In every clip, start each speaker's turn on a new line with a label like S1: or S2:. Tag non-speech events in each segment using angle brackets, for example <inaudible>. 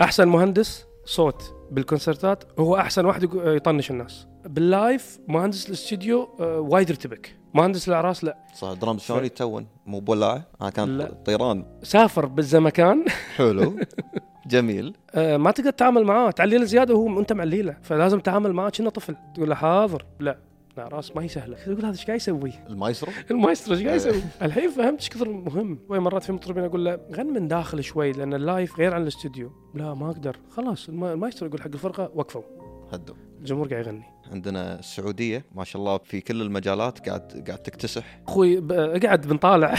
S1: احسن مهندس صوت بالكونسرتات هو احسن واحد يقو- يطنش الناس باللايف مهندس الاستديو آه، وايد يرتبك مهندس الاعراس لا
S2: صح درام شلون يتون مو بولاعه انا كان
S1: لا.
S2: طيران
S1: سافر بالزمكان
S2: حلو <laughs> جميل
S1: آه، ما تقدر تتعامل معاه تعليله زياده وهو انت معليله فلازم تتعامل معاه كأنه طفل تقول له حاضر لا لا راس ما هي سهله تقول هذا ايش قاعد يسوي؟ <laughs>
S2: المايسترو
S1: المايسترو ايش قاعد يسوي؟ الحين فهمت ايش كثر مهم شوي مرات في مطربين اقول له غن من داخل شوي لان اللايف غير عن الاستوديو لا ما اقدر خلاص الما- المايسترو يقول حق الفرقه وقفوا
S2: هدو
S1: الجمهور قاعد يغني
S2: عندنا السعوديه ما شاء الله في كل المجالات قاعد قاعد تكتسح <laughs>
S1: اخوي ب- اقعد بنطالع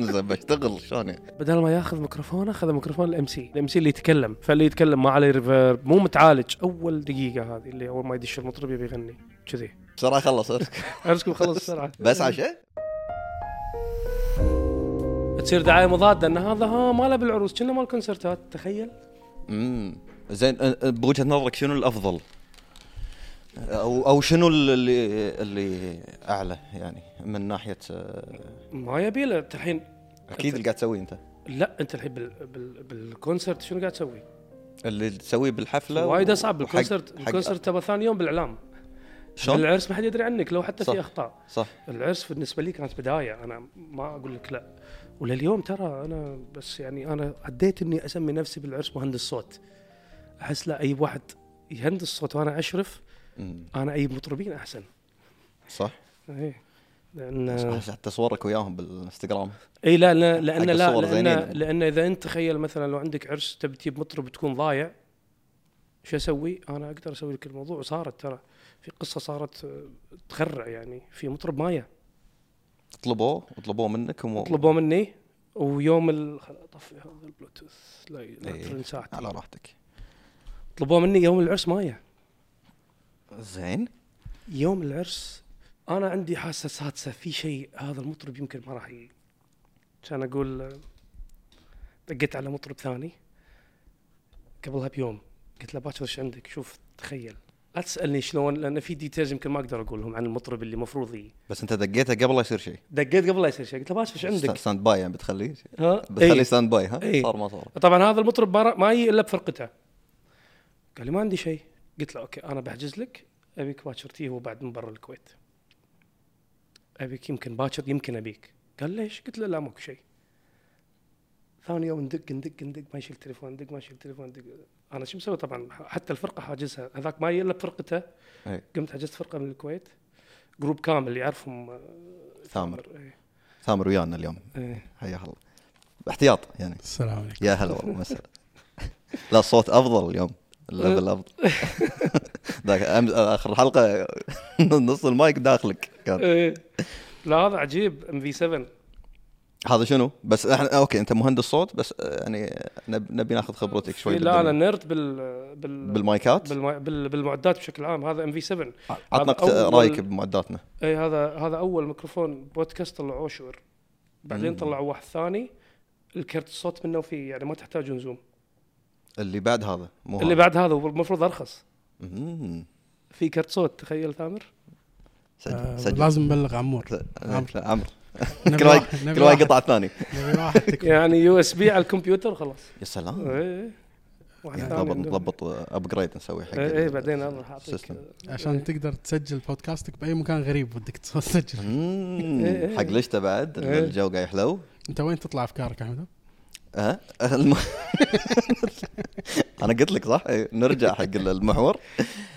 S2: زين بشتغل شلون يعني؟
S1: بدل ما ياخذ ميكروفونه خذ ميكروفون الام سي الام سي اللي يتكلم فاللي يتكلم ما عليه ريفيرب مو متعالج اول دقيقه هذه اللي اول ما يدش المطرب يبي يغني كذي
S2: بسرعه خلص <laughs> أرسك.
S1: ارسكم خلص بسرعه
S2: <laughs> بس عشاء
S1: تصير دعايه مضاده ان هذا ها ما له بالعروس كنا مال كونسرتات تخيل
S2: امم زين أ- أ- بوجهه نظرك شنو الافضل؟ او او شنو اللي اللي اعلى يعني من ناحيه آه،
S1: ما يبي له أنت الحين
S2: اكيد اللي قاعد تسويه انت
S1: لا انت الحين بال... بال... بالكونسرت شنو قاعد تسوي؟
S2: اللي تسويه بالحفله
S1: وايد
S2: و-
S1: اصعب
S2: وحق-
S1: بالكونسرت
S2: حق-
S1: الكونسرت تبى ثاني يوم بالاعلام
S2: شلون؟
S1: العرس ما حد يدري عنك لو حتى
S2: صح.
S1: في اخطاء
S2: صح
S1: العرس بالنسبه لي كانت بدايه انا ما اقول لك لا ولليوم ترى انا بس يعني انا عديت اني اسمي نفسي بالعرس مهندس صوت احس لا اي واحد يهندس صوت وانا اشرف
S2: أمم،
S1: انا اي مطربين احسن
S2: صح
S1: ايه لان
S2: حتى صورك وياهم بالانستغرام
S1: اي لا لا لان
S2: حق
S1: لا
S2: الصور
S1: لان,
S2: زينين.
S1: لأن اذا انت تخيل مثلا لو عندك عرس تبي تجيب مطرب تكون ضايع شو اسوي؟ انا اقدر اسوي لك الموضوع وصارت ترى في قصه صارت آه، تخرع يعني في مطرب مايا
S2: طلبوه وطلبوه منك ومو
S1: طلبوا مني ويوم ال خل اطفي هذا البلوتوث لا
S2: إيه.
S1: يطفي ساعتي
S2: على راحتك
S1: طلبوا مني يوم العرس مايا
S2: زين
S1: يوم العرس انا عندي حاسه سادسه في شيء هذا المطرب يمكن ما راح ي... كان اقول آه، دقيت على مطرب ثاني قبلها بيوم قلت له باكر ايش عندك شوف تخيل لا تسالني شلون لان في ديتيلز يمكن ما اقدر اقولهم عن المطرب اللي المفروض ي-
S2: بس انت دقيته قبل لا يصير شيء
S1: دقيت قبل لا يصير شيء قلت له باكر ايش
S2: ستا-
S1: عندك؟
S2: ستاند باي يعني بتخليه
S1: ها؟
S2: بتخليه
S1: إيه.
S2: ستاند باي ها
S1: إيه.
S2: صار ما صار
S1: طبعا هذا المطرب ما- ما يجي الا بفرقته قال لي ما عندي شيء قلت له اوكي انا بحجز لك ابيك باكر تي هو بعد من برا الكويت ابيك يمكن باكر يمكن ابيك قال ليش؟ قلت له لا ماكو شيء ثاني يوم ندق ندق ندق ما يشيل تليفون ندق ما يشيل تليفون ندق انا شو مسوي طبعا حتى الفرقه حاجزها هذاك ما يجي الا بفرقته
S2: إيه.
S1: قمت حجزت فرقه من الكويت جروب كامل يعرفهم آه،
S2: ثامر
S1: إيه.
S2: ثامر ويانا اليوم
S1: إيه.
S2: هيا هلا باحتياط يعني
S3: السلام عليكم
S2: يا هلا والله مساء لا الصوت افضل اليوم
S1: <laughs>
S2: الليفل افضل ذاك أمس- اخر حلقه <laughs> نص المايك داخلك كان
S1: إيه. لا هذا عجيب ام في 7
S2: هذا شنو بس احنا اوكي انت مهندس صوت بس آه، يعني نب- نبي ناخذ خبرتك شوي
S1: لا انا
S2: بالدنيا.
S1: نيرد بال بال
S2: بالمايكات
S1: بالم... بال... بالمعدات بشكل عام هذا ام في 7
S2: عطنا
S1: هذا أول-
S2: اقت- رايك بمعداتنا
S1: اي هذا هذا اول ميكروفون بودكاست طلعوه شور بعدين طلعوا واحد ثاني الكرت الصوت منه فيه يعني ما تحتاجون زوم
S2: اللي بعد هذا مو
S1: اللي
S2: هذا.
S1: بعد هذا هو المفروض ارخص
S2: مم.
S1: في كرت صوت تخيل ثامر
S3: آه،
S2: سجل سجل
S3: لازم نبلغ عمور
S2: عمرو عمرو
S3: نبي
S2: كل واحد
S3: واحد- نبي
S2: كل واحد
S3: واحد-
S2: قطع الثاني
S3: نبي واحد تك-
S1: يعني يو اس بي على الكمبيوتر
S2: <laughs>
S1: خلاص
S2: يا سلام
S1: اي واحد
S2: يعني
S1: ثاني
S2: نضبط
S1: عنده.
S2: نضبط ابجريد نسوي حق
S1: اي إي،
S2: ال-
S1: إيه، بعدين انا راح اعطيك
S2: السيستم.
S3: عشان تقدر تسجل بودكاستك باي مكان غريب ودك تسجل
S2: مم.
S1: إيه، إيه.
S2: حق ليش بعد
S1: إيه.
S2: الجو قاعد يحلو
S3: انت وين تطلع افكارك احمد؟
S2: ها الم- <laughs> انا قلت لك صح إيه، نرجع حق المحور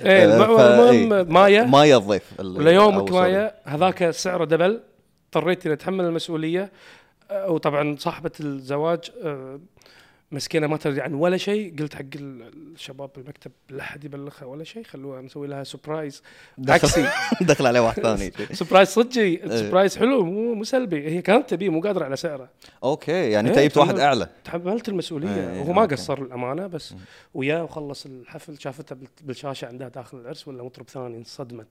S1: اي المعور
S2: آه، فا- إيه.
S1: المهم إيه، مايا
S2: مايا الضيف ال-
S1: وليومك
S2: أو
S1: مايا هذاك سعره دبل اضطريت اني اتحمل المسؤوليه أه، وطبعا صاحبه الزواج أه، مسكينه ما تدري عن ولا شيء قلت حق ال- الشباب بالمكتب لا احد يبلغها ولا شيء خلوها نسوي لها سبرايز عكسي
S2: سوري. <laughs> دخل عليه واحد ثاني
S1: <laughs> سبرايز صدقي
S2: <laughs> إيه.
S1: سبرايز حلو مو مو سلبي هي كانت تبيه مو قادره على سعره
S2: اوكي يعني انت
S1: إيه،
S2: جبت واحد
S1: تحمل-
S2: اعلى
S1: تحملت المسؤوليه
S2: إيه،
S1: وهو ما
S2: أوكي.
S1: قصر الامانه بس وياه وخلص الحفل شافته بال- بالشاشه عندها داخل العرس ولا مطرب ثاني انصدمت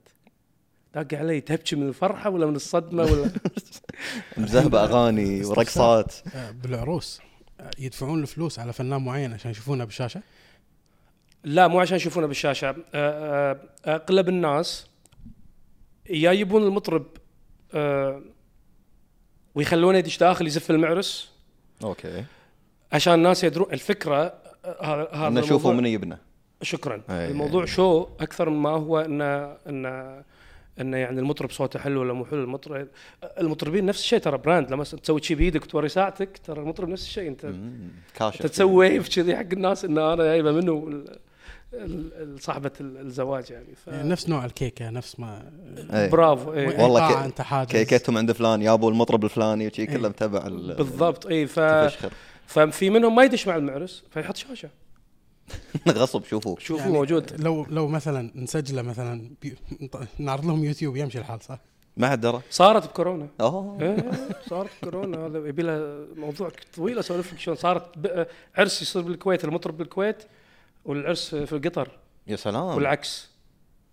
S1: داق علي تبكي من الفرحه ولا من الصدمه ولا
S2: مزهبه
S3: إيه،
S2: اغاني ورقصات
S3: آه، بالعروس آه، يدفعون الفلوس على فنان معين عشان يشوفونه بالشاشه
S1: لا مو عشان يشوفونه بالشاشه آه، آه، اغلب الناس يا يبون المطرب آه، ويخلونه يدش داخل يزف المعرس
S2: اوكي
S1: عشان الناس يدرون الفكره هذا هذا
S2: ان نشوفه
S1: الموضوع-
S2: من يبنى
S1: شكرا
S2: أي.
S1: الموضوع شو اكثر من ما هو انه انه انه يعني المطرب صوته حلو ولا مو حلو المطرب المطربين نفس الشيء ترى براند لما تسوي شيء بايدك وتوري ساعتك ترى المطرب نفس الشيء انت
S2: مم. كاشف
S1: انت تسوي ويف كذي حق الناس ان انا جايبه منه ال- ال- ال- صاحبه ال- الزواج يعني ف...
S3: يعني نفس نوع الكيكه نفس ما
S2: إيه.
S1: برافو إيه.
S2: والله
S3: إيقاع
S2: كي-
S3: انت حاجز
S2: كيكتهم عند فلان يابو المطرب الفلاني وشي
S3: إيه.
S2: كله متبع ال-
S1: بالضبط اي ف...
S2: تفشخر <laughs>
S1: ففي منهم ما يدش مع المعرس فيحط شاشه
S2: غصب شوفوه
S1: شوفوا
S3: يعني
S1: موجود
S3: لو لو مثلا نسجله مثلا بي... نعرض لهم يوتيوب يمشي الحال صح؟
S2: ما حد درى
S1: صارت بكورونا
S2: اوه
S1: إيه، <laughs> صارت كورونا هذا يبي لها موضوع طويل اسولف لك شلون صارت ب- عرس يصير بالكويت المطرب بالكويت والعرس في قطر
S2: يا
S1: نعم.
S2: سلام
S1: والعكس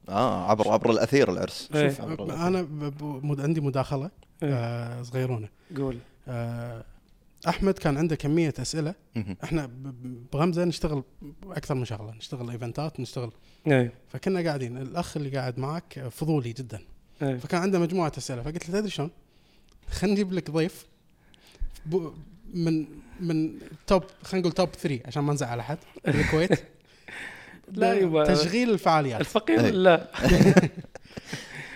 S2: اه عبر عبر الاثير العرس
S1: إيه.
S2: شوف عبر الأثير.
S3: انا ب... ب... مد- عندي مداخله آه صغيرونه
S1: قول
S3: آه احمد كان عنده كميه اسئله
S2: مهم.
S3: احنا ب- ب- بغمزه نشتغل اكثر من شغله نشتغل ايفنتات نشتغل
S1: ايه
S3: فكنا قاعدين الاخ اللي قاعد معك فضولي جدا
S1: ايه
S3: فكان عنده مجموعه اسئله فقلت له تدري شلون؟ خلينا نجيب لك ضيف ب- من من توب خلينا نقول توب 3 عشان ما نزعل احد الكويت
S1: <laughs> لا يبا.
S3: تشغيل
S1: <laughs>
S3: الفعاليات
S1: الفقير
S2: إيه.
S1: لا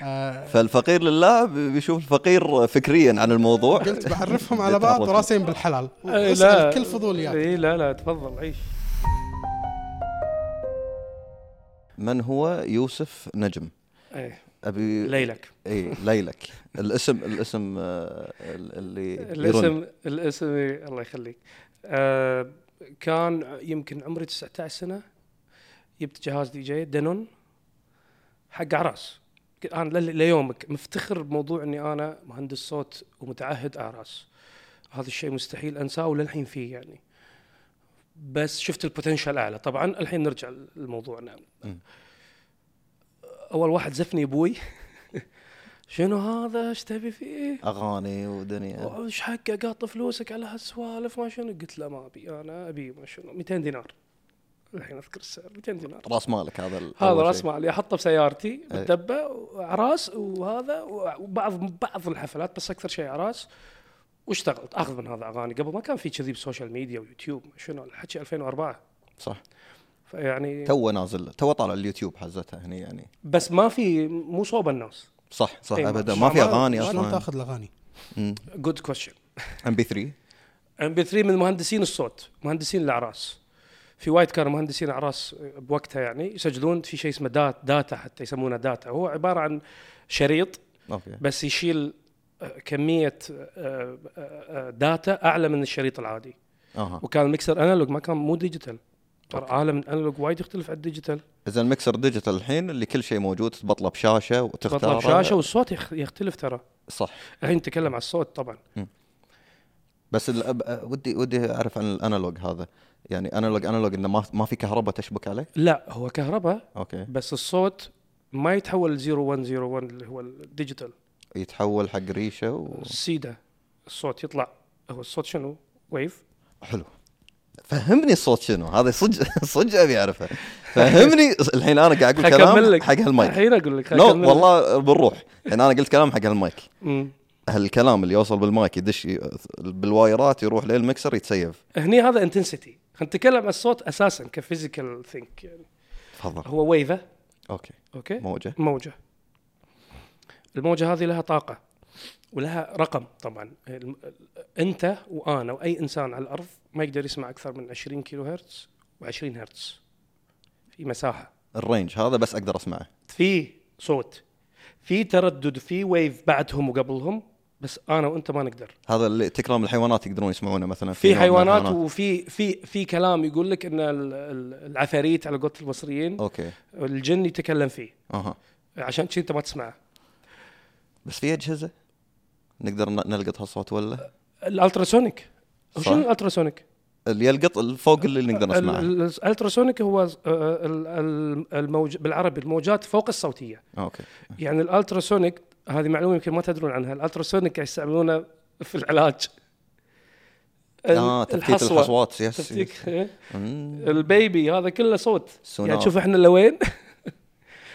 S3: آه،
S2: فالفقير لله ب- بيشوف الفقير فكريا عن الموضوع
S3: قلت بعرفهم
S2: <laughs>
S3: على بعض وراسين
S1: <laughs>
S3: بالحلال
S1: إيه، لا
S3: اسال كل فضوليات
S1: اي لا لا تفضل عيش
S2: من هو يوسف نجم
S1: ايه
S2: ابي
S1: ليلك
S2: اي ليلك الاسم الاسم آه، ال- اللي يرن.
S1: الاسم الاسم إيه، الله يخليك آه كان يمكن عمري 19 سنه جبت جهاز دي جي دانون حق اعراس انا لل- ليومك مفتخر بموضوع اني انا مهندس صوت ومتعهد اعراس هذا الشيء مستحيل انساه وللحين فيه يعني بس شفت البوتنشال اعلى طبعا الحين نرجع لموضوعنا
S2: مم.
S1: اول واحد زفني ابوي <laughs> شنو هذا ايش تبي فيه
S2: اغاني ودنيا
S1: وش حقك قاط فلوسك على هالسوالف ما شنو قلت له ما ابي انا ابي ما شنو 200 دينار الحين اذكر السعر 200 دينار
S2: راس مالك هذا ال-
S1: هذا
S2: أول شيء.
S1: راس مالي احطه بسيارتي بالدبه وعراس وهذا وبعض بعض الحفلات بس اكثر شيء عراس واشتغلت اخذ من هذا اغاني قبل ما كان في كذي بسوشيال ميديا ويوتيوب ما شنو الحكي 2004
S2: صح
S1: فيعني
S2: تو نازل تو طالع اليوتيوب حزتها هني يعني
S1: بس ما في مو صوب الناس
S2: صح صح
S1: إيه، ما-
S2: ابدا ما في اغاني
S3: شلون
S2: اصلا
S3: تاخذ الاغاني؟
S1: جود كويشن
S2: ام بي 3
S1: ام بي 3 من مهندسين الصوت مهندسين الاعراس في وايد كانوا مهندسين اعراس بوقتها يعني يسجلون في شيء اسمه دات داتا حتى يسمونه داتا هو عباره عن شريط
S2: اوكي
S1: بس يشيل آه، كميه آه، آه، آه، داتا اعلى من الشريط العادي
S2: اها
S1: وكان الميكسر انالوج ما كان مو ديجيتال ترى عالم الانالوج وايد يختلف عن الديجيتال
S2: اذا المكسر ديجيتال الحين اللي كل شيء موجود تبطله بشاشه وتختار
S1: بطلب شاشه والصوت يخ- يختلف ترى
S2: صح
S1: الحين نتكلم على الصوت طبعا
S2: بس ال- أب- أ- ودي ودي اعرف عن الانالوج هذا يعني انالوج انالوج انه ما ما في كهرباء تشبك عليه
S1: لا هو كهرباء
S2: اوكي
S1: بس الصوت ما يتحول ل 0101 اللي هو الديجيتال
S2: يتحول حق ريشه و...
S1: السيده الصوت يطلع هو الصوت شنو؟ ويف
S2: حلو فهمني الصوت شنو هذا صدق <laughs> صدق ابي اعرفه فهمني الحين انا قاعد اقول كلام حق هالمايك
S1: الحين اقول لك
S2: لا
S1: حكمل لك.
S2: والله بنروح الحين انا قلت كلام حق هالمايك
S1: مم.
S2: هالكلام اللي يوصل بالمايك يدش ي- بالوايرات يروح للمكسر يتسيف
S1: هني هذا انتنسيتي خلينا نتكلم عن الصوت اساسا كفيزيكال ثينك يعني
S2: تفضل
S1: هو ويفه
S2: اوكي
S1: اوكي
S2: موجه
S1: موجه الموجه هذه لها طاقه ولها رقم طبعا الم- ال- انت وانا واي انسان على الارض ما يقدر يسمع اكثر من 20 كيلو هرتز و20 هرتز في مساحه
S2: الرينج هذا بس اقدر اسمعه
S1: في صوت في تردد في ويف بعدهم وقبلهم بس انا وانت ما نقدر
S2: هذا اللي تكرام الحيوانات يقدرون يسمعونه مثلا
S1: في
S2: نوع من
S1: حيوانات
S2: الحيوانات.
S1: وفي في في كلام يقول لك ان ال- ال- العفاريت على قولة المصريين
S2: اوكي
S1: الجن يتكلم فيه
S2: اها
S1: عشان كذي انت ما تسمعه
S2: بس في اجهزه نقدر ن- نلقط هالصوت ولا
S1: الالتراسونيك هو
S2: صح.
S1: شنو الالتراسونيك؟
S2: اللي يلقط الفوق اللي نقدر
S1: ال-
S2: نسمعه
S1: ال- الالتراسونيك هو آه، ال- ال- الموج بالعربي الموجات فوق الصوتيه
S2: اوكي
S1: يعني الالتراسونيك هذه معلومه يمكن ما تدرون عنها الالتراسونيك قاعد يستعملونه في العلاج
S2: اه تفتيت
S1: الحصوة.
S2: الحصوات يس, يس.
S1: تفتيك إيه.
S2: مم.
S1: البيبي هذا كله صوت
S2: سونار.
S1: يعني شوف احنا لوين <laughs> شوف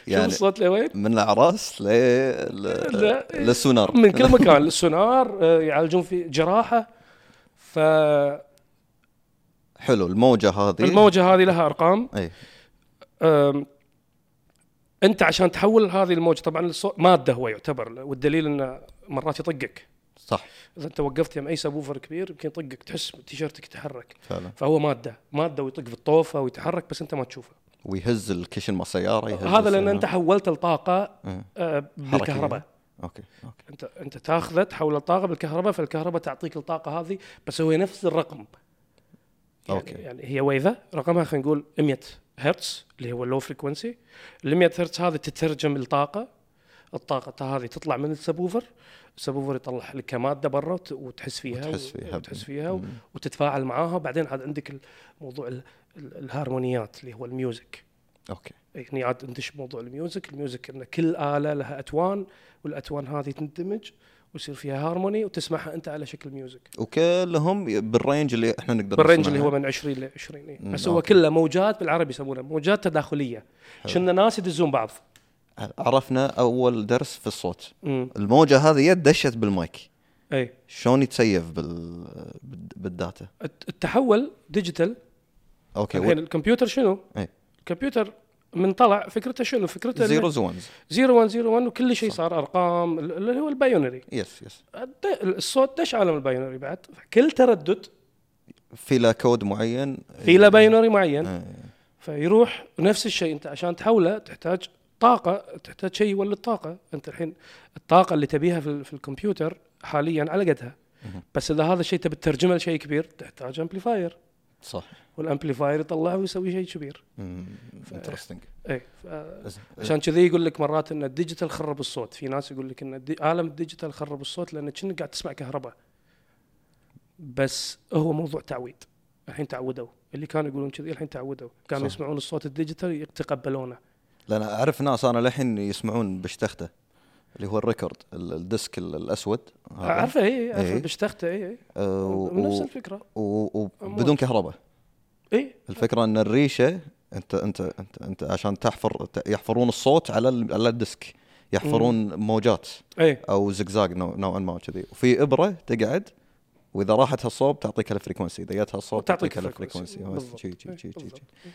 S2: يعني
S1: الصوت لوين
S2: من الاعراس ل
S1: لا.
S2: ل- للسونار
S1: من كل مكان <laughs> إيه، السونار آه، يعالجون في جراحه ف
S2: حلو الموجه هذه إيه،
S1: الموجه هذه لها ارقام
S2: اي
S1: أم، انت عشان تحول هذه الموجه طبعا الصوت ماده هو يعتبر والدليل انه مرات يطقك
S2: صح
S1: اذا انت وقفت يم اي سبوفر كبير يمكن يطقك تحس تيشيرتك يتحرك
S2: فعلا
S1: فهو ماده ماده ويطق في الطوفه ويتحرك بس انت ما تشوفه
S2: ويهز الكشن مال السياره يهز
S1: هذا لان
S2: السيارة.
S1: انت حولت الطاقه
S2: إيه.
S1: آه، بالكهرباء
S2: اوكي اوكي
S1: انت انت تاخذه تحول الطاقه بالكهرباء فالكهرباء تعطيك الطاقه هذه بس هو نفس الرقم يعني,
S2: أوكي.
S1: يعني هي ويفه رقمها خلينا نقول 100 هرتز اللي هو اللو فريكونسي ال 100 هرتز هذه تترجم الطاقه الطاقة هذه تطلع من السبوفر السبوفر يطلع لك كمادة برا وت- وتحس فيها
S2: وتحس فيها.
S1: وتحس فيها و- وتتفاعل معاها بعدين عاد عندك ال- موضوع ال- ال- الهارمونيات اللي هو الميوزك
S2: اوكي
S1: هني عاد ندش بموضوع الميوزك الميوزك ان كل اله لها اتوان والاتوان هذه تندمج ويصير فيها هارموني وتسمعها انت على شكل ميوزك
S2: وكلهم بالرينج اللي احنا نقدر
S1: بالرينج
S2: نسمعها.
S1: اللي هو من 20 ل 20 إيه.
S2: مم،
S1: بس هو
S2: أوكي.
S1: كله موجات بالعربي يسمونها موجات تداخليه كنا ناس يدزون بعض
S2: عرفنا اول درس في الصوت
S1: امم
S2: الموجه هذه يد دشت بالمايك
S1: اي
S2: شلون يتسيف بال... بال- بالداتا
S1: الت- التحول ديجيتال
S2: اوكي
S1: الحين
S2: و...
S1: الكمبيوتر شنو؟
S2: إيه.
S1: الكمبيوتر من طلع فكرته شنو؟ فكرته
S2: زيروز وانز
S1: 0101 وكل شيء صار ارقام ال- اللي هو البايونري
S2: يس يس
S1: الد- الصوت دش عالم البايونري بعد كل تردد
S2: في له كود معين
S1: في له باينري معين
S2: إيه.
S1: فيروح نفس الشيء انت عشان تحوله تحتاج طاقه تحتاج شيء يولد طاقه انت الحين الطاقه اللي تبيها في, ال- في الكمبيوتر حاليا على قدها بس اذا هذا الشيء تبي تترجمه لشيء كبير تحتاج امبليفاير
S2: صح
S1: والامبليفاير يطلعه ويسوي شيء كبير
S2: انترستنج
S1: اي ف- عشان كذي يقول لك مرات ان الديجيتال خرب الصوت في ناس يقول لك ان الدي- عالم الديجيتال خرب الصوت لانك كأنك قاعد تسمع كهرباء بس هو موضوع تعويد الحين تعودوا اللي كانوا يقولون كذي الحين تعودوا كانوا
S2: صح.
S1: يسمعون الصوت الديجيتال يتقبلونه
S2: لان اعرف ناس انا للحين يسمعون بشتخته اللي هو الريكورد ال- الديسك ال- الاسود هذا.
S1: اعرفه اي اعرفه
S2: إيه.
S1: بشتخته اي اي
S2: آه، و-
S1: نفس إيه،
S2: و-
S1: الفكره
S2: و- وبدون
S1: أمواج.
S2: كهرباء
S1: اي
S2: الفكره ان الريشه انت انت انت, انت عشان تحفر ت- يحفرون الصوت على ال- على الديسك يحفرون موجات
S1: اي
S2: او زقزاق نوع- نوعا ما كذي وفي ابره تقعد واذا راحت هالصوب تعطيك الفريكونسي اذا جتها الصوب
S1: وتعطيك
S2: تعطيك
S1: الفريكونسي.
S2: الفريكونسي
S1: بالضبط.
S2: شي- شي-
S1: إيه،
S2: شي- شي-
S1: بالضبط.
S2: شي.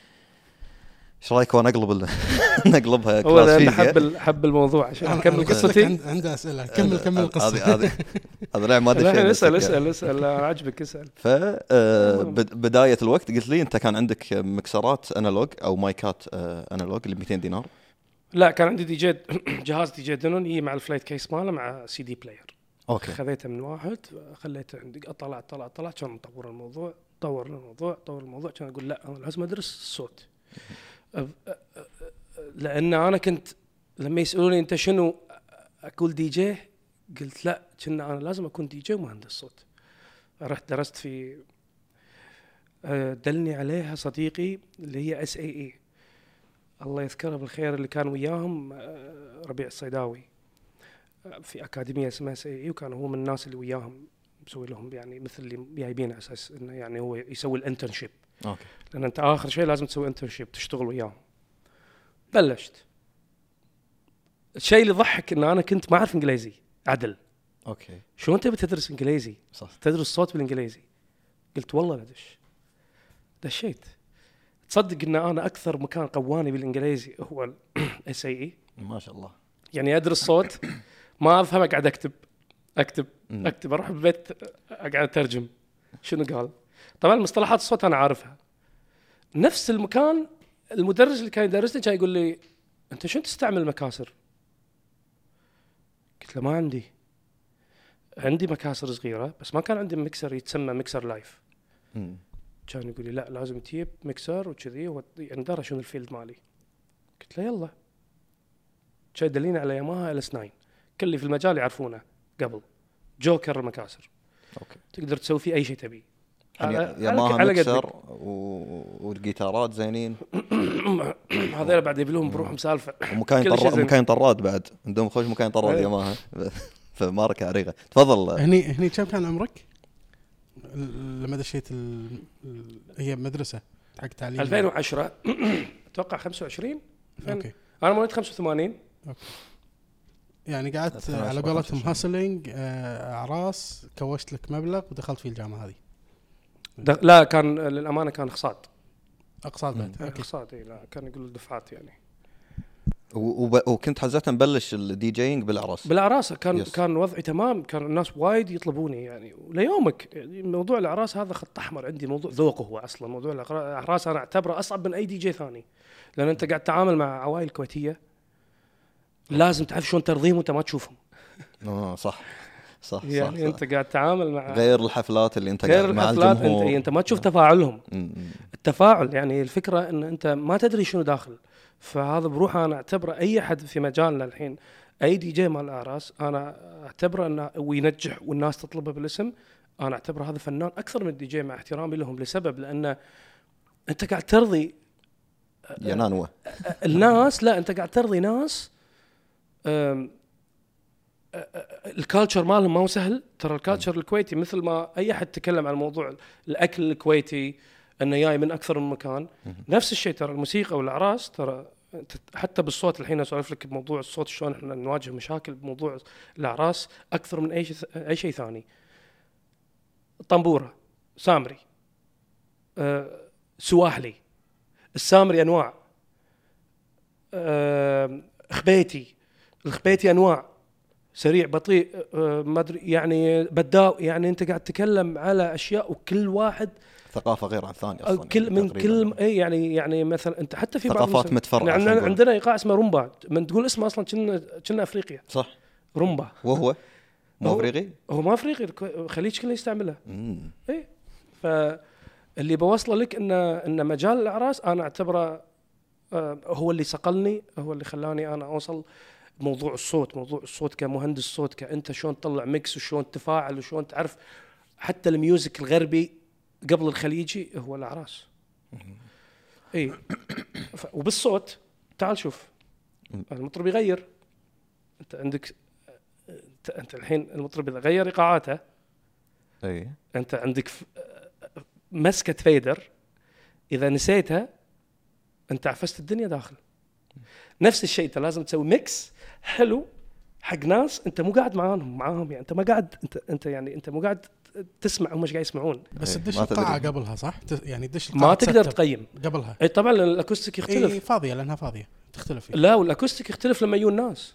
S2: ايش رايك وانا اقلب ال- <laughs> نقلبها
S1: هو
S2: كلاس
S1: لأن
S2: فيزياء
S1: حب ال- حب الموضوع عشان
S2: آه،
S3: أنا-
S1: اكمل
S3: أنا قلت لك
S1: قصتي
S3: عند- عندي اسئله كمل كمل القصه
S2: هذه هذه هذا لعب ما ادري شيء
S1: لا اسال
S2: بس-
S1: اسال اسال لا، عجبك اسال
S2: ف آه، بد- بدايه الوقت قلت لي انت كان عندك مكسرات انالوج او مايكات آه، انالوج اللي 200 دينار
S1: لا كان عندي دي جي <clears throat> جهاز دي جي دنون يجي مع الفلايت كيس ماله مع سي دي بلاير
S2: اوكي
S1: خذيته من واحد خليته عندي طلع طلع طلع كان مطور الموضوع طور الموضوع طور الموضوع كان اقول لا انا لازم ادرس الصوت أب- أ- أ- لان انا كنت لما يسالوني انت شنو اقول دي جي قلت لا كنا انا لازم اكون دي جي ومهندس صوت رحت درست في أه، دلني عليها صديقي اللي هي اس اي اي الله يذكره بالخير اللي كان وياهم أه، ربيع الصيداوي في اكاديميه اسمها سي اي وكان هو من الناس اللي وياهم مسوي لهم يعني مثل اللي جايبين على اساس انه يعني هو يسوي الانترنشيب
S2: اوكي
S1: لان انت اخر شيء لازم تسوي انترنشيب تشتغل وياهم بلشت الشيء اللي ضحك ان انا كنت ما اعرف انجليزي عدل
S2: اوكي
S1: شو انت بتدرس انجليزي
S2: صح
S1: تدرس صوت بالانجليزي قلت والله بدش دشيت تصدق ان انا اكثر مكان قواني بالانجليزي هو <coughs> الاس اي اي
S2: ما شاء الله
S1: E. يعني ادرس صوت ما افهم اقعد اكتب اكتب
S2: مم.
S1: اكتب اروح البيت اقعد اترجم شنو قال طبعا مصطلحات الصوت انا عارفها نفس المكان المدرس اللي كان يدرسني كان يقول لي انت شنو تستعمل مكاسر؟ قلت له ما عندي عندي مكاسر صغيره بس ما كان عندي مكسر يتسمى مكسر لايف
S2: مم.
S1: كان يقول لي لا لازم تجيب مكسر وكذي هو يعني درى شنو الفيلد مالي قلت له يلا كان دليني على ياماها ال اس 9 كل اللي في المجال يعرفونه قبل جوكر مكاسر
S2: اوكي
S1: تقدر تسوي فيه اي شيء تبيه
S2: يعني
S1: على-
S2: ياماها
S1: على
S2: مكسر و- والجيتارات زينين
S1: <coughs> هذول بعد يبي لهم بروحهم سالفه
S2: ومكاين
S1: كل شيء
S2: طراد
S1: زين.
S2: مكاين طراد بعد عندهم خوش مكاين طراد
S1: إيه.
S2: <laughs> ياماها فماركه عريقه تفضل
S3: هني هني كم كان عمرك؟ ال- لما دشيت ال... ال- هي مدرسه حق تعليم
S1: 2010 <coughs> اتوقع 25
S3: اوكي
S1: انا مواليد 85
S3: يعني قعدت
S2: 12
S3: على
S2: و
S3: قولتهم
S2: 25.
S3: هاسلينج آه، اعراس كوشت لك مبلغ ودخلت في الجامعه هذه
S1: دخ- لا كان للامانه كان اقساط
S3: اقساط بعد اوكي
S1: اقساط اي لا كان يقول دفعات يعني
S2: و- وب- وكنت حزتها مبلش الدي جينج بالاعراس
S1: بالعراسه كان
S2: Yes.
S1: كان وضعي تمام كان الناس وايد يطلبوني يعني وليومك يعني موضوع الاعراس هذا خط احمر عندي موضوع ذوق هو اصلا موضوع الأقرا- الاعراس انا اعتبره اصعب من اي دي جي ثاني لان انت قاعد تتعامل مع عوائل كويتيه لازم تعرف شلون ترضيهم وانت ما تشوفهم
S2: آه، صح صح صح,
S1: يعني
S2: صح.
S1: انت قاعد تتعامل مع
S2: غير الحفلات اللي انت
S1: غير
S2: قاعد مع
S1: الحفلات انت,
S2: الجمهور نعم.
S1: إيه، انت ما تشوف تفاعلهم
S2: مم.
S1: التفاعل يعني الفكره ان انت ما تدري شنو داخل فهذا بروحه انا اعتبره اي حد في مجالنا الحين اي دي جي مال الاعراس انا اعتبره انه وينجح والناس تطلبه بالاسم انا اعتبره هذا فنان اكثر من الدي جي مع احترامي لهم لسبب لانه انت قاعد ترضي
S2: يا نانوة
S1: الناس لا انت قاعد ترضي ناس أم، أ- أ- الكالتشر مالهم ما هو سهل ترى الكالتشر الكويتي مثل ما اي احد تكلم عن موضوع الاكل الكويتي انه جاي من اكثر من مكان نفس الشيء ترى الموسيقى والاعراس ترى أنت حتى بالصوت الحين اسولف لك بموضوع الصوت شلون احنا نواجه مشاكل بموضوع الاعراس اكثر من اي شيء اي شيء ثاني طنبوره سامري أه سواحلي السامري انواع آم، خبيتي الخبيتي انواع سريع بطيء آه، ما ادري يعني بداو يعني انت قاعد تتكلم على اشياء وكل واحد
S2: ثقافة غير عن الثانية
S1: أو
S2: أصلا
S1: كل
S2: يعني
S1: من كل
S2: تقريباً.
S1: اي يعني يعني مثلا انت حتى في بعض
S2: ثقافات
S1: المس-
S2: متفرعة،
S1: يعني
S2: خلينا
S1: عندنا,
S2: نقول.
S1: عندنا ايقاع اسمه رومبا من تقول اسمه اصلا كنا كنا افريقيا
S2: صح
S1: رومبا
S2: وهو مو
S1: هو-
S2: افريقي؟
S1: هو ما افريقي الكو- الخليج كله يستعمله
S2: مم.
S1: اي فاللي بوصله لك ان ان مجال الاعراس انا اعتبره آه، هو اللي صقلني هو اللي خلاني انا اوصل موضوع الصوت موضوع الصوت كمهندس صوت كانت شلون تطلع ميكس وشلون تفاعل وشلون تعرف حتى الميوزك الغربي قبل الخليجي هو الاعراس اي ف- وبالصوت تعال شوف المطرب يغير انت عندك انت, انت الحين المطرب اذا غير ايقاعاته
S2: اي
S1: انت عندك ف- مسكه فيدر اذا نسيتها انت عفست الدنيا داخل نفس الشيء انت لازم تسوي ميكس حلو حق ناس انت مو قاعد معاهم معاهم يعني انت ما قاعد انت انت يعني انت مو قاعد تسمع هم ايش قاعد يسمعون
S3: بس
S2: إيه،
S3: تدش
S2: ما تدري.
S3: القاعه قبلها صح؟ ت- يعني تدش القاعه
S1: ما تقدر
S3: تستب
S1: تقيم إيه،
S3: قبلها إيه،
S1: اي طبعا لأن الاكوستيك يختلف
S3: اي فاضيه لانها فاضيه تختلف اي
S1: لا والاكوستيك يختلف لما يجون ناس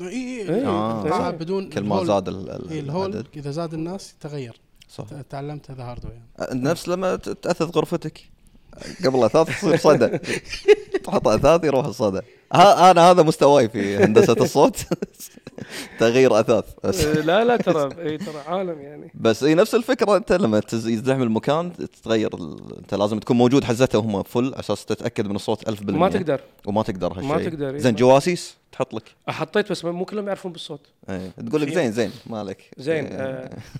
S3: اي
S1: إيه،
S3: اي
S2: آه.
S3: قاعة بدون
S2: كل ما
S3: الهول.
S2: زاد ال- ال-
S3: إيه، الهول
S2: العدد.
S3: اذا زاد الناس تغير
S2: صح أه،
S3: ت- تعلمت هذا هاردوير يعني.
S2: نفس لما ت- تاثث غرفتك قبل اثاث تصير صدى تحط اثاث يروح الصدى ها انا هذا مستواي في هندسه الصوت <laughs> تغيير اثاث بس
S1: آه، لا لا ترى اي ترى عالم يعني
S2: بس هي نفس الفكره انت لما تز- يزدحم المكان تتغير ال... انت لازم تكون موجود حزته هم فل اساس تتاكد من الصوت 100%
S1: ما تقدر
S2: وما تقدر هالشيء
S1: ما تقدر، إيه.
S2: زين جواسيس تحط لك
S1: حطيت بس مو كلهم يعرفون بالصوت
S2: ايه تقول لك زين إيه. زين مالك
S1: زين آه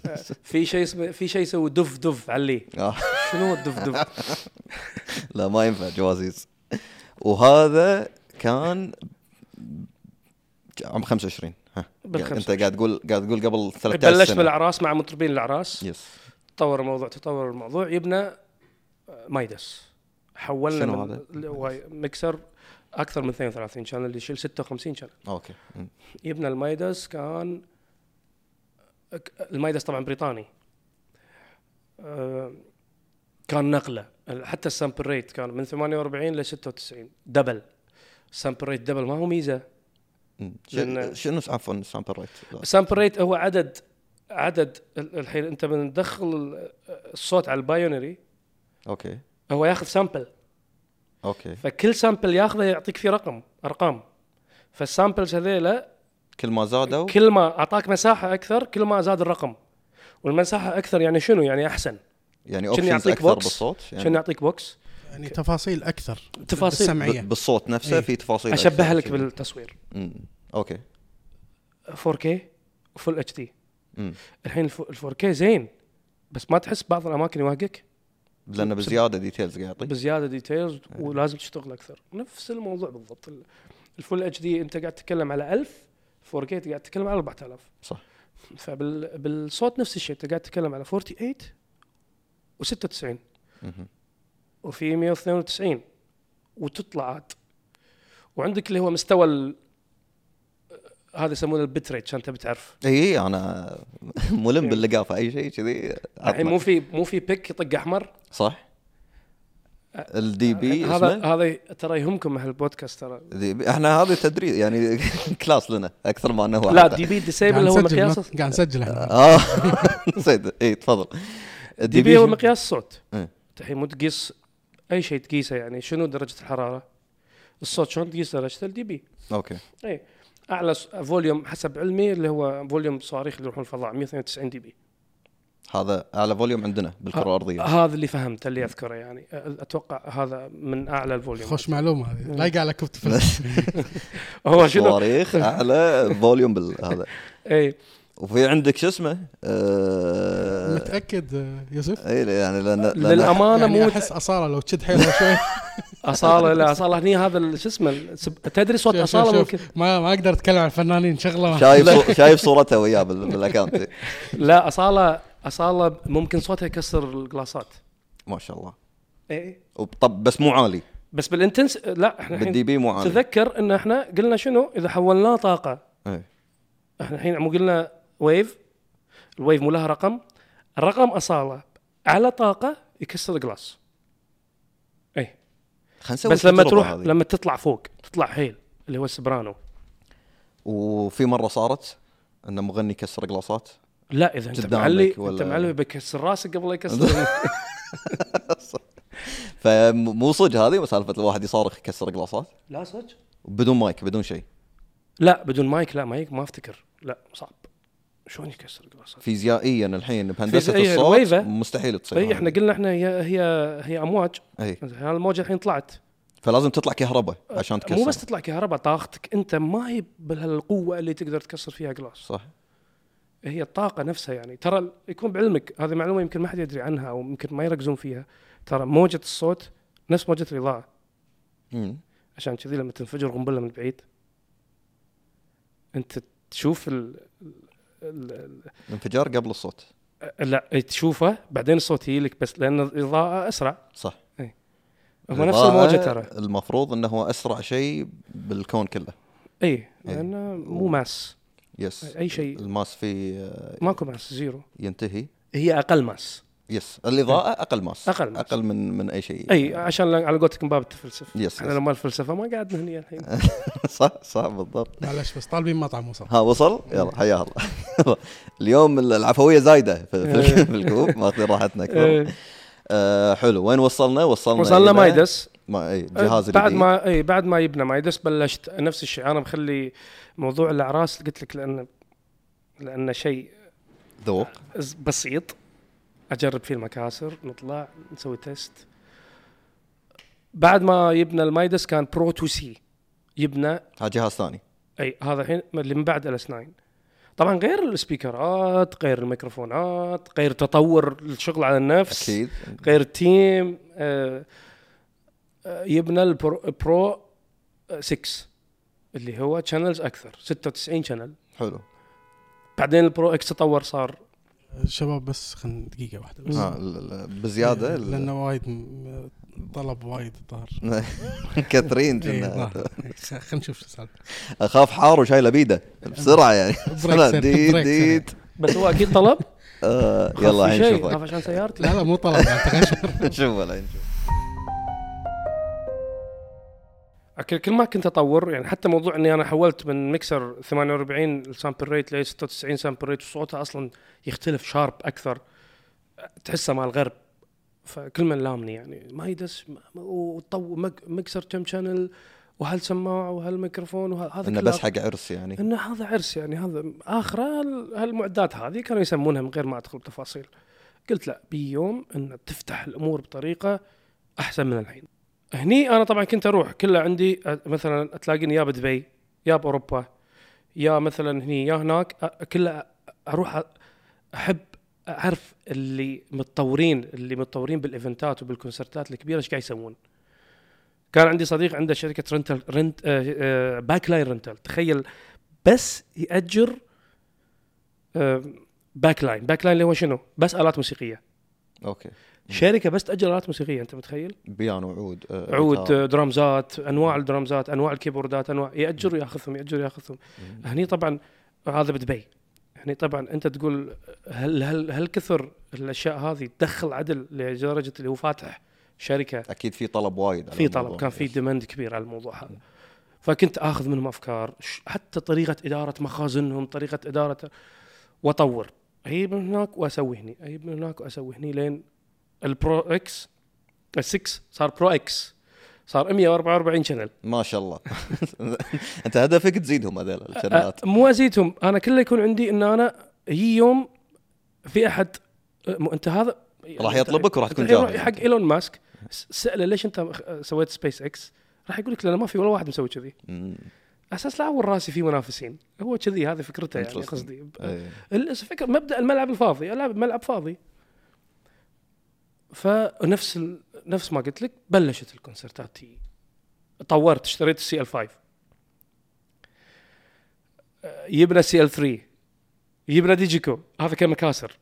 S1: آه، في شيء اسمه في شيء يسوي دف دف عليه
S2: آه.
S1: شنو
S2: <laughs>
S1: الدفدف؟
S2: لا ما ينفع جواسيس وهذا كان عام 25 ها
S1: بال
S2: قاعد- انت
S1: 25.
S2: قاعد تقول قاعد تقول قبل 13
S1: بلشت
S2: سنه
S1: بالاعراس مع مطربين الاعراس
S2: يس
S1: تطور الموضوع تطور الموضوع يبنى آه، مايدس حولنا
S2: شنو
S1: من
S2: هذا؟
S1: ل- واي- مكسر اكثر من 32 شانل يشيل 56 شانل
S2: اوكي مم.
S1: يبنى المايدس كان ك- المايدس طبعا بريطاني آه، كان نقله حتى السامبل ريت كان من 48 ل 96 دبل السامبل ريت دبل ما هو ميزه
S2: مم.
S1: لأن-
S2: شنو شنو عفوا سامبل ريت
S1: السامبل ريت هو عدد عدد ال- الحين انت من تدخل ال- الصوت على البايونري
S2: اوكي
S1: هو ياخذ سامبل
S2: اوكي
S1: فكل سامبل ياخذه يعطيك فيه رقم ارقام فالسامبلز هذيلا
S2: كل ما زادوا
S1: كل ما اعطاك مساحه اكثر كل ما زاد الرقم والمساحه اكثر يعني شنو يعني احسن
S2: يعني
S1: شن
S2: اوبشنز
S1: يعطيك
S2: اكثر
S1: box،
S2: بالصوت
S1: عشان
S2: يعني
S1: يعطيك بوكس
S3: يعني تفاصيل اكثر
S1: تفاصيل.
S2: ب-
S3: سمعيه
S2: بالصوت نفسه
S3: إيه.
S2: في تفاصيل
S1: اشبهها لك
S2: أكثر.
S1: بالتصوير
S2: مم. اوكي
S1: 4K وفول اتش دي
S2: مم.
S1: الحين ال 4K زين بس ما تحس بعض الاماكن يوهقك
S2: لانه بزياده ديتيلز قاعد يعطي
S1: بزياده ديتيلز
S2: آه.
S1: ولازم تشتغل اكثر نفس الموضوع بالضبط ال- الفول اتش دي انت قاعد تتكلم على 1000 4K أنت قاعد تتكلم على 4000
S2: صح
S1: فبالصوت نفس الشيء انت قاعد تتكلم على 48 و96
S2: مهم.
S1: وفي 192 وتطلع عاد وعندك اللي هو مستوى ال- هذا يسمونه البت ريت عشان تبي تعرف
S2: اي انا إيه، ملم باللقافه اي شيء كذي
S1: الحين مو
S2: عطنا.
S1: في مو في بيك يطق احمر
S2: صح الدي بي
S1: هذا
S2: اسمه
S1: هذا ترى يهمكم هالبودكاست ترى
S2: دي بي. احنا هذا تدريس يعني <laughs> كلاس لنا اكثر ما انه هو
S1: لا
S2: حتى.
S1: دي بي ديسيبل
S3: قاعد
S1: طيب، هو
S3: نسجل
S1: مقياس
S3: قاعد نسجل احنا
S2: <laughs> اه نسيت اي إيه، تفضل
S1: دي بي هو
S2: شو-
S1: مقياس الصوت
S2: إيه.
S1: انت الحين مو تقيس اي شيء تقيسه يعني شنو درجه الحراره الصوت شلون تقيس درجته الدي بي
S2: اوكي
S1: اي اعلى س- إيه. فوليوم حسب علمي اللي هو فوليوم صواريخ اللي يروحون الفضاء 192 دي بي
S2: هذا اعلى فوليوم عندنا بالكره
S3: إيه.
S2: الارضيه
S1: هذا اللي فهمته اللي اذكره يعني أ- اتوقع هذا من اعلى الفوليوم
S3: خوش معلومه هذه لايقه على كبت فيلم.
S1: هو <laughs> شنو
S2: <laughs>
S1: إيه.
S2: صواريخ اعلى فوليوم بال- هذا
S1: اي
S2: وفي عندك شو اسمه؟ آه،
S3: متاكد آه، يوسف
S2: اي يعني لان لان
S1: للامانه
S3: يعني
S1: مو
S3: احس اصاله لو تشد حيلها شوي
S1: اصاله لا اصاله هني هذا ال- شو اسمه السب- تدري <laughs> صوت
S3: شوف- شوف-
S1: اصاله
S3: شوف.
S1: ممكن
S3: ما ما اقدر اتكلم عن الفنانين شغله ما-
S1: <laughs>
S2: شايف صو- شايف صورته وياه بال- بالاكونت
S1: لا اصاله اصاله ممكن صوتها يكسر الجلاسات
S2: ما شاء الله
S3: إيه.
S1: اي
S2: وطب بس مو عالي
S1: بس بالانتنس لا احنا الحين
S2: بالدي بي مو عالي
S1: تذكر ان احنا قلنا شنو اذا حولناه طاقه
S2: إيه.
S1: احنا الحين مو قلنا ويف الويف مو لها رقم الرقم اصاله على طاقه يكسر جلاس اي
S2: خلينا نسوي
S1: بس لما
S2: التجربة
S1: تروح
S2: هذه.
S1: لما تطلع فوق تطلع حيل اللي هو السبرانو
S2: وفي مره صارت ان مغني كسر قلاصات
S1: لا اذا انت
S2: قدامك
S1: معلي انت
S2: ولا-
S1: معلي بيكسر راسك قبل لا
S2: <laughs>
S1: يكسر
S2: فمو صدق هذه سالفه الواحد يصارخ يكسر قلاصات
S1: لا صدق
S2: بدون مايك بدون شيء
S1: لا بدون مايك لا مايك ما افتكر لا صعب شلون يكسر جلاسات
S2: فيزيائيا الحين بهندسه
S1: فيزيائيا
S2: الصوت
S1: الويفة.
S2: مستحيل تصير
S1: اي احنا
S2: هذه.
S1: طيب، قلنا احنا هي هي هي امواج
S2: اي
S1: هذه الموجه الحين طلعت
S2: فلازم تطلع كهرباء عشان تكسر
S1: مو بس تطلع كهرباء طاقتك انت ما هي بالقوه اللي تقدر تكسر فيها جلاس
S2: صح
S1: هي الطاقه نفسها يعني ترى ال- يكون بعلمك هذه معلومه يمكن ما حد يدري عنها او يمكن ما يركزون فيها ترى موجه الصوت نفس موجه الاضاءه
S2: مم.
S1: عشان كذي لما تنفجر قنبله من بعيد انت تشوف ال ال- ال-
S2: الانفجار قبل الصوت
S1: لا إيه، تشوفه بعدين الصوت يجي لك بس لان الاضاءه اسرع
S2: صح
S1: هو نفس
S2: الإضاءة
S1: الموجه ترى
S2: المفروض انه هو اسرع شيء بالكون كله
S1: اي لانه إيه، مو ماس
S2: يس
S1: أي شيء.
S2: الماس فيه آه،
S1: ماكو ماس زيرو
S2: ينتهي
S1: هي اقل ماس
S2: يس الاضاءه اقل ماس
S1: أقل ماس.
S2: اقل من من اي شيء
S1: اي عشان لا- على قولتك من باب التفلسف
S2: يس،
S1: احنا
S2: يس.
S1: لما الفلسفه ما قعدنا هنا الحين
S2: <laughs> صح صح بالضبط
S3: معلش بس طالبين مطعم وصل
S2: ها وصل يلا حياه الله <laughs> اليوم العفويه زايده في, في ال- <laughs> في الكوب ماخذين راحتنا اكثر
S1: إيه.
S2: آه حلو وين وصلنا وصلنا
S1: وصلنا
S2: إلى-
S1: مايدس
S2: ما اي جهاز
S1: بعد
S2: جديد.
S1: ما اي بعد ما يبنى مايدس بلشت نفس الشيء انا مخلي موضوع الاعراس قلت لك لان لانه شيء
S2: ذوق
S1: ز- بسيط اجرب فيه المكاسر نطلع نسوي تيست بعد ما يبنى المايدس كان برو 2 سي يبنى
S2: ها جهاز ثاني
S1: اي هذا الحين اللي من بعد الاس 9 طبعا غير السبيكرات غير الميكروفونات غير تطور الشغل على النفس
S2: اكيد
S1: غير تيم آه، آه، يبنى البرو برو 6 آه، اللي هو شانلز اكثر 96 شانل
S2: حلو
S1: بعدين البرو اكس تطور صار
S3: شباب بس خلنا دقيقه واحده بس
S2: ها ال- ال- بزياده ال-
S3: <laughs> لانه وايد م- طلب وايد الظاهر
S2: <laughs> كثرين
S3: إيه،
S2: جنة.
S3: الظاهر. إيه، خ- خلنا نشوف شو السالفه
S2: اخاف حار وشايله بيده بسرعه
S1: <laughs>
S2: يعني بسرعه
S3: سريع،
S2: ديت
S3: بريك سريع.
S2: ديت
S1: بس هو اكيد
S2: <laughs>
S1: طلب
S2: آه،
S1: خاف
S2: يلا
S1: في
S2: الحين
S1: شيء خاف
S2: نشوفك
S1: عشان سيارتي
S3: لا لا مو طلب يعني
S2: <laughs>
S3: تغش-
S2: نشوفه الحين
S1: كل كل ما كنت اطور يعني حتى موضوع اني انا حولت من ميكسر 48 السامبل ريت ل 96 سامبل ريت وصوته اصلا يختلف شارب اكثر تحسه مال الغرب فكل من لامني يعني ما يدس وطو ميكسر كم شانل وهالسماعه وهالميكروفون وهذا
S2: انه بس حق عرس يعني
S1: انه هذا عرس يعني هذا اخره هال- هالمعدات هذه كانوا يسمونها من غير ما ادخل بتفاصيل قلت لا بيوم ان تفتح الامور بطريقه احسن من الحين هني انا طبعا كنت اروح كله عندي أ- مثلا تلاقيني يا بدبي يا باوروبا يا مثلا هني يا هناك أ- كله أ- اروح أ- احب اعرف اللي متطورين اللي متطورين بالايفنتات وبالكونسرتات الكبيره ايش قاعد يسوون كان عندي صديق عنده شركه رنتل رنت آه، آه، باك لاين رنتل تخيل بس ياجر آه، باك لاين باك لاين اللي هو شنو بس الات موسيقيه
S2: اوكي
S1: شركه بس تاجر الات موسيقيه انت متخيل؟
S2: بيانو عود آه،
S1: عود
S2: جيتار.
S1: آه، درامزات انواع الدرامزات انواع الكيبوردات انواع ياجر وياخذهم ياجر وياخذهم
S2: مم.
S1: هني طبعا هذا بدبي هني طبعا انت تقول هل هل هل كثر الاشياء هذه تدخل عدل لدرجه اللي هو فاتح شركه
S2: اكيد في طلب وايد على
S1: في طلب
S2: الموضوع. إيه.
S1: كان في ديماند كبير على الموضوع هذا فكنت اخذ منهم افكار ش- حتى طريقه اداره مخازنهم طريقه اداره واطور اجيب من هناك واسوي هني اجيب من هناك واسوي هني لين البرو اكس ال 6 صار برو اكس صار 144 شانل
S2: ما شاء الله <laughs> انت هدفك تزيدهم هذول الشغلات
S1: أ- مو ازيدهم انا كله يكون عندي ان انا هي يوم في احد أ- مو انت هذا إيه،
S2: راح يطلبك وراح
S1: أنت
S2: تكون
S1: يروح
S2: جاهز
S1: حق ايلون ماسك س- ساله ليش انت أخ- سويت سبيس اكس راح يقول لك لان ما في ولا واحد مسوي كذي
S2: مم.
S1: اساس لا اول راسي في منافسين هو كذي هذه فكرته يعني
S2: Interesting.
S1: قصدي
S2: إيه.
S1: الس- فكره مبدا الملعب الفاضي العب ملعب فاضي فنفس ال... نفس ما قلت لك بلشت الكونسرتات تي طورت اشتريت السي ال 5 جبنا سي ال 3 جبنا ديجيكو هذا كان مكاسر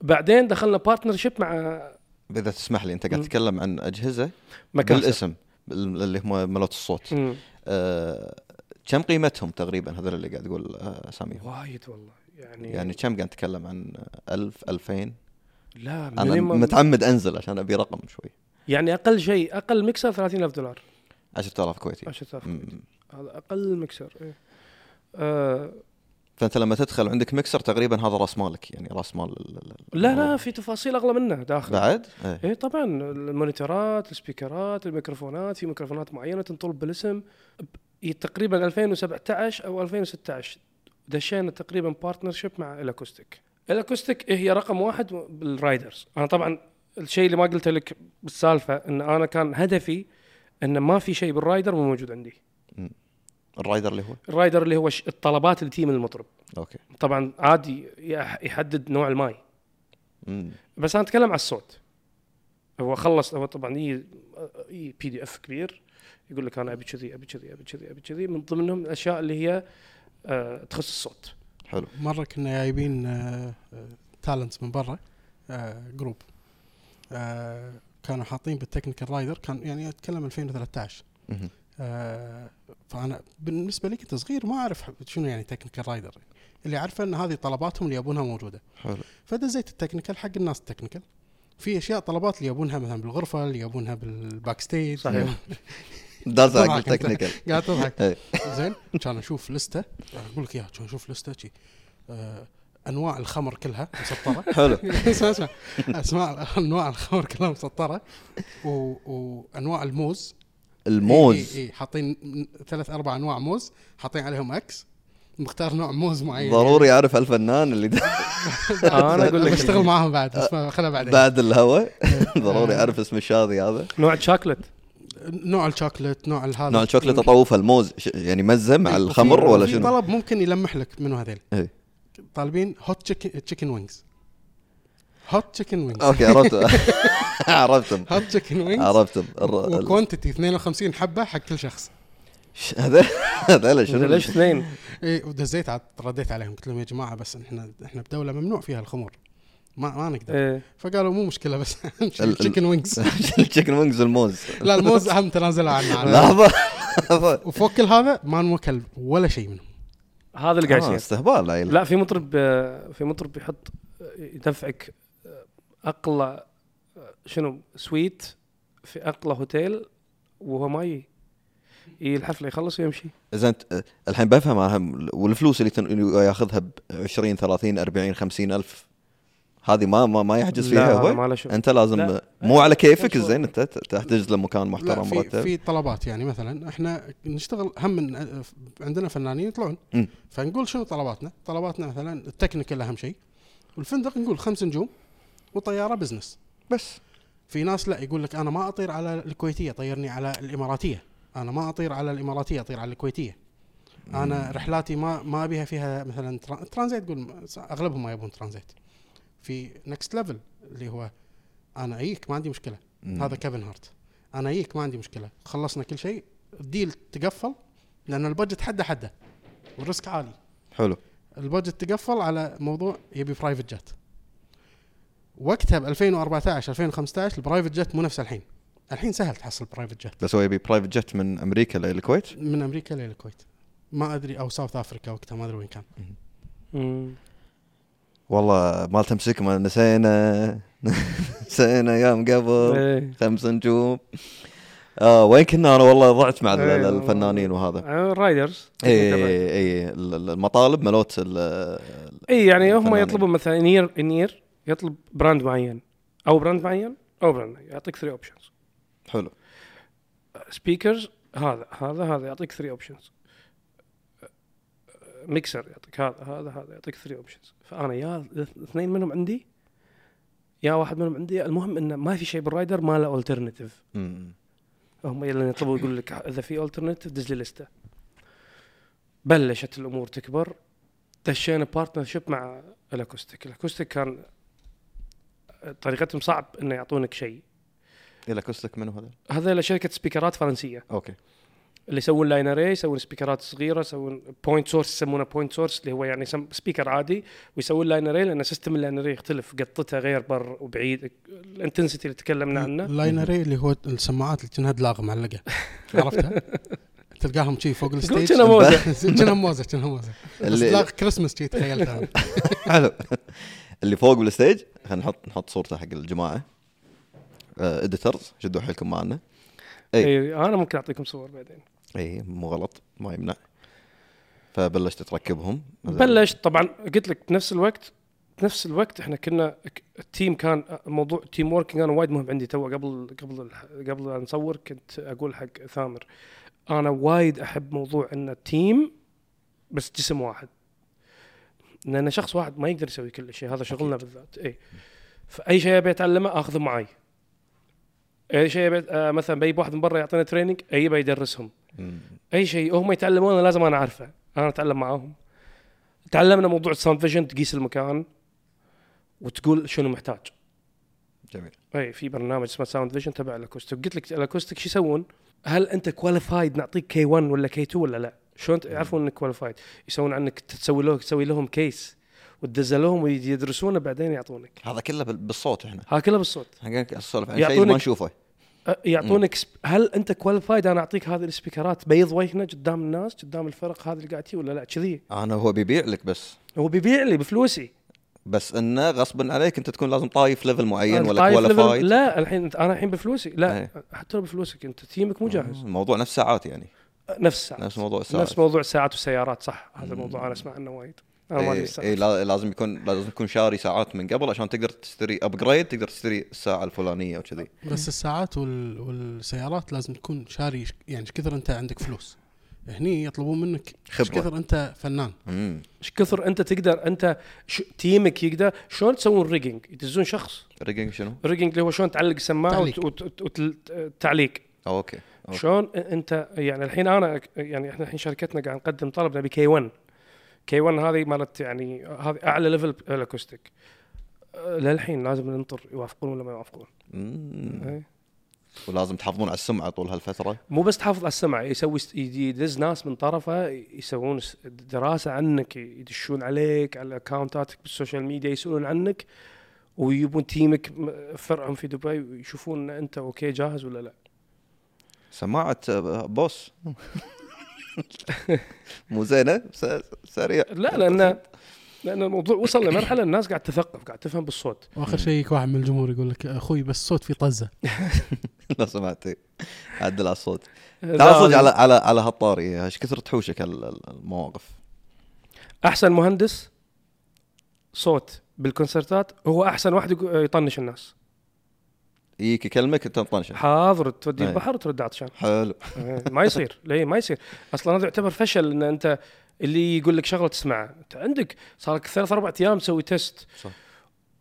S1: بعدين دخلنا بارتنرشيب مع
S2: اذا تسمح لي انت قاعد
S1: مم.
S2: تتكلم عن اجهزه
S1: مكاسر
S2: بالاسم بال- اللي هم ملوت الصوت
S1: مم.
S2: آه، كم قيمتهم تقريبا هذول اللي قاعد تقول آه، اساميهم
S1: وايد والله يعني,
S2: يعني كم قاعد نتكلم عن 1000 2000
S1: لا
S2: انا
S1: minimum-
S2: متعمد انزل عشان ابي رقم شوي
S1: يعني اقل شيء اقل مكسر 30000 دولار
S2: 10000 كويتي
S1: 10000
S2: مم.
S1: هذا اقل مكسر إيه. آه
S2: فانت لما تدخل عندك مكسر تقريبا هذا راس مالك يعني راس مال ال- ال- ال-
S1: لا لا في تفاصيل اغلى منه داخل
S2: بعد؟ إيه.
S1: اي طبعا المونيتورات السبيكرات الميكروفونات في ميكروفونات معينه تنطلب بالاسم ب- إي تقريبا 2017 او 2016 دشينا تقريبا بارتنرشيب مع الاكوستيك الاكوستيك هي رقم واحد بالرايدرز انا طبعا الشيء اللي ما قلته لك بالسالفه ان انا كان هدفي ان ما في شيء بالرايدر مو موجود عندي
S2: الرايدر اللي هو
S1: الرايدر اللي هو ش- الطلبات اللي تجي من المطرب
S2: اوكي
S1: طبعا عادي يح- يحدد نوع الماي
S2: مم.
S1: بس انا اتكلم على الصوت هو خلص هو إيه، طبعا يجي يجي بي دي اف كبير يقول لك انا ابي كذي ابي كذي ابي كذي ابي كذي من ضمنهم الاشياء اللي هي آه، تخص
S2: <laughs>
S1: الصوت
S2: حلو
S3: مره كنا جايبين تالنتس من برا آه، جروب آه، كانوا حاطين بالتكنيكال رايدر كان يعني اتكلم 2013
S2: مهم.
S3: آه، فانا بالنسبه لي كنت صغير ما اعرف شنو يعني تكنيكال رايدر اللي اعرفه ان هذه طلباتهم اللي يبونها موجوده
S2: حلو
S3: فدزيت التكنيكال حق الناس التكنيكال في اشياء طلبات اللي يبونها مثلا بالغرفه اللي يبونها بالباك ستيج
S1: صحيح.
S2: داز حق
S3: طبعاً.
S2: التكنيكال
S3: <laughs> قاعد تضحك
S2: إيه.
S3: زين كان اشوف لسته اقول لك اياها كان اشوف لسته شي آه، انواع الخمر كلها مسطره
S2: حلو
S3: <laughs> اسمع اسمع <laughs> اسمع انواع الخمر كلها مسطره و... وانواع الموز
S2: الموز
S3: اي حاطين ثلاث اربع انواع موز حاطين عليهم اكس مختار نوع موز معين
S2: ضروري اعرف الفنان اللي د-
S1: انا اقول
S2: <laughs>
S1: لك
S3: بشتغل معاهم بعد بس ما- خلها بعدين
S2: بعد الهواء <laughs> ضروري اعرف اسم الشاذي هذا
S1: <laughs> نوع شوكلت
S3: نوع الشوكليت نوع هذا
S2: نوع الشوكليت اطوفه الموز ش- يعني مزه مع
S3: وفي-
S2: الخمر ولا
S3: وفي
S2: شنو؟
S3: إيه، طلب ممكن يلمح لك منو هذيل
S2: إيه.
S3: طالبين هوت تشيكن وينجز هوت تشيكن وينجز
S2: اوكي عرفت <laughs>
S3: <laughs>
S2: عرفتهم
S3: هوت تشيكن وينجز
S2: عرفتهم الر- ال-
S3: وكوانتيتي 52 حبه حق كل شخص
S2: ش- <laughs> هذا هذا شنو؟
S1: ليش
S2: <laughs>
S1: اثنين
S3: اي ودزيت إيه، عاد رديت عليهم قلت لهم يا جماعه بس احنا احنا بدوله ممنوع فيها الخمور ما ما نقدر
S1: إيه.
S3: فقالوا مو مشكله بس <laughs>
S2: ال-
S3: تشيكن
S2: <laughs>
S3: وينجز
S2: التشيكن وينجز والموز
S3: لا الموز اهم تنازلوا عنه عنه.
S2: لحظه لحظه
S3: وفوق كل هذا ما نوكل ولا شيء منهم
S1: هذا اللي قاعد
S2: آه،
S1: يصير
S2: استهبال العيلة.
S1: لا في مطرب آه، في مطرب يحط آه، يدفعك آه، اقلى آه، شنو سويت في اقلى هوتيل وهو ما يجي يجي الحفله يخلص ويمشي
S2: اذا انت أه، الحين بفهم انا هم- والفلوس اللي تن- اللي ياخذها ب 20 30 40 50 الف هذه ما ما, ما يحجز
S1: لا،
S2: فيها
S1: هذا
S2: هو
S1: ما له شغل.
S2: انت لازم
S1: لا.
S2: مو على كيفك
S1: مشروع.
S2: زين انت تحتجز لمكان
S3: لا
S2: محترم
S3: في
S2: مرتب
S3: في طلبات يعني مثلا احنا نشتغل هم من عندنا فنانين يطلعون
S2: مم.
S3: فنقول شنو طلباتنا؟ طلباتنا مثلا التكنيكال اهم شيء والفندق نقول خمس نجوم وطياره بزنس
S2: بس
S3: في ناس لا يقول لك انا ما اطير على الكويتيه طيرني على الاماراتيه انا ما اطير على الاماراتيه اطير على الكويتيه انا رحلاتي ما ما ابيها فيها مثلا ترا- ترانزيت تقول ما- اغلبهم ما يبون ترانزيت في نكست ليفل اللي هو انا اجيك ما عندي مشكله
S2: مم.
S3: هذا كيفن هارت انا اجيك ما عندي مشكله خلصنا كل شيء الديل تقفل لان البادجت حده حده والريسك عالي
S2: حلو
S3: البادجت تقفل على موضوع يبي برايفت جت وقتها ب 2014 2015 البرايفت جت مو نفس الحين الحين سهل تحصل برايفت جت
S2: بس هو يبي برايفت جت من امريكا للكويت
S3: من امريكا للكويت ما ادري او ساوث افريكا وقتها ما ادري وين كان
S1: مم.
S2: والله ما تمسك ما نسينا <laughs> نسينا ايام قبل
S1: إيه.
S2: خمس نجوم آه وين كنا انا والله إيه، ضعت مع ال-
S1: إيه.
S2: الفنانين وهذا
S1: آه، رايدرز
S2: اي اي ال- ال- المطالب ملوت ال- ال-
S1: اي يعني هم
S2: الفنانين.
S1: يطلبون مثلا انير انير يطلب براند معين او براند معين او براند معين. يعطيك 3 اوبشنز
S2: حلو
S1: سبيكرز هذا هذا هذا يعطيك 3 اوبشنز ميكسر يعطيك هذا هذا هذا يعطيك 3 اوبشنز فانا يا اثنين منهم عندي يا واحد منهم عندي المهم انه ما في شيء بالرايدر ما له الترناتيف
S2: مم.
S1: هم يلا يطلبوا يقول لك اذا في الترناتيف دز لي لسته بلشت الامور تكبر دشينا بارتنر شيب مع الاكوستيك الاكوستيك كان طريقتهم صعب انه يعطونك شيء
S2: الى كسلك منو هذا؟
S1: هذا شركه سبيكرات فرنسيه
S2: اوكي
S1: اللي يسوون لاين اري يسوون سبيكرات صغيره يسوون بوينت سورس يسمونه بوينت سورس اللي هو يعني سم- سبيكر عادي ويسوون لاين اري لان سيستم اللاين اري يختلف قطته غير بر وبعيد الانتنسيتي اللي تكلمنا عنه
S3: اللاينري إيه اللي هو السماعات اللي كانها دلاغ معلقه عرفتها؟ تلقاهم شي فوق الستيج
S1: كأنها
S3: <laughs>
S2: موزة.
S3: كانها موزه كانها موزه بس
S2: اللي-
S3: دلاغ كريسمس شي تخيلتها أنا.
S2: <laughs> حلو اللي فوق بالستيج خلينا نحط نحط صورته حق الجماعه اديترز شدوا حيلكم معنا إي.
S1: اي انا إيه، ممكن اعطيكم صور بعدين
S2: اي إيه، مو غلط ما يمنع فبلشت تركبهم
S1: بلش طبعا قلت لك بنفس الوقت بنفس الوقت احنا كنا ك- التيم كان موضوع تيم ووركينج انا وايد مهم عندي تو قبل قبل الح- قبل لا نصور كنت اقول حق ثامر انا وايد احب موضوع ان التيم بس جسم واحد لان شخص واحد ما يقدر يسوي كل شيء هذا شغلنا بالذات اي فاي شيء ابي اتعلمه اخذه معاي اي شيء ابي آه، مثلا بجيب واحد من برا يعطينا تريننج اجيبه يدرسهم
S2: مم.
S1: اي شيء هم يتعلمونه لازم انا اعرفه انا اتعلم معاهم تعلمنا موضوع الساوند فيجن تقيس المكان وتقول شنو محتاج
S2: جميل
S1: اي في برنامج اسمه ساوند فيجن تبع الاكوستيك قلت لك الاكوستيك شو يسوون؟ هل انت كواليفايد نعطيك كي 1 ولا كي 2 ولا لا؟ شلون ت- يعرفون انك كواليفايد؟ يسوون عنك تسوي لهم تسوي لهم كيس وتدزه لهم ويدرسونه بعدين يعطونك
S2: هذا كله بال- بالصوت احنا
S1: ها كله بالصوت
S2: احنا قاعد نسولف عن شيء
S1: يعطونك-
S2: ما نشوفه
S1: أ- يعطونك سب... هل انت كواليفايد انا اعطيك هذه السبيكرات بيض وجهنا قدام الناس قدام الفرق هذا اللي قاعد تي ولا لا كذي
S2: انا هو بيبيع لك بس
S1: هو بيبيع لي بفلوسي
S2: بس انه غصبا عليك انت تكون لازم طايف ليفل معين
S1: أنا
S2: ولا
S1: طايف ليفل-
S2: كواليفايد
S1: لا الحين أنت- انا الحين بفلوسي لا
S2: إيه.
S1: حتى لو بفلوسك انت تيمك مو جاهز
S2: الموضوع نفس ساعات يعني
S1: نفس الساعات
S2: نفس موضوع الساعات
S1: نفس موضوع الساعات والسيارات صح هذا الموضوع انا اسمع عنه وايد انا آه، ما ادري
S2: اي إيه
S1: الساعات.
S2: لا- لازم يكون لازم تكون شاري ساعات من قبل عشان تقدر تشتري ابجريد تقدر تشتري الساعه الفلانيه وكذي
S3: بس الساعات وال... والسيارات لازم تكون شاري ش- يعني ايش كثر انت عندك فلوس هني يطلبون منك ايش
S2: خبرة.
S3: كثر انت فنان
S2: امم
S1: ايش كثر انت تقدر انت ش... تيمك يقدر شلون تسوون ريجنج يدزون شخص
S2: ريجنج شنو؟
S1: ريجنج اللي هو شلون تعلق سماعه
S3: تعليق.
S1: وت... وت... وت... وت... تعليق
S2: أو اوكي أوكي.
S1: شلون أ- انت يعني الحين انا ك- يعني احنا الحين شركتنا قاعد نقدم طلب نبي كي 1 كي 1 هذه مالت يعني هذه اعلى ليفل الاكوستيك أه، للحين لازم ننطر يوافقون ولا ما يوافقون
S2: مم.
S1: إيه.
S2: ولازم تحافظون على السمعه طول هالفتره
S1: مو بس تحافظ على السمع يسوي است- يدي- يدز ناس من طرفه يسوون س- دراسه عنك يدشون عليك على اكونتاتك بالسوشيال ميديا يسالون عنك ويبون تيمك م- فرعهم في دبي ويشوفون إن انت اوكي جاهز ولا لا
S2: سماعه آه، بوس مو زينه س- سريع
S1: لا لان لان الموضوع وصل لمرحله الناس قاعد تثقف قاعد تفهم بالصوت
S3: واخر شيء يجيك واحد من الجمهور يقول لك اخوي بس الصوت فيه طزه
S2: لو سمعت إيه. عدل على الصوت
S1: لا،
S2: تعال صدق على على على هالطاري ايش كثر تحوشك هال- هال- المواقف
S1: احسن مهندس صوت بالكونسرتات هو احسن واحد يقو- يطنش الناس
S2: يجيك يكلمك انت مطنشه حاضر
S1: حاضر تودي
S2: أي.
S1: البحر وترد عطشان
S2: حلو
S1: إيه، ما يصير <laughs> ليه ما يصير اصلا هذا يعتبر فشل ان انت اللي يقول لك شغله تسمعها انت عندك صار لك ثلاث اربع ايام تسوي تيست
S2: صح.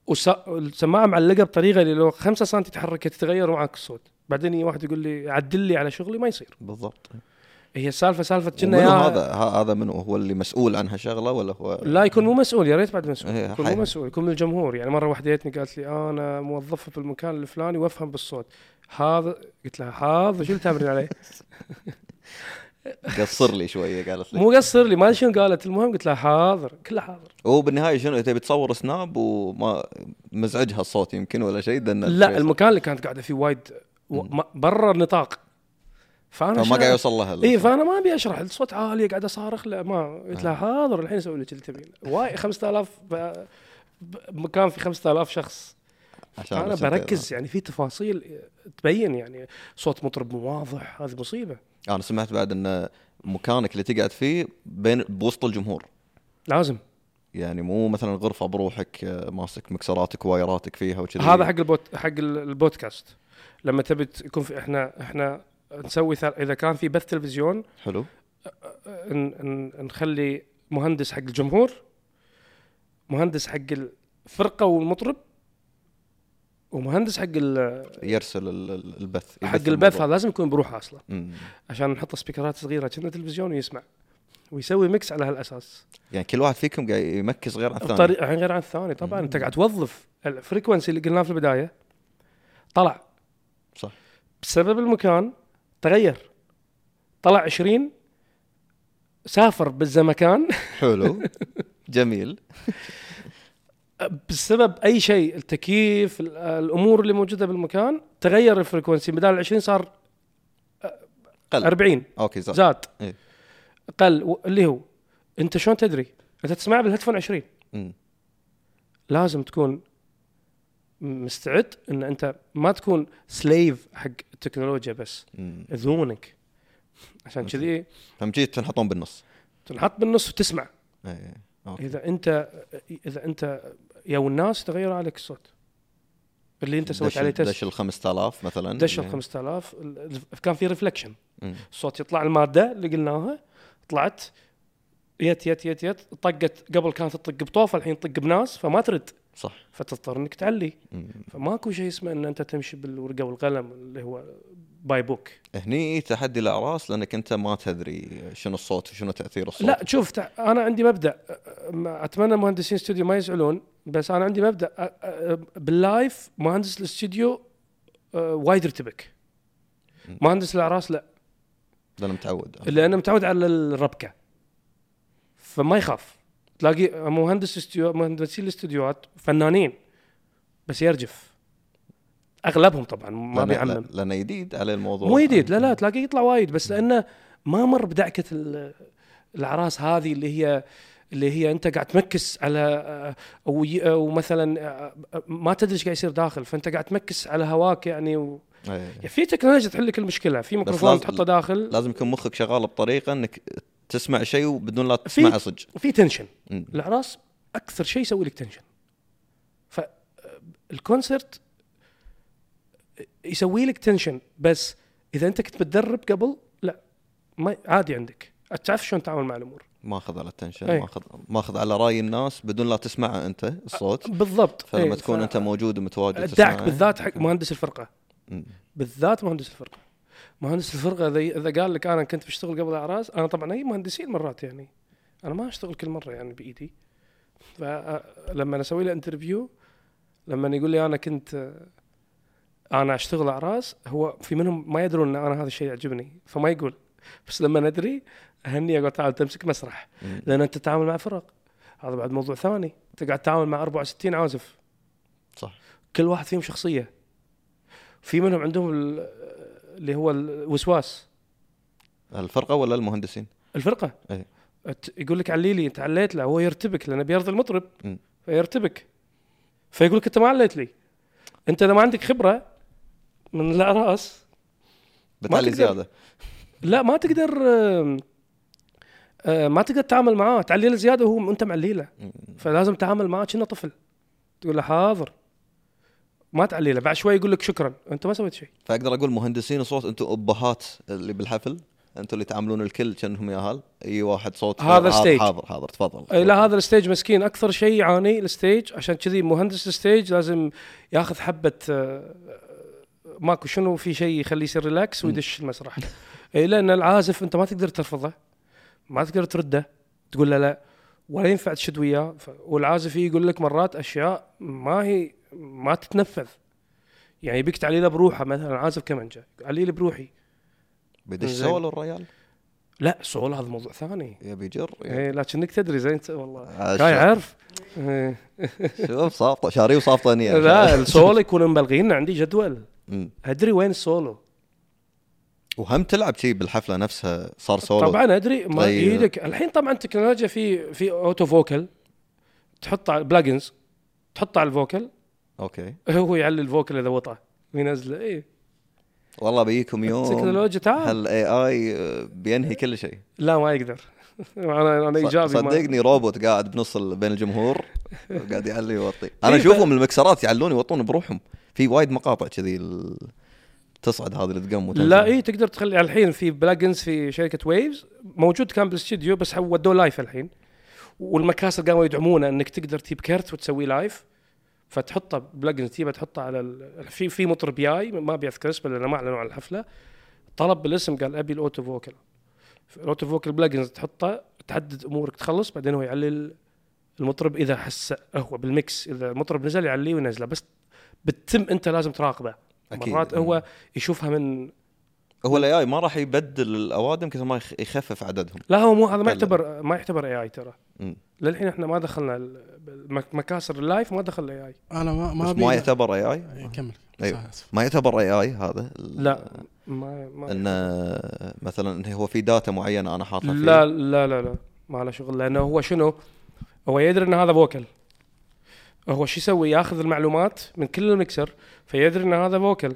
S1: وص- والسماعه معلقه بطريقه اللي لو 5 سم تتحرك تتغير معك الصوت بعدين يجي واحد يقول لي عدل لي على شغلي ما يصير
S2: بالضبط
S1: هي السالفه سالفه
S2: منو
S1: كنا يا-
S2: هذا ه- هذا منو هو اللي مسؤول عن هالشغله ولا هو
S1: لا يكون مو مسؤول يا ريت بعد مسؤول
S2: إيه،
S1: يكون
S2: حي-
S1: مو مسؤول يكون من الجمهور يعني مره واحده جتني قالت لي انا موظفه في المكان الفلاني
S2: <laughs>
S1: وافهم بالصوت هذا قلت لها هذا شو اللي تامرين عليه؟
S2: قصر لي شويه قالت لي
S1: مو قصر لي ما ادري شنو قالت المهم قلت لها حاضر كله حاضر
S2: وبالنهايه شنو تبي تصور سناب وما مزعجها الصوت يمكن ولا شيء دنا
S1: لا المكان اللي كانت قاعده فيه وايد و- ما- برا النطاق فانا
S2: فما
S1: شنو- إيه،
S2: قاعد يوصل لها
S1: اي فانا ما ابي اشرح الصوت عالي قاعد اصارخ لا ما قلت
S2: آه.
S1: لها حاضر الحين اسوي لك اللي تبين واي 5000 ب- ب- مكان في 5000 شخص
S2: عشان
S1: انا
S2: بس أنت-
S1: بركز يعني في تفاصيل تبين يعني صوت مطرب مو واضح هذه مصيبه
S2: انا سمعت بعد ان مكانك اللي تقعد فيه بين بوسط الجمهور
S1: لازم
S2: يعني مو مثلا غرفه بروحك آه، ماسك مكسراتك وايراتك فيها وكذي
S1: هذا حق البوت حق ال- البودكاست لما تبي ت- يكون في احنا احنا نسوي ثل... اذا كان في بث تلفزيون
S2: حلو
S1: ن... ن... نخلي مهندس حق الجمهور مهندس حق الفرقه والمطرب ومهندس حق ال...
S2: يرسل ال- ال- البث
S1: حق
S2: يبث
S1: البث
S2: الموضوع.
S1: هذا لازم يكون بروحه اصلا
S2: مم.
S1: عشان نحط سبيكرات صغيره كنا تلفزيون ويسمع ويسوي ميكس على هالاساس
S2: يعني كل واحد فيكم قاعد يمكس غير عن الثاني
S1: الطريقه غير عن الثاني طبعا
S2: مم.
S1: انت قاعد توظف الفريكونسي اللي قلناه في البدايه طلع
S2: صح
S1: بسبب المكان تغير طلع 20 سافر بالزمكان
S2: <laughs>
S1: <laughs>
S2: حلو جميل
S1: بسبب اي شيء التكييف ال- الامور اللي موجوده بالمكان تغير الفريكونسي بدال 20 صار
S2: قل
S1: 40
S2: اوكي زاد
S1: زاد
S2: إيه.
S1: قل و- اللي هو انت شلون تدري؟ انت تسمع بالهيدفون 20
S2: مم.
S1: لازم تكون مستعد ان انت ما تكون سليف حق التكنولوجيا بس
S2: مم.
S1: اذونك عشان كذي
S2: فهم جيت تنحطون بالنص
S1: تنحط بالنص وتسمع
S2: إيه. أوكي.
S1: اذا انت اذا انت يا الناس تغير عليك الصوت اللي انت سويت
S2: دش-
S1: عليه
S2: دش
S1: تست
S2: ال 5000 مثلا
S1: دش ال
S2: يعني.
S1: 5000 ال- ال- كان في ريفلكشن
S2: مم.
S1: الصوت يطلع الماده اللي قلناها طلعت يت يت يت يت طقت قبل كانت تطق بطوفه الحين تطق بناس فما ترد
S2: صح
S1: فتضطر انك تعلي
S2: مم.
S1: فماكو شيء اسمه ان انت تمشي بالورقه والقلم اللي هو باي بوك
S2: هني تحدي الاعراس لانك انت ما تدري شنو الصوت وشنو تاثير الصوت
S1: لا شوف تع- انا عندي مبدا أ- أ- ما- اتمنى مهندسين استوديو ما يزعلون بس انا عندي مبدا أ- أ- باللايف مهندس الاستوديو أه، وايد ارتبك مهندس الاعراس لا
S2: انا متعود
S1: لانه متعود على الربكه فما يخاف تلاقي مهندس استوديو مهندسين الاستوديوهات فنانين بس يرجف اغلبهم طبعا ما
S2: لأن-
S1: بيعمم
S2: لانه جديد على الموضوع
S1: مو جديد لا لا تلاقيه يطلع وايد بس لانه ما مر بدعكه ال- الاعراس هذه اللي هي اللي هي انت قاعد تمكس على آه، وي- آه، ومثلا آه، آه، ما تدري ايش قاعد يصير داخل فانت قاعد تمكس على هواك يعني و...
S2: إيه.
S1: يعني في تكنولوجيا تحل لك المشكله في ميكروفون
S2: لازم-
S1: تحطه داخل
S2: لازم يكون مخك شغال بطريقه انك تسمع شيء بدون لا
S1: في-
S2: تسمع صج
S1: في تنشن
S2: مم.
S1: الاعراس اكثر شيء يسوي لك آه، تنشن فالكونسرت يسوي لك تنشن بس اذا انت كنت متدرب قبل لا ما عادي عندك تعرف شلون تتعامل مع الامور
S2: ماخذ على التنشن
S1: إيه.
S2: ماخذ ماخذ على راي الناس بدون لا تسمعه انت الصوت
S1: بالضبط
S2: فلما
S1: إيه،
S2: تكون إيه.
S1: ف-
S2: انت موجود ومتواجد
S1: دعك
S2: تسمعه.
S1: بالذات حق مهندس الفرقه
S2: مم.
S1: بالذات مهندس الفرقه مهندس الفرقه اذا اذا قال لك انا كنت بشتغل قبل اعراس انا طبعا اي مهندسين مرات يعني انا ما اشتغل كل مره يعني بايدي فلما اسوي له انترفيو لما يقول لي انا كنت آه، انا اشتغل اعراس هو في منهم ما يدرون ان انا هذا الشيء يعجبني فما يقول بس لما ندري اهني اقول تعال تمسك مسرح
S2: مم.
S1: لان انت تتعامل مع فرق هذا بعد موضوع ثاني انت قاعد تتعامل مع 64 عازف
S2: صح
S1: كل واحد فيهم شخصيه في منهم عندهم ال- اللي هو الوسواس
S2: الفرقه ولا المهندسين؟
S1: الفرقه
S2: أي.
S1: أت- يقول لك علي لي انت عليت له هو يرتبك لانه بيرضي المطرب
S2: م.
S1: فيرتبك فيقول لك انت ما عليت لي انت اذا ما عندك خبره من الاعراس
S2: بتعلي
S1: تقدر.
S2: زياده
S1: لا ما تقدر آم، آه، ما تقدر تتعامل معاه تعليله زياده وهو انت معليله
S2: مم.
S1: فلازم تتعامل معاه كأنه طفل تقول له حاضر ما تعليله بعد شوي يقول لك شكرا انت ما سويت شيء
S2: فاقدر اقول مهندسين الصوت انتم ابهات اللي بالحفل انتم اللي تعاملون الكل كانهم ياهل اي واحد صوت
S1: هذا stage.
S2: حاضر حاضر تفضل
S1: أي لا هذا الستيج مسكين اكثر شيء يعاني الستيج عشان كذي مهندس الستيج لازم ياخذ حبه آه، ماكو شنو في شيء يخليه يصير ريلاكس ويدش المسرح اي لان العازف انت ما تقدر ترفضه ما تقدر ترده تقول له لا ولا ينفع تشد وياه ف- والعازف يقول لك مرات اشياء ما هي ما تتنفذ يعني يبيك تعليله بروحه مثلا عازف كمانجا عليلي بروحي
S2: بدش
S1: زين.
S2: سولو الريال
S1: لا سؤال هذا موضوع ثاني
S2: يبي يجر
S1: ايه لكنك تدري زين أنت والله
S2: إيه. آه،
S1: كاي
S2: شو-
S1: عارف إيه.
S2: شوف صافطه شاري وصافطه
S1: <laughs>
S2: نيه
S1: لا السولو يكون مبلغين عندي جدول
S2: <laughs> مم.
S1: ادري وين السولو
S2: وهم تلعب شيء بالحفله نفسها صار سولو
S1: طبعا ادري ما
S2: طيب.
S1: يدك الحين طبعا التكنولوجيا في في اوتو فوكل تحط على بلاجنز تحط على الفوكل
S2: اوكي
S1: هو يعلي الفوكل اذا وطى وينزله اي
S2: والله بيجيكم يوم
S1: التكنولوجيا تعال
S2: هالاي اي آه، بينهي كل شيء
S1: لا ما يقدر <laughs> انا انا
S2: ص-
S1: ايجابي ما-
S2: صدقني روبوت قاعد بنص ال- بين
S1: <laughs>
S2: الجمهور قاعد يعلي يوطي
S1: إيه،
S2: انا
S1: ف-
S2: اشوفهم المكسرات يعلون يوطون بروحهم في وايد مقاطع كذي ال- تصعد هذه اللي تقم وتنزل.
S1: لا إيه. اي تقدر تخلي الحين في بلاجنز في شركه ويفز موجود كان بالاستديو بس حو- ودوه لايف الحين والمكاسر قاموا يدعمونه انك تقدر تجيب كرت وتسويه لايف فتحطه بلاجنز تجيبه تحطه على ال... في في مطرب جاي ما ابي اذكر اسمه لانه ما اعلنوا عن الحفله طلب بالاسم قال ابي الاوتو فوكل الاوتو فوكل بلاجنز تحطه تحدد امورك تخلص بعدين هو يعلي ال- المطرب اذا حس هو بالميكس اذا المطرب نزل يعليه وينزله بس بتتم انت لازم تراقبه
S2: أكيد.
S1: مرات هو يشوفها من
S2: هو الاي اي ما راح يبدل الاوادم كثر ما يخ- يخفف عددهم
S1: لا هو مو هذا ما
S2: لا.
S1: يعتبر ما يعتبر اي اي ترى
S2: مم.
S1: للحين احنا ما دخلنا ال- بالمك- مكاسر اللايف ما دخل الاي اي
S3: انا ما ما
S2: بس
S3: أبي-
S2: ما يعتبر اي اي
S3: إيه، كمل
S2: أيوة.
S3: آسف.
S2: ما يعتبر اي اي هذا ال-
S1: لا ما, ما
S2: انه مثلا إنه هو في داتا معينه انا حاطها فيه.
S1: لا لا لا لا ما له شغل لانه هو شنو؟ هو يدري ان هذا فوكل هو شو يسوي؟ ياخذ المعلومات من كل المكسر فيدري ان هذا فوكل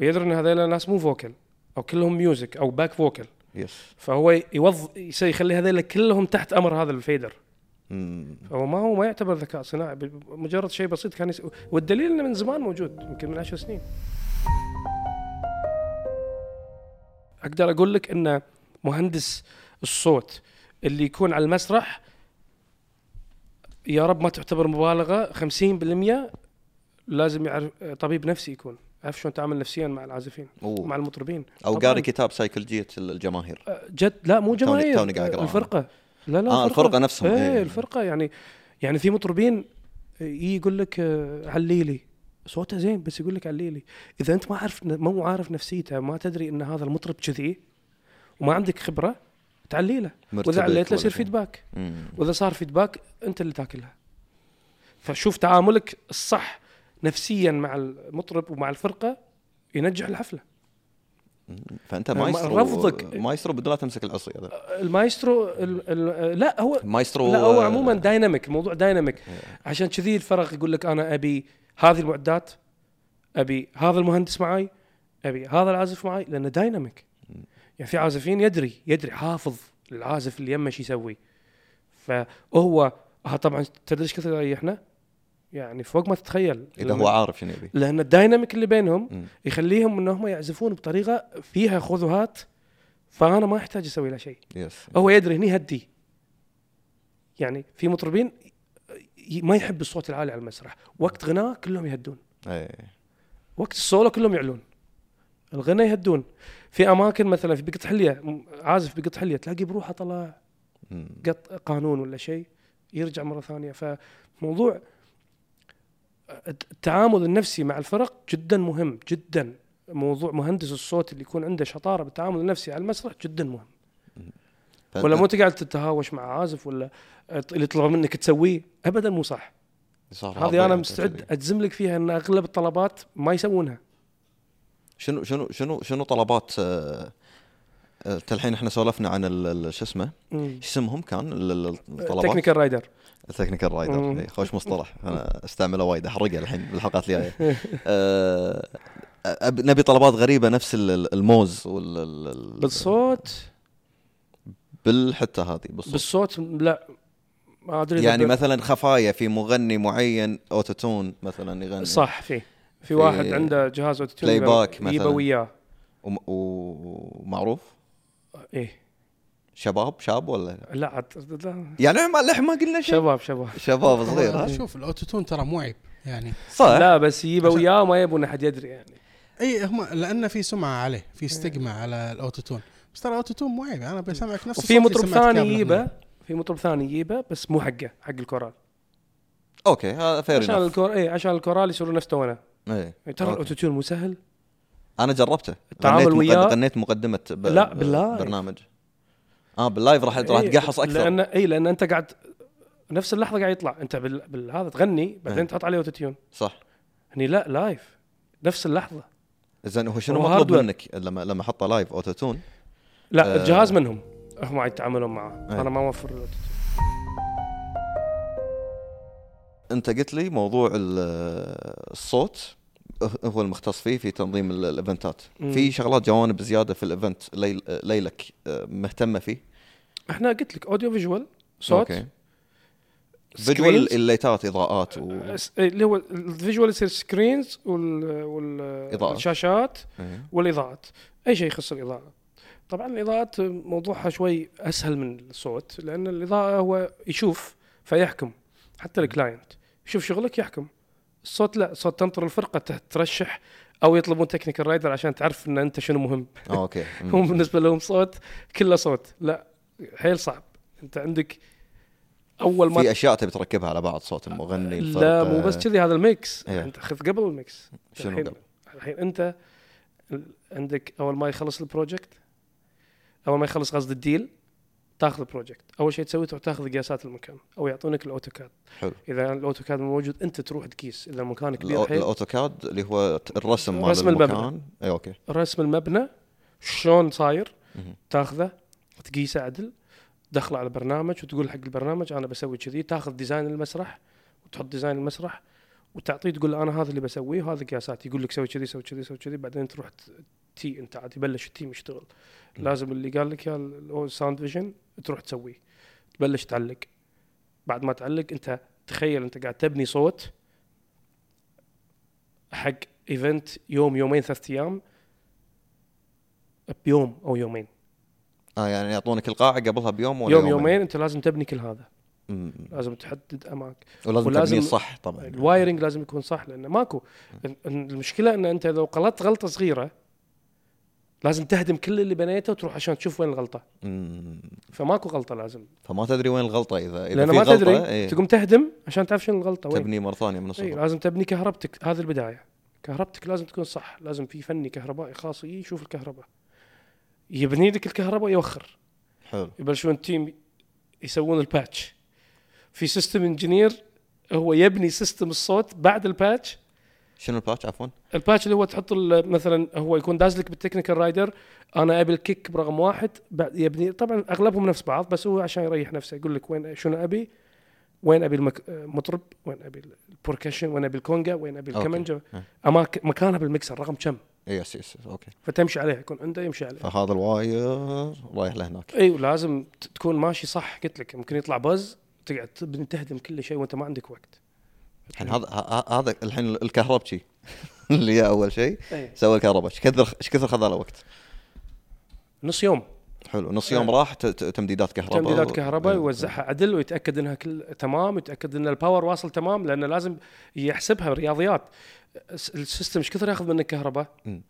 S1: ويدري ان هذول الناس مو فوكل او كلهم ميوزك او باك فوكل
S2: يس
S1: فهو يوظ يسوي يخلي هذول كلهم تحت امر هذا الفيدر
S2: مم.
S1: هو ما هو ما يعتبر ذكاء صناعي ب- مجرد شيء بسيط كان يس... والدليل انه من زمان موجود يمكن من عشر سنين اقدر اقول لك ان مهندس الصوت اللي يكون على المسرح يا رب ما تعتبر مبالغه 50% لازم يعرف طبيب نفسي يكون عارف شلون تعامل نفسيا مع العازفين
S2: أوه.
S1: مع المطربين
S2: او
S1: طبعاً.
S2: قاري كتاب سيكولوجيه الجماهير
S1: جد لا مو
S2: توني-
S1: جماهير
S2: توني قاعد أقرأ عنه.
S1: الفرقه لا لا
S2: آه، الفرقة نفسهم،
S1: ايه
S2: إيه.
S1: الفرقه يعني يعني في مطربين يجي يقول لك آه، عليلي صوته زين بس يقول لك عليلي اذا انت ما عارف مو عارف نفسيته ما تدري ان هذا المطرب كذي وما عندك خبره تعليله
S2: مرتبك
S1: واذا عليت له
S2: ولا
S1: يصير
S2: شيء.
S1: فيدباك
S2: مم.
S1: واذا صار فيدباك انت اللي تاكلها فشوف تعاملك الصح نفسيا مع المطرب ومع الفرقه ينجح الحفله
S2: فانت مايسترو
S1: رفضك-
S2: مايسترو بدون لا تمسك العصي هذا
S1: المايسترو ال ال لا هو
S2: مايسترو
S1: لا هو
S2: آه،
S1: عموما دايناميك الموضوع دايناميك عشان كذي الفرق يقول لك انا ابي هذه المعدات ابي هذا المهندس معاي ابي هذا العازف معاي لانه دايناميك يعني في عازفين يدري يدري حافظ العازف اللي يمه شو يسوي فهو ها طبعا تدري ايش كثر يريحنا؟ يعني فوق ما تتخيل
S2: اذا هو عارف شنو يبي
S1: لان الدايناميك اللي بينهم
S2: مم.
S1: يخليهم انهم يعزفون بطريقه فيها خذوهات فانا ما احتاج اسوي له شيء
S2: يس
S1: هو يدري هني هدي يعني في مطربين ي- ما يحب الصوت العالي على المسرح وقت غناه كلهم يهدون
S2: إيه.
S1: وقت السولو كلهم يعلون الغنى يهدون في اماكن مثلا في بقط حليه م- عازف بقط حليه تلاقي بروحه طلع
S2: مم.
S1: قط قانون ولا شيء يرجع مره ثانيه فموضوع الت- التعامل النفسي مع الفرق جدا مهم جدا موضوع مهندس الصوت اللي يكون عنده شطاره بالتعامل النفسي على المسرح جدا مهم
S2: فأنت-
S1: ولا مو انت قاعد تتهاوش مع عازف ولا ت- اللي طلب منك تسويه ابدا مو صح
S2: صار يعني.
S1: هذه انا
S2: عاطل.
S1: مستعد اجزم لك فيها ان اغلب الطلبات ما يسوونها
S2: شنو شنو شنو شنو طلبات آه، آه، الحين احنا سولفنا عن ال- ال- شو اسمه شو اسمهم كان ال- ال- الطلبات
S1: تكنيكال رايدر
S2: التكنيكال
S1: مم.
S2: رايدر إي، خوش مصطلح انا استعمله وايد احرقه الحين بالحلقات
S1: <laughs>
S2: الجايه آه، أب- نبي طلبات غريبه نفس ال- ال- الموز وال ال- ال-
S1: بالصوت
S2: بالحته هذه بالصوت
S1: بالصوت لا ما ادري إذا
S2: يعني
S1: ب-
S2: مثلا خفايا في مغني معين اوتوتون مثلا يغني
S1: صح في في واحد عنده جهاز اوتوتيون
S2: بلاي باك
S1: يبا- يبا
S2: مثلاً.
S1: وياه
S2: وم- و- ومعروف
S1: ايه
S2: شباب شاب ولا
S1: لا عاد لا.
S2: يعني ما لحم ما قلنا شيء
S1: شباب شباب
S2: شباب صغير
S3: لا،
S2: ها؟
S3: شوف الاوتوتون ترى مو عيب يعني
S2: صح
S1: لا بس يبا وياه وما يبون احد يدري يعني
S3: اي هم لان في سمعه عليه في استجمة على الاوتوتون بس ترى الاوتوتون مو عيب انا بسمعك نفس
S1: وفي
S3: الصوت اللي
S1: مطرب
S3: سمعت
S1: ثاني
S3: كامل
S1: يجيبه في مطرب ثاني يجيبه بس مو حقه حق الكورال
S2: اوكي هذا
S1: عشان
S2: فير
S1: الكور اي عشان الكورال يصيرون نفس تونا يعني ترى الاوتوتيون مو سهل
S2: انا جربته
S1: التعامل
S2: غنيت مقد-
S1: وياه-
S2: غنيت مقدمه ب...
S1: لا،
S2: ب-
S1: بالله.
S2: برنامج اه باللايف راح راح
S1: إيه،
S2: تقحص اكثر
S1: لان اي لان انت قاعد نفس اللحظه قاعد يطلع انت بال... بالهذا تغني
S2: إيه.
S1: بعدين تحط عليه اوتو تيون
S2: صح
S1: هني لا لايف نفس اللحظه
S2: زين هو شنو
S1: هو
S2: مطلوب
S1: hardware.
S2: منك لما لما حطه لايف اوتو تون
S1: لا
S2: آه.
S1: أه الجهاز منهم هم عاد يتعاملون معه
S2: إيه.
S1: انا ما اوفر الأوتو تيون.
S2: انت قلت لي موضوع ال- الصوت هو المختص فيه في تنظيم ال- الايفنتات
S1: مم.
S2: في شغلات جوانب زياده في الايفنت ليل ليلك آه، مهتمه فيه
S1: احنا قلت لك اوديو فيجوال صوت
S2: فيجوال
S1: screens.
S2: الليتات
S1: <laughs>
S2: اضاءات و...
S1: أس- اللي هو الفيجوال يصير سكرينز وال وال-
S2: إضاءات.
S1: والشاشات
S2: إيه.
S1: والاضاءات اي شيء يخص الاضاءه طبعا الاضاءات موضوعها شوي اسهل من الصوت لان الاضاءه هو يشوف فيحكم حتى
S2: نعم.
S1: الكلاينت يشوف شغلك يحكم الصوت لا صوت تنطر الفرقه ت- ترشح او يطلبون تكنيكال رايدر عشان تعرف ان انت شنو مهم <laughs>
S2: آه، اوكي مم.
S1: هم بالنسبه لهم صوت كله صوت لا حيل صعب انت عندك اول ما
S2: في اشياء تبي تركبها على بعض صوت المغني
S1: لا
S2: الفرقة.
S1: مو بس كذي هذا الميكس
S2: إيه.
S1: انت خذ قبل الميكس
S2: شنو
S1: الحين-
S2: قبل؟
S1: الحين انت ال- عندك اول ما يخلص البروجكت اول ما يخلص قصد الديل تاخذ البروجكت اول شيء تسوي تروح تاخذ قياسات المكان او يعطونك الاوتوكاد
S2: حلو
S1: اذا الاوتوكاد مو موجود انت تروح تقيس اذا المكان كبير
S2: الأو-
S1: حيل
S2: الاوتوكاد اللي هو ت- الرسم مال
S1: رسم المبنى.
S2: المكان إيه، اي اوكي
S1: رسم المبنى شلون صاير
S2: مهم.
S1: تاخذه تقيسه عدل تدخله على برنامج وتقول حق البرنامج انا بسوي كذي تاخذ ديزاين المسرح وتحط ديزاين المسرح وتعطيه تقول له انا هذا اللي بسويه وهذا قياساتي يقول لك سوي كذي سوي كذي سوي كذي بعدين تروح ت- تي انت عاد يبلش التيم يشتغل لازم اللي قال لك يا الساوند فيجن تروح تسويه تبلش تعلق بعد ما تعلق انت تخيل انت قاعد تبني صوت حق ايفنت يوم يومين ثلاث ايام بيوم او يومين
S2: اه يعني يعطونك القاعه قبلها بيوم ولا
S1: يوم يومين انت لازم تبني كل هذا
S2: مم.
S1: لازم تحدد اماكن
S2: ولازم,
S1: ولازم-
S2: تبنيه صح طبعا
S1: الوايرنج لازم يكون صح لانه ماكو ال- ال- المشكله ان انت لو غلطت غلطه صغيره لازم تهدم كل اللي بنيته وتروح عشان تشوف وين الغلطه
S2: مم.
S1: فماكو غلطه لازم
S2: فما تدري وين الغلطه اذا اذا
S1: لان
S2: في
S1: ما
S2: غلطه
S1: تدري
S2: إيه،
S1: تقوم تهدم عشان تعرف شنو الغلطه وين إيه،
S2: تبني مره ثانيه من
S1: اي
S2: الصفر
S1: لازم تبني كهربتك هذه البدايه كهربتك لازم تكون صح لازم في فني كهربائي خاص يشوف الكهرباء يبني لك الكهرباء يوخر
S2: حلو
S1: يبلشون تيم يسوون الباتش في سيستم انجينير هو يبني سيستم الصوت بعد الباتش
S2: شنو الباتش عفوا؟
S1: الباتش اللي هو تحط ال- مثلا هو يكون دازلك بالتكنيكال رايدر انا ابي الكيك برقم واحد بعد يبني طبعا اغلبهم نفس بعض بس هو عشان يريح نفسه يقول لك وين شنو ابي وين ابي المك... مطرب وين ابي البركشن وين ابي الكونجا وين ابي
S2: أوكي.
S1: الكمنجه
S2: أه.
S1: اماكن مكانها بالمكسر رقم كم
S2: اي يس يس اوكي
S1: فتمشي عليها يكون عنده يمشي عليها
S2: فهذا الواير رايح لهناك
S1: اي ولازم أيوة، ت- تكون ماشي صح قلت لك ممكن يطلع بز تقعد تبني تهدم كل شيء وانت ما عندك وقت
S2: الحين هذا ه- هذا الحين الكهربجي <laughs> اللي هي اول شيء
S1: أي.
S2: سوى الكهرباء ايش كثر ايش كثر خذ له وقت؟
S1: نص يوم
S2: حلو نص يوم راح ت- ت- تمديدات كهرباء
S1: إيه. تمديدات كهرباء
S2: إيه.
S1: يوزعها عدل ويتاكد انها كل تمام ويتاكد ان الباور واصل تمام لانه لازم يحسبها رياضيات الس- السيستم ايش كثر ياخذ منك كهرباء
S2: مم.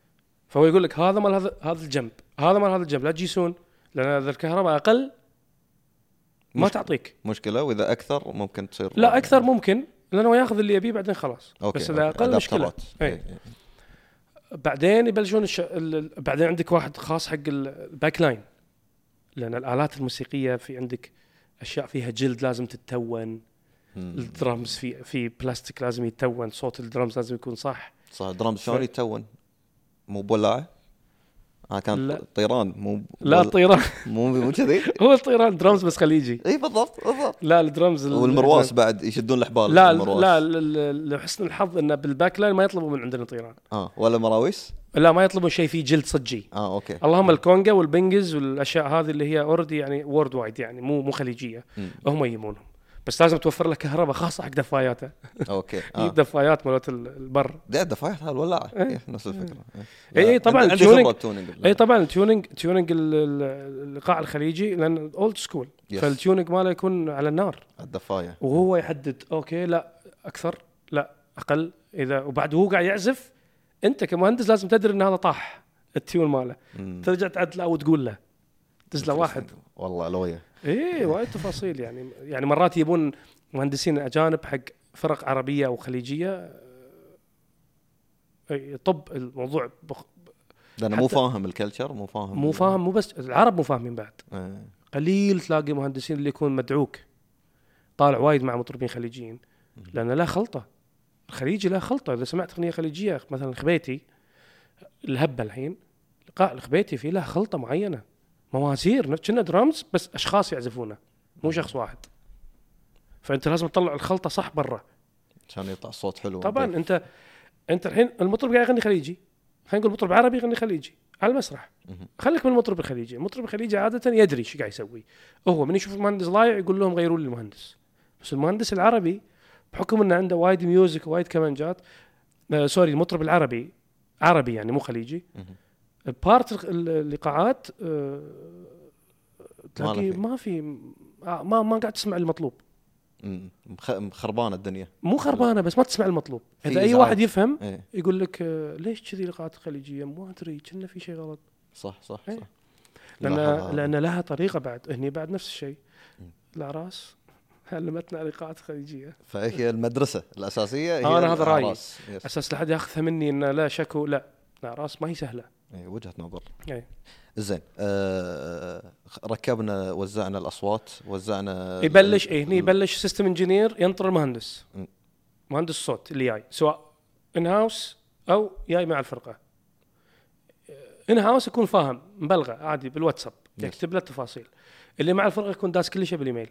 S1: فهو يقول لك هذا مال هذا هذا الجنب هذا مال هذا الجنب لا تجيسون لان اذا الكهرباء اقل ما
S2: مشكلة.
S1: تعطيك
S2: مشكله واذا اكثر ممكن تصير
S1: لا اكثر ممكن لانه ياخذ اللي يبيه بعدين خلاص
S2: أوكي،
S1: بس اذا
S2: أوكي.
S1: اقل مشكله
S2: أدابترات.
S1: أي.
S2: إيه، إيه.
S1: بعدين يبلشون الش... ال... ال- بعدين عندك واحد خاص حق ال- الباك لاين لان الالات الموسيقيه في عندك اشياء فيها جلد لازم تتون
S2: مم.
S1: الدرمز في في بلاستيك لازم يتون صوت الدرمز لازم يكون صح
S2: صح درامز شلون يتون؟ مو بولاعه؟ اه كان
S1: لا.
S2: طيران مو ب-
S1: لا
S2: بول-
S1: الطيران <laughs>
S2: مو مو كذي؟
S1: هو الطيران درمز بس خليجي
S2: اي بالضبط بالضبط
S1: لا الدرمز ال-
S2: والمرواس بعد يشدون الحبال
S1: لا
S2: المرواس.
S1: لا ال- ال- لحسن الحظ انه بالباك لاين ما يطلبوا من عندنا طيران
S2: اه ولا مراويس؟
S1: لا ما يطلبوا شيء فيه جلد صجي
S2: اه اوكي
S1: اللهم الكونجا والبنجز والاشياء هذه اللي هي اوريدي يعني وورد وايد يعني مو مو خليجيه
S2: مم.
S1: هم يجيبونهم بس لازم توفر له كهرباء خاصه حق دفاياته <laughs>
S2: اوكي
S1: آه.
S2: اه
S1: دفايات مالت ال- البر
S2: ده دفايات هذا الولاعه إيه، نفس الفكره
S1: إيه، إيه، طبعاً إيه،
S2: عندي
S1: التيونينج-
S2: خبره بتونينج
S1: اي طبعا التيوننج تيوننج ال- ال- القاع الخليجي لان اولد سكول
S2: Yes.
S1: فالتيوننج ماله يكون على النار
S2: الدفايه
S1: وهو يحدد اوكي لا اكثر لا اقل اذا وبعد وهو قاعد يعزف انت كمهندس لازم تدري ان هذا طاح التيون ماله
S2: مم.
S1: ترجع تعدله او تقول له دز له واحد
S2: والله لويا
S1: ايه وايد تفاصيل يعني يعني مرات يبون مهندسين اجانب حق فرق عربيه او خليجيه أي، إيه، طب الموضوع بخ-
S2: ده انا مو
S1: حتى-
S2: فاهم الكلتشر مو فاهم
S1: مو فاهم مو بس العرب مو فاهمين بعد
S2: إيه.
S1: قليل تلاقي مهندسين اللي يكون مدعوك طالع وايد مع مطربين خليجيين لان لا خلطه الخليجي لا خلطه اذا سمعت اغنيه خليجيه مثلا الخبيتي الهبه الحين لقاء الخبيتي فيه له خلطه معينه مواسير كنا درامز بس اشخاص يعزفونه مو شخص واحد فانت لازم تطلع الخلطه صح برا
S2: عشان يطلع صوت حلو
S1: طبعا انت انت الحين المطرب قاعد يغني خليجي خلينا نقول مطرب عربي يغني خليجي على المسرح
S2: مهم.
S1: خليك من المطرب الخليجي المطرب الخليجي عاده يدري ايش قاعد يسوي هو من يشوف المهندس ضايع يقول لهم غيروا لي المهندس بس المهندس العربي بحكم انه عنده وايد ميوزك وايد كمانجات آه سوري المطرب العربي عربي يعني مو خليجي
S2: مهم.
S1: بارت الايقاعات آه تلاقي
S2: في.
S1: ما في آه، ما ما قاعد تسمع المطلوب
S2: مم. إيه، مخ- مخربانه الدنيا
S1: مو خربانه بس ما تسمع المطلوب
S2: في
S1: اذا اي
S2: إزعاج.
S1: واحد يفهم
S2: ايه
S1: يقول لك آه، ليش كذي الايقاعات الخليجيه ما ادري كنا في شيء غلط
S2: صح صح
S1: إيه.
S2: صح
S1: لان
S2: لاحظ هذا.
S1: لان لها طريقه بعد هني بعد نفس الشيء الاعراس <laughs> علمتنا الايقاعات الخليجيه
S2: فهي المدرسه الاساسيه هي
S1: آه، أنا هذا رأيي.
S2: الأعراس. يس.
S1: اساس لا حد ياخذها مني ان لا شكو لا الاعراس ما هي سهله
S2: إيه، وجهه نظر
S1: إيه.
S2: زين آه ركبنا وزعنا الاصوات وزعنا ال-
S1: يبلش
S2: ال-
S1: اي هني يبلش سيستم انجينير ينطر المهندس
S2: مم.
S1: مهندس الصوت اللي جاي سواء ان هاوس او جاي مع الفرقه ان هاوس يكون فاهم مبلغه عادي بالواتساب
S2: Yes.
S1: يكتب له التفاصيل اللي مع الفرقه يكون داس كل شيء بالايميل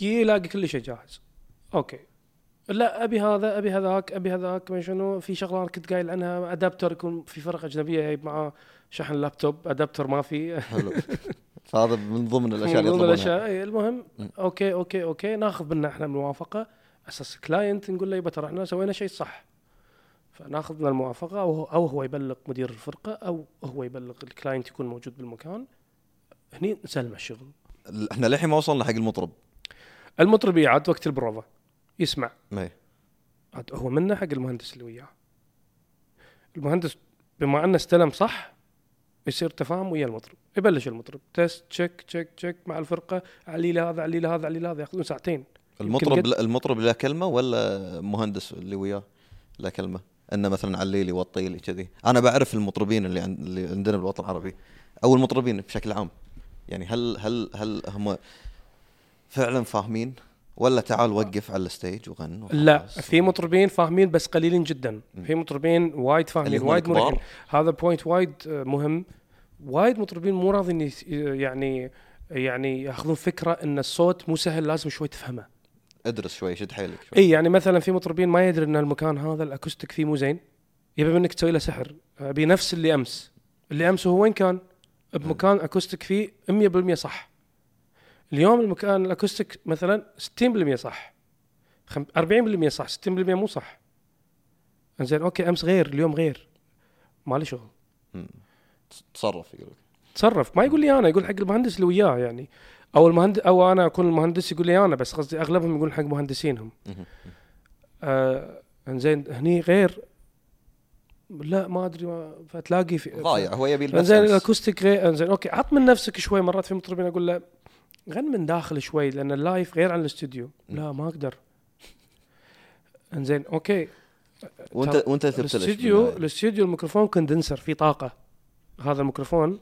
S1: يجي يلاقي كل شيء جاهز اوكي لا ابي هذا ابي هذاك ابي هذاك ما شنو في شغله انا كنت قايل عنها ادابتر يكون في فرقه اجنبيه جايب معاه شحن لابتوب ادابتر ما في <laughs>
S2: حلو فهذا من ضمن الاشياء اللي
S1: من ضمن
S2: يطلبونها
S1: الاشياء إي، إيه، المهم
S2: مم.
S1: اوكي اوكي اوكي ناخذ منا احنا الموافقه اساس كلاينت نقول له يبا ترى احنا سوينا شيء صح فناخذ من الموافقه او هو, أو هو يبلغ مدير الفرقه او هو يبلغ الكلاينت يكون موجود بالمكان هني نسلمه الشغل
S2: ال- احنا للحين ما وصلنا حق المطرب
S1: المطرب يعاد وقت البروفا يسمع
S2: إيه.
S1: عاد هو منه حق المهندس اللي وياه المهندس بما انه استلم صح يصير تفاهم ويا المطرب يبلش المطرب تيست تشيك تشيك تشيك مع الفرقه علي له هذا علي له هذا علي له هذا ياخذون ساعتين
S2: المطرب
S1: قد-
S2: لا المطرب له كلمه ولا مهندس اللي وياه له كلمه انه مثلا عليلي وطيلي كذي انا بعرف المطربين اللي, عند اللي عندنا بالوطن العربي او المطربين بشكل عام يعني هل هل هل هم فعلا فاهمين ولا تعال وقف على الستيج وغن وخلاص؟
S1: لا في مطربين فاهمين بس قليلين جدا في مطربين وايد فاهمين
S2: اللي هم
S1: وايد
S2: الكبار.
S1: مريحين هذا بوينت وايد آه، مهم وايد مطربين مو راضين يس- يعني يعني ياخذون فكره ان الصوت مو سهل لازم شوي تفهمه
S2: ادرس شوي شد حيلك شوي
S1: اي يعني مثلا في مطربين ما يدري ان المكان هذا الاكوستيك فيه مو زين يبي منك تسوي له سحر ابي نفس اللي امس اللي امس هو وين كان؟ بمكان اكوستيك فيه 100% صح اليوم المكان الاكوستيك مثلا 60% صح خم- 40% صح 60% مو صح زين اوكي امس غير اليوم غير ما لي شغل
S2: تصرف يقول لك
S1: تصرف ما يقول لي انا يقول حق المهندس اللي وياه يعني او المهندس او انا اكون المهندس يقول لي انا بس قصدي اغلبهم يقولون حق مهندسينهم
S2: مهم.
S1: آه انزين هني غير لا ما ادري ما فتلاقي في
S2: ضايع هو يبي البس
S1: انزين
S2: أمس.
S1: الاكوستيك غير انزين اوكي عط من نفسك شوي مرات في مطربين اقول له غن من داخل شوي لان اللايف غير عن الاستوديو لا ما اقدر انزين اوكي
S2: وانت وانت تبتلش
S1: الاستوديو
S2: بالنهاية.
S1: الاستوديو الميكروفون كوندنسر فيه طاقه هذا الميكروفون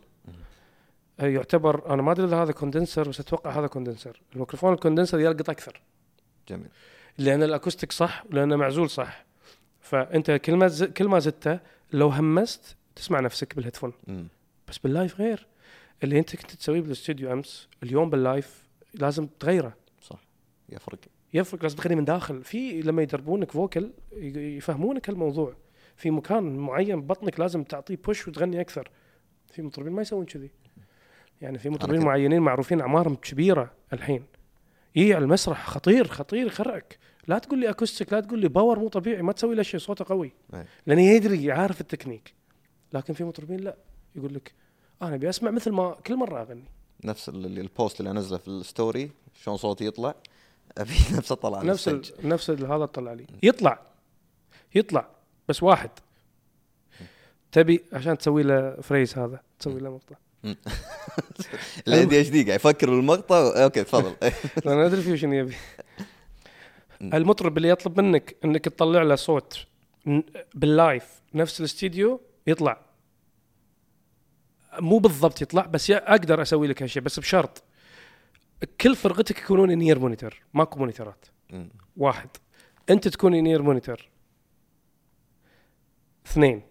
S1: آه، يعتبر انا ما ادري اذا هذا كوندنسر بس اتوقع هذا كوندنسر الميكروفون الكوندنسر يلقط اكثر
S2: جميل
S1: لان الاكوستيك صح ولانه معزول صح فانت كل ما ز... كل ما زدته لو همست تسمع نفسك بالهيدفون
S2: مم.
S1: بس باللايف غير اللي انت كنت تسويه بالاستوديو امس اليوم باللايف لازم تغيره
S2: صح يفرق
S1: يفرق لازم تغني من داخل في لما يدربونك فوكل ي- يفهمونك الموضوع في مكان معين ببطنك لازم تعطيه بوش وتغني اكثر في مطربين ما يسوون كذي يعني في مطربين
S2: كنت-
S1: معينين معروفين اعمارهم كبيره الحين يجي على المسرح خطير خطير يخرعك لا تقول لي اكوستيك لا تقول لي باور مو طبيعي ما تسوي له شيء صوته قوي
S2: أي.
S1: لانه يدري عارف التكنيك لكن في مطربين لا يقول لك انا ابي اسمع مثل ما كل مره اغني
S2: نفس ال- ال- البوست اللي انزله في الستوري شلون صوتي يطلع <laughs> ابي نفسه طلع على
S1: نفس ال...
S2: الستيج.
S1: نفس ال- هذا طلع لي يطلع يطلع بس واحد تبي عشان تسوي له فريز هذا تسوي له مقطع
S2: اللي عندي اتش دي قاعد يفكر بالمقطع اوكي تفضل
S1: <laughs> لان ادري فيه شنو يبي المطرب اللي يطلب منك انك تطلع له صوت ن- باللايف نفس الاستديو يطلع مو بالضبط يطلع بس يا- اقدر اسوي لك هالشيء بس بشرط كل فرقتك يكونون انير مونيتور ماكو مونيتورات
S2: مم.
S1: واحد انت تكون انير مونيتور اثنين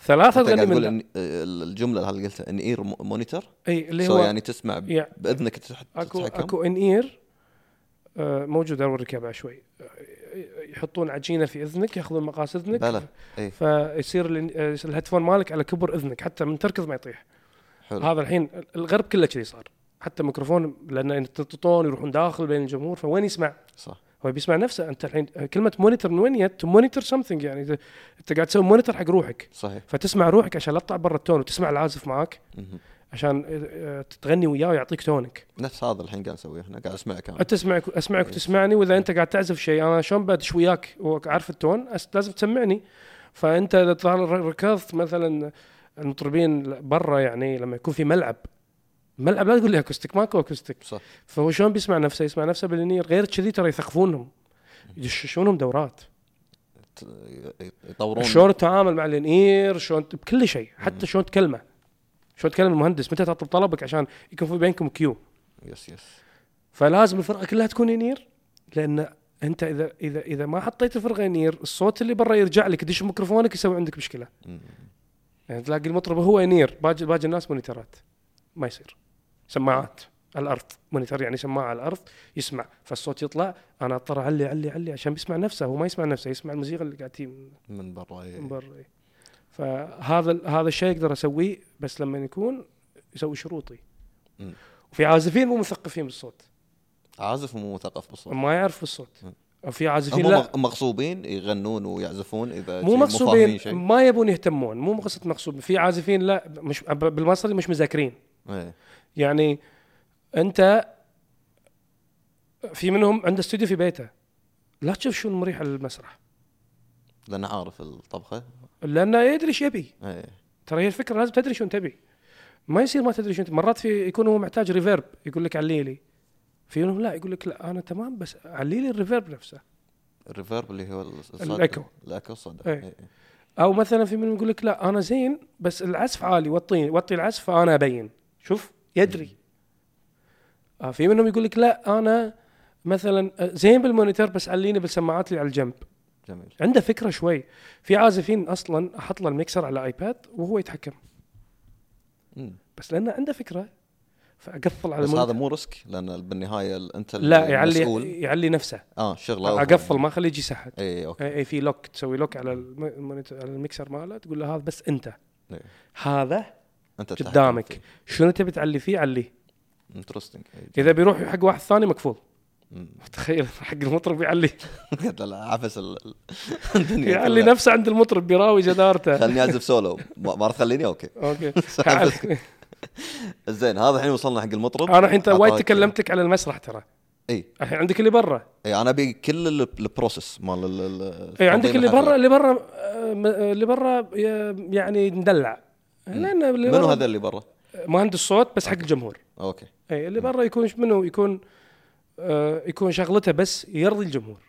S1: ثلاثه
S2: انت قاعد
S1: تغني
S2: تقول
S1: من
S2: إن الجمله اللي قلتها ان اير مونيتور
S1: اي اللي
S2: سو
S1: هو إيه.
S2: يعني تسمع ب-
S1: يع-
S2: باذنك تح-
S1: اكو
S2: تتحكم
S1: اكو ان اير آه، موجود اوريك إياه بعد شوي آه، يحطون عجينه في اذنك ياخذون مقاس اذنك
S2: بلى اي
S1: فيصير ال- آه، الهيدفون مالك على كبر اذنك حتى من تركض ما يطيح
S2: حلو
S1: هذا الحين الغرب كله كذي صار حتى ميكروفون لان يتططون يروحون داخل بين الجمهور فوين يسمع؟
S2: صح
S1: هو بيسمع نفسه انت الحين كلمه مونيتور من وين جت؟ مونيتور سمثينج يعني إذا انت قاعد تسوي مونيتور حق روحك
S2: صحيح
S1: فتسمع روحك عشان لا تطلع برا التون وتسمع العازف معاك
S2: مهم.
S1: عشان آه، تغني وياه ويعطيك تونك
S2: نفس هذا الحين قاعد نسويه احنا قاعد اسمعك انا
S1: انت اسمعك اسمعك وتسمعني واذا انت قاعد تعزف شيء انا شلون بدش وياك وعارف التون أس- لازم تسمعني فانت اذا طال- ركضت مثلا المطربين برا يعني لما يكون في ملعب ملعب لا تقول لي اكوستيك ماكو اكوستيك
S2: صح
S1: فهو شلون بيسمع نفسه يسمع نفسه بالانير غير كذي ترى يثقفونهم يدششونهم دورات
S2: ت- ي- يطورون
S1: شلون التعامل مع الانير شلون ت- بكل شيء حتى شلون تكلمه شلون تكلم المهندس متى تطلب طلبك عشان يكون في بينكم كيو
S2: يس يس
S1: فلازم الفرقه كلها تكون انير لان انت اذا اذا اذا ما حطيت الفرقه انير الصوت اللي برا يرجع لك يدش ميكروفونك يسوي عندك مشكله
S2: مم.
S1: يعني تلاقي المطرب هو انير باقي باقي الناس مونيترات ما يصير سماعات على الارض مونيتر يعني سماعه على الارض يسمع فالصوت يطلع انا اضطر اعلي اعلي اعلي عشان بيسمع نفسه هو ما يسمع نفسه يسمع الموسيقى اللي قاعد تجي من
S2: من برا إي.
S1: من برا إيه. فهذا ال- هذا الشيء اقدر اسويه بس لما يكون يسوي شروطي
S2: مم.
S1: وفي عازفين مو مثقفين بالصوت
S2: عازف مو مثقف بالصوت
S1: ما يعرف الصوت
S2: مم.
S1: وفي عازفين
S2: هم
S1: لا
S2: مغ- مغصوبين يغنون ويعزفون اذا شي
S1: مو
S2: فاهمين
S1: مغصوبين
S2: شيء
S1: ما يبون يهتمون مو قصه مغصوب في عازفين لا مش ب- بالمصري مش مذاكرين
S2: إيه.
S1: يعني انت في منهم عنده استوديو في بيته لا تشوف شو المريح على المسرح
S2: لان عارف الطبخه
S1: لانه يدري شو يبي
S2: إيه.
S1: ترى هي الفكره لازم تدري شو تبي ما يصير ما تدري شو انت مرات في يكون هو محتاج ريفيرب يقول لك علي لي في منهم لا يقول لك لا انا تمام بس علي لي الريفيرب نفسه
S2: الريفيرب اللي هو ال- الصدى.
S1: الإيكو.
S2: الاكو الصدى
S1: إيه.
S2: إيه.
S1: او مثلا في منهم يقول لك لا انا زين بس العزف عالي وطي وطي العزف فانا ابين شوف يدري آه في منهم يقول لك لا انا مثلا آه، زين بالمونيتور بس عليني بالسماعات اللي على الجنب
S2: جميل
S1: عنده فكره شوي في عازفين اصلا احط له الميكسر على ايباد وهو يتحكم
S2: مم.
S1: بس لانه عنده فكره فاقفل على
S2: بس
S1: المونيتور
S2: هذا مو ريسك لان بالنهايه ال- انت
S1: لا يعني
S2: المسؤول.
S1: يعلي يعلي نفسه
S2: اه شغله
S1: اقفل ما اخليه يجي يسحب
S2: اي اوكي
S1: اي أي في لوك تسوي لوك على الم- المونيتور على الميكسر ماله تقول له هذا بس انت
S2: إيه.
S1: هذا
S2: انت تتحكم
S1: قدامك
S2: فيه.
S1: شنو تبي تعلي فيه عليه
S2: انترستنج إيه.
S1: اذا بيروح حق واحد ثاني مكفول
S2: مم.
S1: <laughs>
S2: <laughs>
S1: تخيل حق المطرب يعلي
S2: قلت له عفس ال- ال- الدنيا
S1: يعلي
S2: يعني كلها.
S1: نفسه عند المطرب بيراوي
S2: <laughs>
S1: جدارته
S2: خلني اعزف سولو ما ما راح تخليني اوكي
S1: اوكي
S2: <laughs> سحب. زين هذا الحين وصلنا حق المطرب
S1: انا الحين انت وايد
S2: أعطاك- إيه،
S1: تكلمت لك على المسرح ترى
S2: اي
S1: الحين عندك اللي برا
S2: اي انا ابي إيه، كل ال- البروسس مال ال- ال-
S1: اي
S2: تنظيم
S1: إيه، عندك اللي
S2: الحفلة.
S1: برا اللي برا آه، م- آه، اللي برا ي- يعني مدلع لان اللي
S2: منو
S1: برا
S2: هذا اللي برا؟
S1: مهندس صوت بس حق الجمهور
S2: اوكي
S1: اي إيه، اللي برا يكون ش- منو يكون آه يكون شغلته بس يرضي الجمهور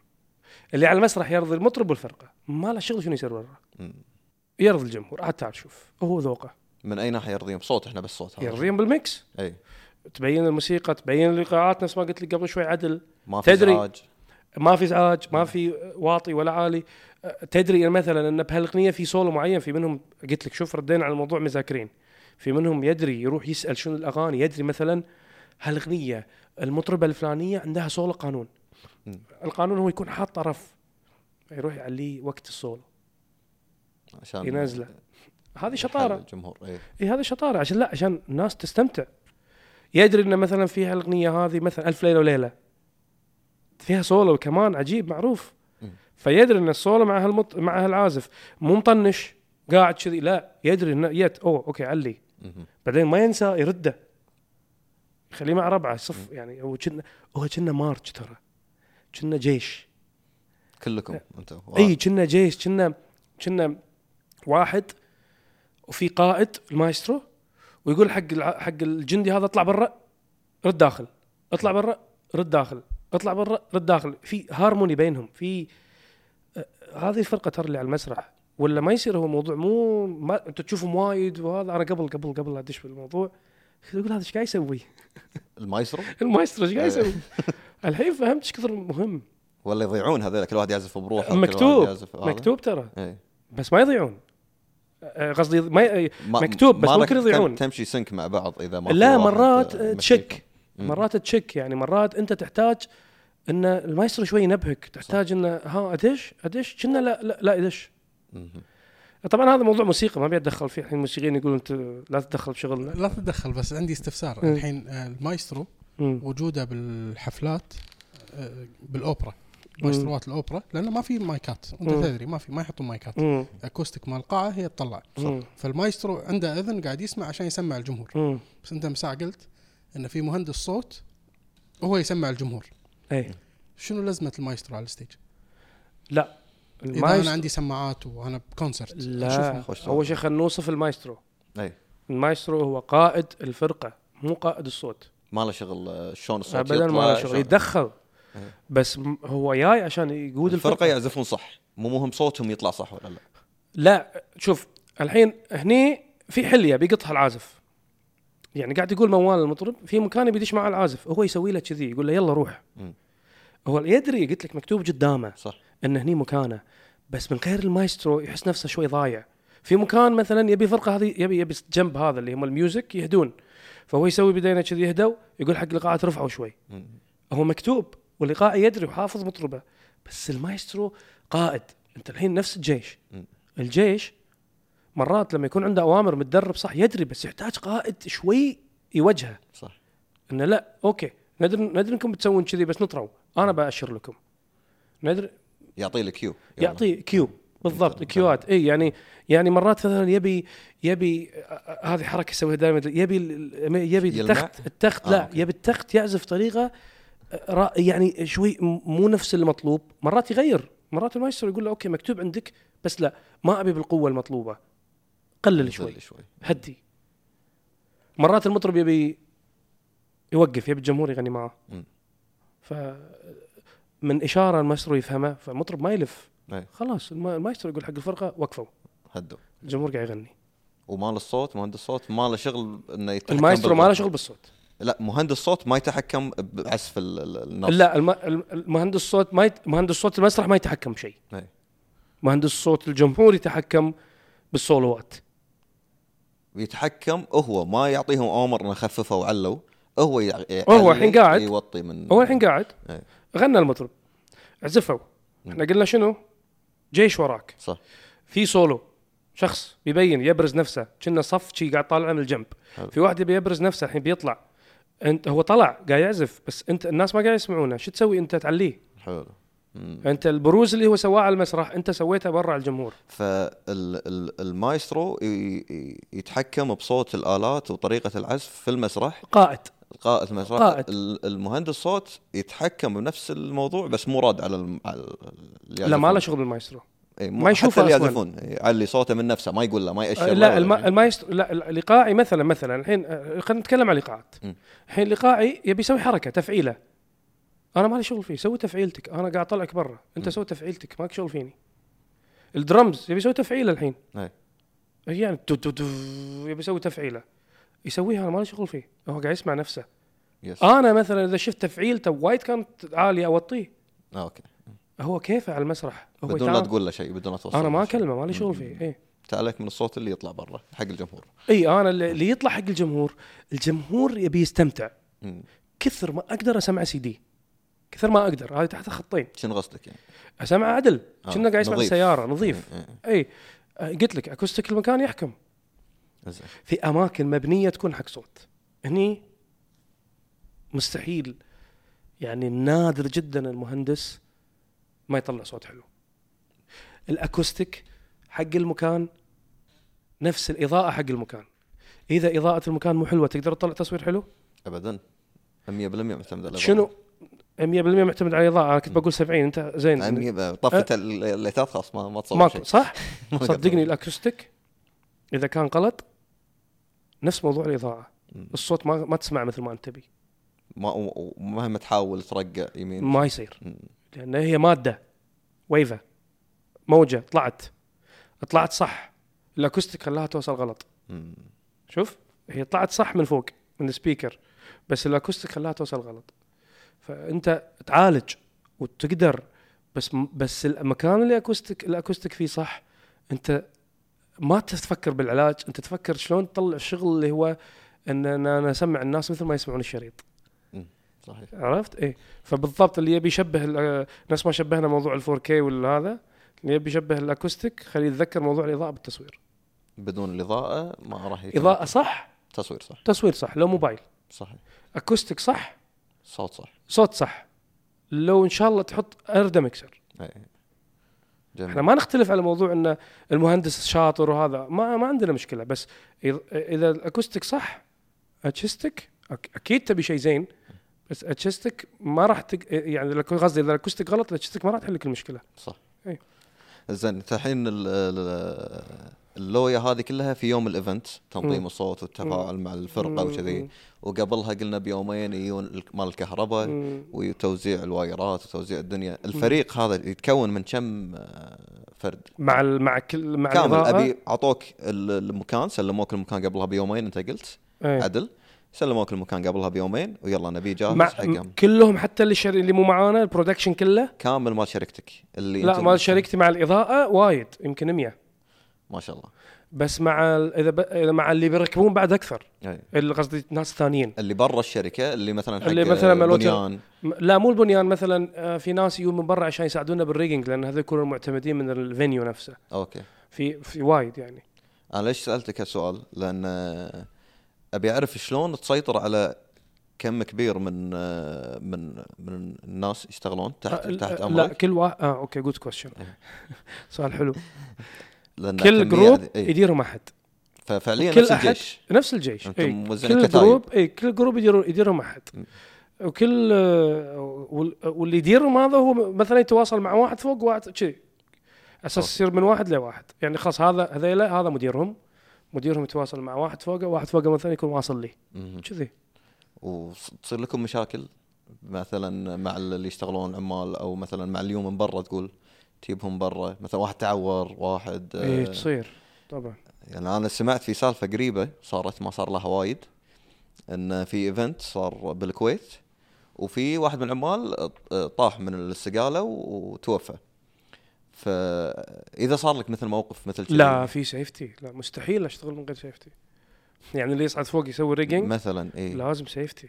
S1: اللي على المسرح يرضي المطرب والفرقه ما له شغل شنو يصير برا
S2: مم.
S1: يرضي الجمهور عاد تعال شوف هو ذوقه
S2: من اي ناحيه يرضيهم؟ صوت احنا بس صوت هذا.
S1: يرضيهم بالميكس
S2: اي
S1: تبين الموسيقى تبين الايقاعات نفس ما قلت لك قبل شوي عدل
S2: ما في
S1: تدري.
S2: ازعاج
S1: ما في ازعاج ما في واطي ولا عالي أه، تدري إن مثلا ان بهالاغنيه في سولو معين في منهم قلت لك شوف ردينا على الموضوع مذاكرين في منهم يدري يروح يسال شنو الاغاني يدري مثلا هالاغنيه المطربه الفلانيه عندها سولو قانون
S2: مم.
S1: القانون هو يكون حاط طرف يروح يعليه وقت السولو
S2: عشان
S1: ينزله. هذه
S2: يحل
S1: شطاره
S2: الجمهور اي
S1: اي هذا شطاره إيه، عشان لا عشان الناس تستمتع يدري ان مثلا فيها الاغنيه هذه مثلا الف ليله وليله فيها سولو كمان عجيب معروف
S2: مم.
S1: فيدري ان السولو مع هالمط... مع هالعازف مو مطنش قاعد كذي لا يدري انه يت اوه اوكي علي
S2: مهم.
S1: بعدين ما ينسى يرده يخليه مع ربعه صف يعني هو كنا هو كنا مارش ترى كنا جيش
S2: كلكم انت
S1: اي كنا جيش كنا كنا واحد وفي قائد المايسترو ويقول حق الع- حق الجندي هذا اطلع برا رد داخل اطلع برا رد داخل اطلع برا رد داخل في هارموني بينهم في آه، هذه الفرقه ترى اللي على المسرح ولا ما يصير هو موضوع مو ما انت تشوفهم وايد وهذا انا قبل قبل قبل لا ادش بالموضوع كنت اقول هذا ايش قاعد يسوي؟ <laughs>
S2: المايسترو
S1: المايسترو ايش قاعد
S2: إيه.
S1: يسوي؟ الحين فهمت ايش كثر مهم
S2: ولا يضيعون هذول كل واحد يعزف بروحه كل واحد
S1: مكتوب
S2: يعزف هذا.
S1: مكتوب ترى
S2: إيه.
S1: بس ما يضيعون آه، قصدي ما ي-
S2: ما-
S1: مكتوب، بس
S2: ما
S1: ممكن
S2: لك
S1: يضيعون.
S2: تم- تمشي سنك مع بعض اذا ما في
S1: لا
S2: واحد آه،
S1: مرات آه،
S2: مشي.
S1: تشك
S2: مم.
S1: مرات تشك يعني مرات انت تحتاج ان المايسترو شوي ينبهك تحتاج انه ها ادش ادش كنا لا لا, لا ادش
S2: مهم.
S1: طبعا هذا موضوع موسيقى ما ابي اتدخل فيه الحين الموسيقيين يقولون انت لا تتدخل بشغلنا
S3: لا تتدخل بس عندي استفسار
S1: مم.
S3: الحين آه، المايسترو
S1: مم.
S3: وجوده بالحفلات آه، بالاوبرا
S1: مم.
S3: مايستروات الاوبرا لانه ما في مايكات انت
S1: مم.
S3: تدري ما في ما يحطون مايكات
S1: مم.
S3: اكوستيك مال القاعه هي تطلع
S1: مم.
S3: فالمايسترو عنده اذن قاعد يسمع عشان يسمع الجمهور
S1: مم.
S3: بس انت مساع قلت ان في مهندس صوت هو يسمع الجمهور
S1: اي
S3: شنو لازمه المايسترو على الستيج؟
S1: لا
S3: اذا انا
S1: المايسترو
S3: عندي سماعات وانا بكونسرت
S1: لا
S3: أشوفهم.
S2: خوش
S1: اول شيء خلينا نوصف المايسترو
S2: اي
S1: المايسترو هو قائد الفرقه مو قائد الصوت
S2: ما له شغل آه، شلون الصوت
S1: ابدا ما له
S2: يطلع،
S1: شغل
S2: شلون-
S1: يتدخل
S2: إيه.
S1: بس م- هو جاي عشان يقود
S2: الفرقه
S1: الفرقه
S2: يعزفون صح مو مهم صوتهم يطلع صح ولا لا
S1: لا شوف الحين هني في حليه بيقطها العازف يعني قاعد يقول موال المطرب في مكان بيدش معه العازف هو يسوي له كذي يقول له يلا روح
S2: مم.
S1: هو يدري قلت لك مكتوب قدامه
S2: صح
S1: ان هني مكانه بس من غير المايسترو يحس نفسه شوي ضايع في مكان مثلا يبي فرقه هذه يبي يبي جنب هذا اللي هم الميوزك يهدون فهو يسوي بدينا كذي يهدوا يقول حق القاعه ترفعوا شوي
S2: مم.
S1: هو مكتوب والإيقاع يدري وحافظ مطربه بس المايسترو قائد انت الحين نفس الجيش
S2: مم.
S1: الجيش مرات لما يكون عنده اوامر متدرب صح يدري بس يحتاج قائد شوي يوجهه
S2: صح
S1: انه لا اوكي ندري ندري انكم بتسوون كذي بس نطروا انا باشر لكم ندري
S2: يعطي لك يعني كيو يلا.
S1: يعطي
S2: نعم.
S1: كيو بالضبط
S2: يمكن.
S1: كيوات اي يعني يعني مرات مثلا يبي يبي آه، آه، هذه حركه يسويها دائما يبي ال- يبي
S2: يلمع؟
S1: التخت التخت
S2: آه،
S1: لا
S2: أوكي.
S1: يبي التخت يعزف طريقه آه، را- يعني شوي م- مو نفس المطلوب مرات يغير مرات المايسترو يقول له اوكي مكتوب عندك بس لا ما ابي بالقوه المطلوبه قلل شوي
S2: شوي شوي
S1: هدي مرات المطرب يبي يوقف يبي الجمهور يغني معه
S2: مم.
S1: ف من اشاره المايسترو يفهمه فالمطرب ما يلف
S2: إيه.
S1: خلاص الما- المايسترو يقول حق الفرقه وقفوا
S2: هدوا
S1: الجمهور قاعد يغني
S2: ومال الصوت مهندس الصوت ما له شغل انه يتحكم
S1: المايسترو ما
S2: بالغ-
S1: له شغل بالصوت
S2: لا مهندس الصوت ما يتحكم بعزف ال- ال- النص
S1: لا الم... الم- المهندس الصوت ما يت... مهندس صوت المسرح ما يتحكم شيء
S2: إيه.
S1: مهندس صوت الجمهور يتحكم بالسولوات
S2: يتحكم هو ما يعطيهم اوامر انه خففوا وعلوا هو يع-
S1: هو
S2: يعلي،
S1: الحين قاعد.
S2: يوطي من
S1: هو الحين قاعد
S2: إيه.
S1: غنى المطرب عزفوا احنا قلنا شنو جيش وراك
S2: صح
S1: في سولو شخص بيبين يبرز نفسه كنا صف شي قاعد طالع من الجنب
S2: حلو.
S1: في واحد يبي يبرز نفسه الحين بيطلع انت هو طلع قاعد يعزف بس انت الناس ما قاعد يسمعونه شو تسوي انت تعليه
S2: حلو مم.
S1: انت البروز اللي هو سواه على المسرح انت سويته برا على الجمهور
S2: فالمايسترو يتحكم بصوت الالات وطريقه العزف في المسرح
S1: قائد
S2: قائد المسرح
S1: قائد.
S2: ال- المهندس صوت يتحكم بنفس الموضوع بس مو راد على, الم... على ال- اللي
S1: لا ما له
S2: يعزفون.
S1: شغل بالمايسترو
S2: إيه، مو-
S1: ما يشوفه
S2: حتى اللي
S1: أصلاً.
S2: يعزفون يعلي صوته من نفسه ما يقول له ما يأشر
S1: آه،
S2: له
S1: لا
S2: ولا
S1: الم...
S2: شيء.
S1: المايسترو لا ال- الايقاعي مثلا مثلا الحين آه، خلينا نتكلم عن الايقاعات
S2: مم.
S1: الحين الايقاعي يبي يسوي حركه تفعيله انا ما لي شغل فيه سوي تفعيلتك انا قاعد اطلعك برا انت سوي تفعيلتك ماك شغل فيني الدرمز يبي يسوي تفعيله الحين
S2: إيه.
S1: يعني تو تو تو يبي يسوي تفعيله يسويها انا ما لي شغل فيه هو قاعد يسمع نفسه
S2: يس. آه،
S1: انا مثلا اذا شفت تفعيلته وايد كانت عاليه اوطيه
S2: آه، اوكي
S1: هو كيفه على المسرح هو
S2: بدون لا
S1: يتعامل-
S2: تقول له شيء بدون لا توصل
S1: انا ما
S2: له شيء.
S1: اكلمه ما لي شغل فيه إيه. اي
S2: تعليك من الصوت اللي يطلع برا حق الجمهور
S1: اي انا إيه، اللي اللي يطلع حق الجمهور الجمهور يبي يستمتع
S2: مم.
S1: كثر ما اقدر اسمع سي دي كثر ما اقدر هذه تحت خطين
S2: شنو قصدك يعني؟
S1: اسمع عدل
S2: آه،
S1: كنا قاعد يسمع
S2: نظيف.
S1: السياره نظيف
S2: إيه،
S1: اي
S2: إيه،
S1: آه، قلت لك اكوستيك المكان يحكم
S2: زين.
S1: في اماكن مبنيه تكون حق صوت هني مستحيل يعني نادر جدا المهندس ما يطلع صوت حلو الاكوستيك حق المكان نفس الاضاءه حق المكان اذا اضاءه المكان مو حلوه تقدر تطلع تصوير حلو
S2: ابدا 100% معتمد على
S1: شنو 100% معتمد على الاضاءه انا كنت بقول 70 انت زين
S2: الوضع. 100% طفت ال- الليتات خلاص ما ما تصور
S1: أه. ماكو
S2: شيء
S1: صح
S2: ما قدر.
S1: صدقني الاكوستيك اذا كان غلط نفس موضوع الاضاءه
S2: مم.
S1: الصوت ما ما تسمع مثل ما انت تبي
S2: ما و- ومهما تحاول ترقع يمين
S1: ما يصير
S2: مم.
S1: لان هي ماده ويفه موجه طلعت طلعت صح الاكوستيك خلاها توصل غلط
S2: مم.
S1: شوف هي طلعت صح من فوق من السبيكر بس الاكوستيك خلاها توصل غلط فانت تعالج وتقدر بس بس المكان اللي اكوستيك الاكوستيك فيه صح انت ما تفكر بالعلاج انت تفكر شلون تطلع الشغل اللي هو ان انا أنا اسمع الناس مثل ما يسمعون الشريط
S2: صحيح
S1: عرفت ايه فبالضبط اللي يبي يشبه ال- نفس ما شبهنا موضوع ال 4K ولا هذا اللي يبي يشبه الاكوستيك خليه يتذكر موضوع الاضاءه بالتصوير
S2: بدون الاضاءه ما راح يكون
S1: اضاءه صح
S2: تصوير صح
S1: تصوير صح لو موبايل
S2: صحيح
S1: اكوستيك صح
S2: صوت صح
S1: صوت صح لو ان شاء الله تحط اردى مكسر
S2: إيه. جميل
S1: احنا ما نختلف على موضوع ان المهندس شاطر وهذا ما ما عندنا مشكله بس إذ- اذا الاكوستيك صح اتشستك أك- اكيد تبي شيء زين بس اتشستك ما راح تق... يعني الأكو- قصدي اذا الاكوستيك غلط الاتشستك ما راح تحل لك المشكله
S2: صح
S1: إيه.
S2: زين انت الحين ال- ال- اللويا هذه كلها في يوم الايفنت تنظيم
S1: مم.
S2: الصوت والتفاعل مع الفرقه وكذي وقبلها قلنا بيومين يجون ال- مال الكهرباء
S1: مم.
S2: وتوزيع الوايرات وتوزيع الدنيا الفريق هذا يتكون من كم آه، فرد
S1: مع ال... مع كل مع
S2: كامل
S1: الإضاءة.
S2: ابي اعطوك ال- المكان سلموك المكان قبلها بيومين انت قلت
S1: إيه.
S2: عدل سلموك المكان قبلها بيومين ويلا نبي جاهز
S1: مع...
S2: حقهم
S1: كلهم حتى اللي شر... اللي مو معانا البرودكشن كله
S2: كامل مال شركتك اللي
S1: لا
S2: أنت-
S1: مال شركتي مع الاضاءه وايد يمكن 100
S2: ما شاء الله
S1: بس مع ال- اذا ب... إذا مع اللي بيركبون بعد اكثر
S2: أي.
S1: اللي قصدي ناس ثانيين
S2: اللي برا الشركه اللي مثلا حق
S1: اللي مثلاً مالوتر-
S2: بنيان
S1: م- لا مو البنيان مثلا آه، في ناس يجون من برا عشان يساعدونا بالريجنج لان هذول يكونوا معتمدين من الفينيو نفسه
S2: اوكي
S1: في في وايد يعني
S2: انا ليش سالتك هالسؤال؟ لان آه، ابي اعرف شلون تسيطر على كم كبير من آه، من من الناس يشتغلون تحت
S1: آه،
S2: تحت إيه.
S1: آه، لا
S2: امرك
S1: كل واحد اه اوكي جود كويشن <laughs> سؤال حلو
S2: لأن
S1: كل
S2: كمية-
S1: جروب
S2: إيه،
S1: يديرهم احد
S2: ففعليا
S1: كل
S2: نفس
S1: أحد-
S2: الجيش
S1: نفس الجيش إيه.
S2: أنتم
S1: إي.
S2: موزعين
S1: كل
S2: كتايب.
S1: جروب اي كل جروب يديروا يديرهم احد
S2: م.
S1: وكل آه، وال- واللي يديرهم هذا هو مثلا يتواصل مع واحد فوق واحد كذي اساس
S2: أوكي.
S1: يصير من واحد لواحد يعني خلاص هذا هذيلا هذا مديرهم مديرهم يتواصل مع واحد فوقه واحد فوقه مثلا يكون واصل لي
S2: مهم.
S1: كذي
S2: وتصير لكم مشاكل مثلا مع اللي يشتغلون عمال او مثلا مع اليوم من برا تقول تجيبهم برا مثلا واحد تعور واحد آه،
S1: اي تصير طبعا
S2: يعني انا سمعت في سالفه قريبه صارت ما صار لها وايد ان في ايفنت صار بالكويت وفي واحد من العمال طاح من السقاله وتوفى فاذا صار لك مثل موقف مثل كذي،
S1: لا في سيفتي لا مستحيل اشتغل من غير سيفتي يعني اللي يصعد فوق يسوي ريجنج
S2: مثلا اي
S1: لازم سيفتي